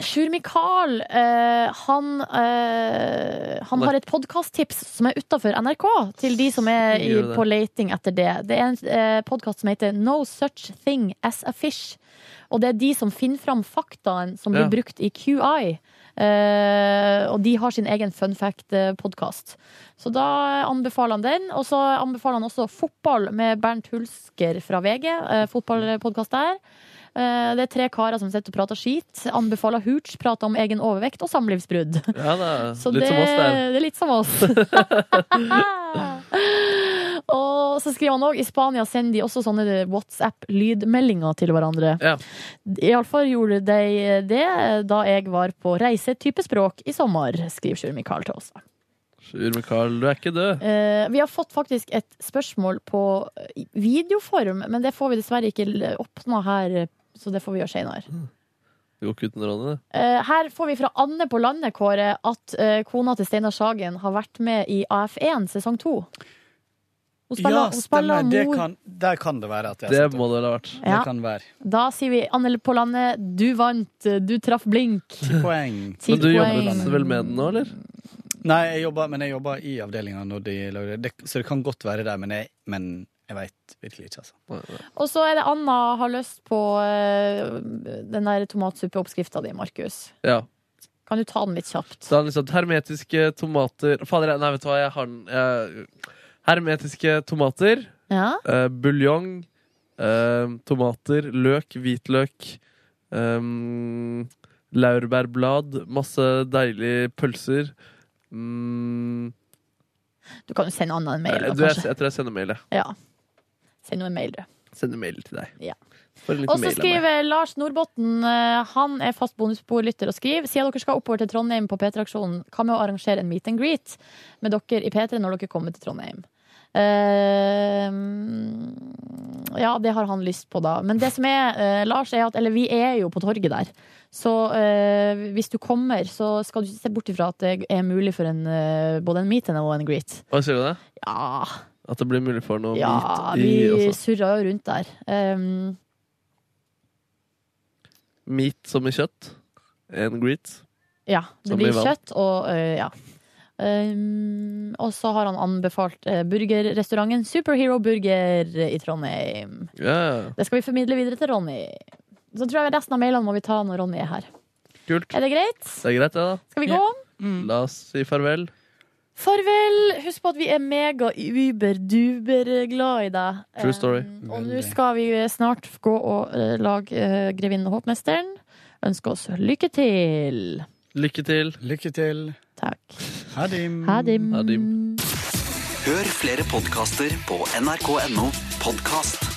Speaker 3: Sjur Mikael, eh, han, eh, han har et podkasttips som er utafor NRK, til de som er i,
Speaker 4: Gjør det.
Speaker 3: på leiting etter det. Det er en eh, podkast som heter No Such Thing As A Fish. Og det er de som finner fram faktaen som blir
Speaker 4: Ja.
Speaker 3: brukt i QI. Eh, og de har sin egen fun fact-podkast. Så da anbefaler han den. Og så anbefaler han også fotball med Bernt Hulsker fra VG. Eh, Fotballpodkast der. Eh, Det er tre karer som sitter og prater skit. Anbefaler hooch, prater om egen overvekt og samlivsbrudd.
Speaker 4: Ja, det er
Speaker 3: Så
Speaker 4: litt
Speaker 3: det,
Speaker 4: som oss der.
Speaker 3: det er litt som oss. og så skriver han òg i Spania sender de også sånne WhatsApp-lydmeldinger til hverandre.
Speaker 4: Ja.
Speaker 3: Iallfall gjorde de det da jeg var på reise type språk i sommer, skriver Sjur Mikael til oss.
Speaker 4: Sjur Mikael, du er ikke død.
Speaker 3: Eh, vi har fått faktisk et spørsmål på eh, videoform, men det får vi dessverre ikke l- åpna her, eh, så det får vi gjøre seinere.
Speaker 4: Det går ikke uten Ronny, det.
Speaker 3: Eh, her får vi fra Anne på landet, Kåre, at eh, kona til Steinar Sagen har vært med i AF1 sesong 2. Hun spiller, hun spiller
Speaker 8: Det
Speaker 3: mor.
Speaker 8: kan, der kan det være at jeg
Speaker 4: Det
Speaker 8: har sett
Speaker 4: må det vel ha vært.
Speaker 8: Det
Speaker 3: Ja,
Speaker 8: kan være.
Speaker 3: da sier vi Anne på landet, du vant, eh, du traff blink.
Speaker 8: Ti poeng.
Speaker 3: Ti
Speaker 4: Men du
Speaker 3: poeng.
Speaker 4: jobbet vel med den nå, eller?
Speaker 8: Nei, jeg jobber, men jeg jobber i avdelinga når de lager det. det, så det kan godt være der, men jeg, men jeg veit virkelig ikke, altså.
Speaker 3: Og så er det Anna har lyst på eh, den der tomatsuppeoppskrifta di, Markus.
Speaker 4: Ja.
Speaker 3: Kan du ta den litt kjapt?
Speaker 4: Så han liksom Hermetiske tomater Fader, nei, vet du hva, jeg har den. Jeg, hermetiske tomater,
Speaker 3: Ja?
Speaker 4: eh, buljong, eh, tomater, løk, hvitløk, eh, laurbærblad, masse deilige pølser. Mm,
Speaker 3: Du kan jo sende Anna en mail,
Speaker 4: eh,
Speaker 3: da,
Speaker 4: du, jeg,
Speaker 3: kanskje.
Speaker 4: jeg tror jeg sender mail, jeg.
Speaker 3: Ja. Send henne en mail, du.
Speaker 4: Sender mail til deg.
Speaker 3: Ja.
Speaker 4: Får en liten
Speaker 3: Og så
Speaker 4: mail av meg.
Speaker 3: skriver Lars Nordbotten, eh, han er fast bonusbordlytter, og skriver siden dere skal oppover til Trondheim på P3-aksjonen, hva med å arrangere en meet and greet med dere i P3 når dere kommer til Trondheim? Eh, ja, det har han lyst på, da. Men det som er, eh, Lars, er at Eller vi er jo på torget der. Så eh, hvis du kommer, så skal du ikke se bort ifra at det er mulig for en, eh, både en meet and og en greet.
Speaker 4: Hva sier du det?
Speaker 3: Ja,
Speaker 4: At det blir mulig for noe
Speaker 3: ja
Speaker 4: meat i
Speaker 3: vi
Speaker 4: også.
Speaker 3: surra jo rundt der. Um,
Speaker 4: Meat som i kjøtt. And greet.
Speaker 3: Ja, det
Speaker 4: Som i
Speaker 3: blir
Speaker 4: vann.
Speaker 3: kjøtt og øh, ja. Ehm, og så har han anbefalt uh, burgerrestauranten Superhero Burger i Trondheim.
Speaker 4: Ja, ja.
Speaker 3: Det skal vi formidle videre til Ronny. Så tror jeg resten av mailene må vi ta når Ronny er her.
Speaker 4: kult.
Speaker 3: Er det greit?
Speaker 4: Det er greit, det, da.
Speaker 3: Skal vi
Speaker 8: Ja.
Speaker 3: gå?
Speaker 4: La oss si farvel.
Speaker 3: Farvel! Husk på at vi er mega uber-duber-glad i deg.
Speaker 4: True story.
Speaker 3: Ehm, og nå
Speaker 8: Veldig.
Speaker 3: skal vi snart gå og eh, lage uh, Grevinnen og Håpmesteren. Ønsker oss lykke til.
Speaker 4: Lykke til.
Speaker 8: Lykke til.
Speaker 3: Takk.
Speaker 8: Ha det.
Speaker 3: Ha det.
Speaker 4: Ha det.
Speaker 9: Hør flere podkaster på nrk.no podkast.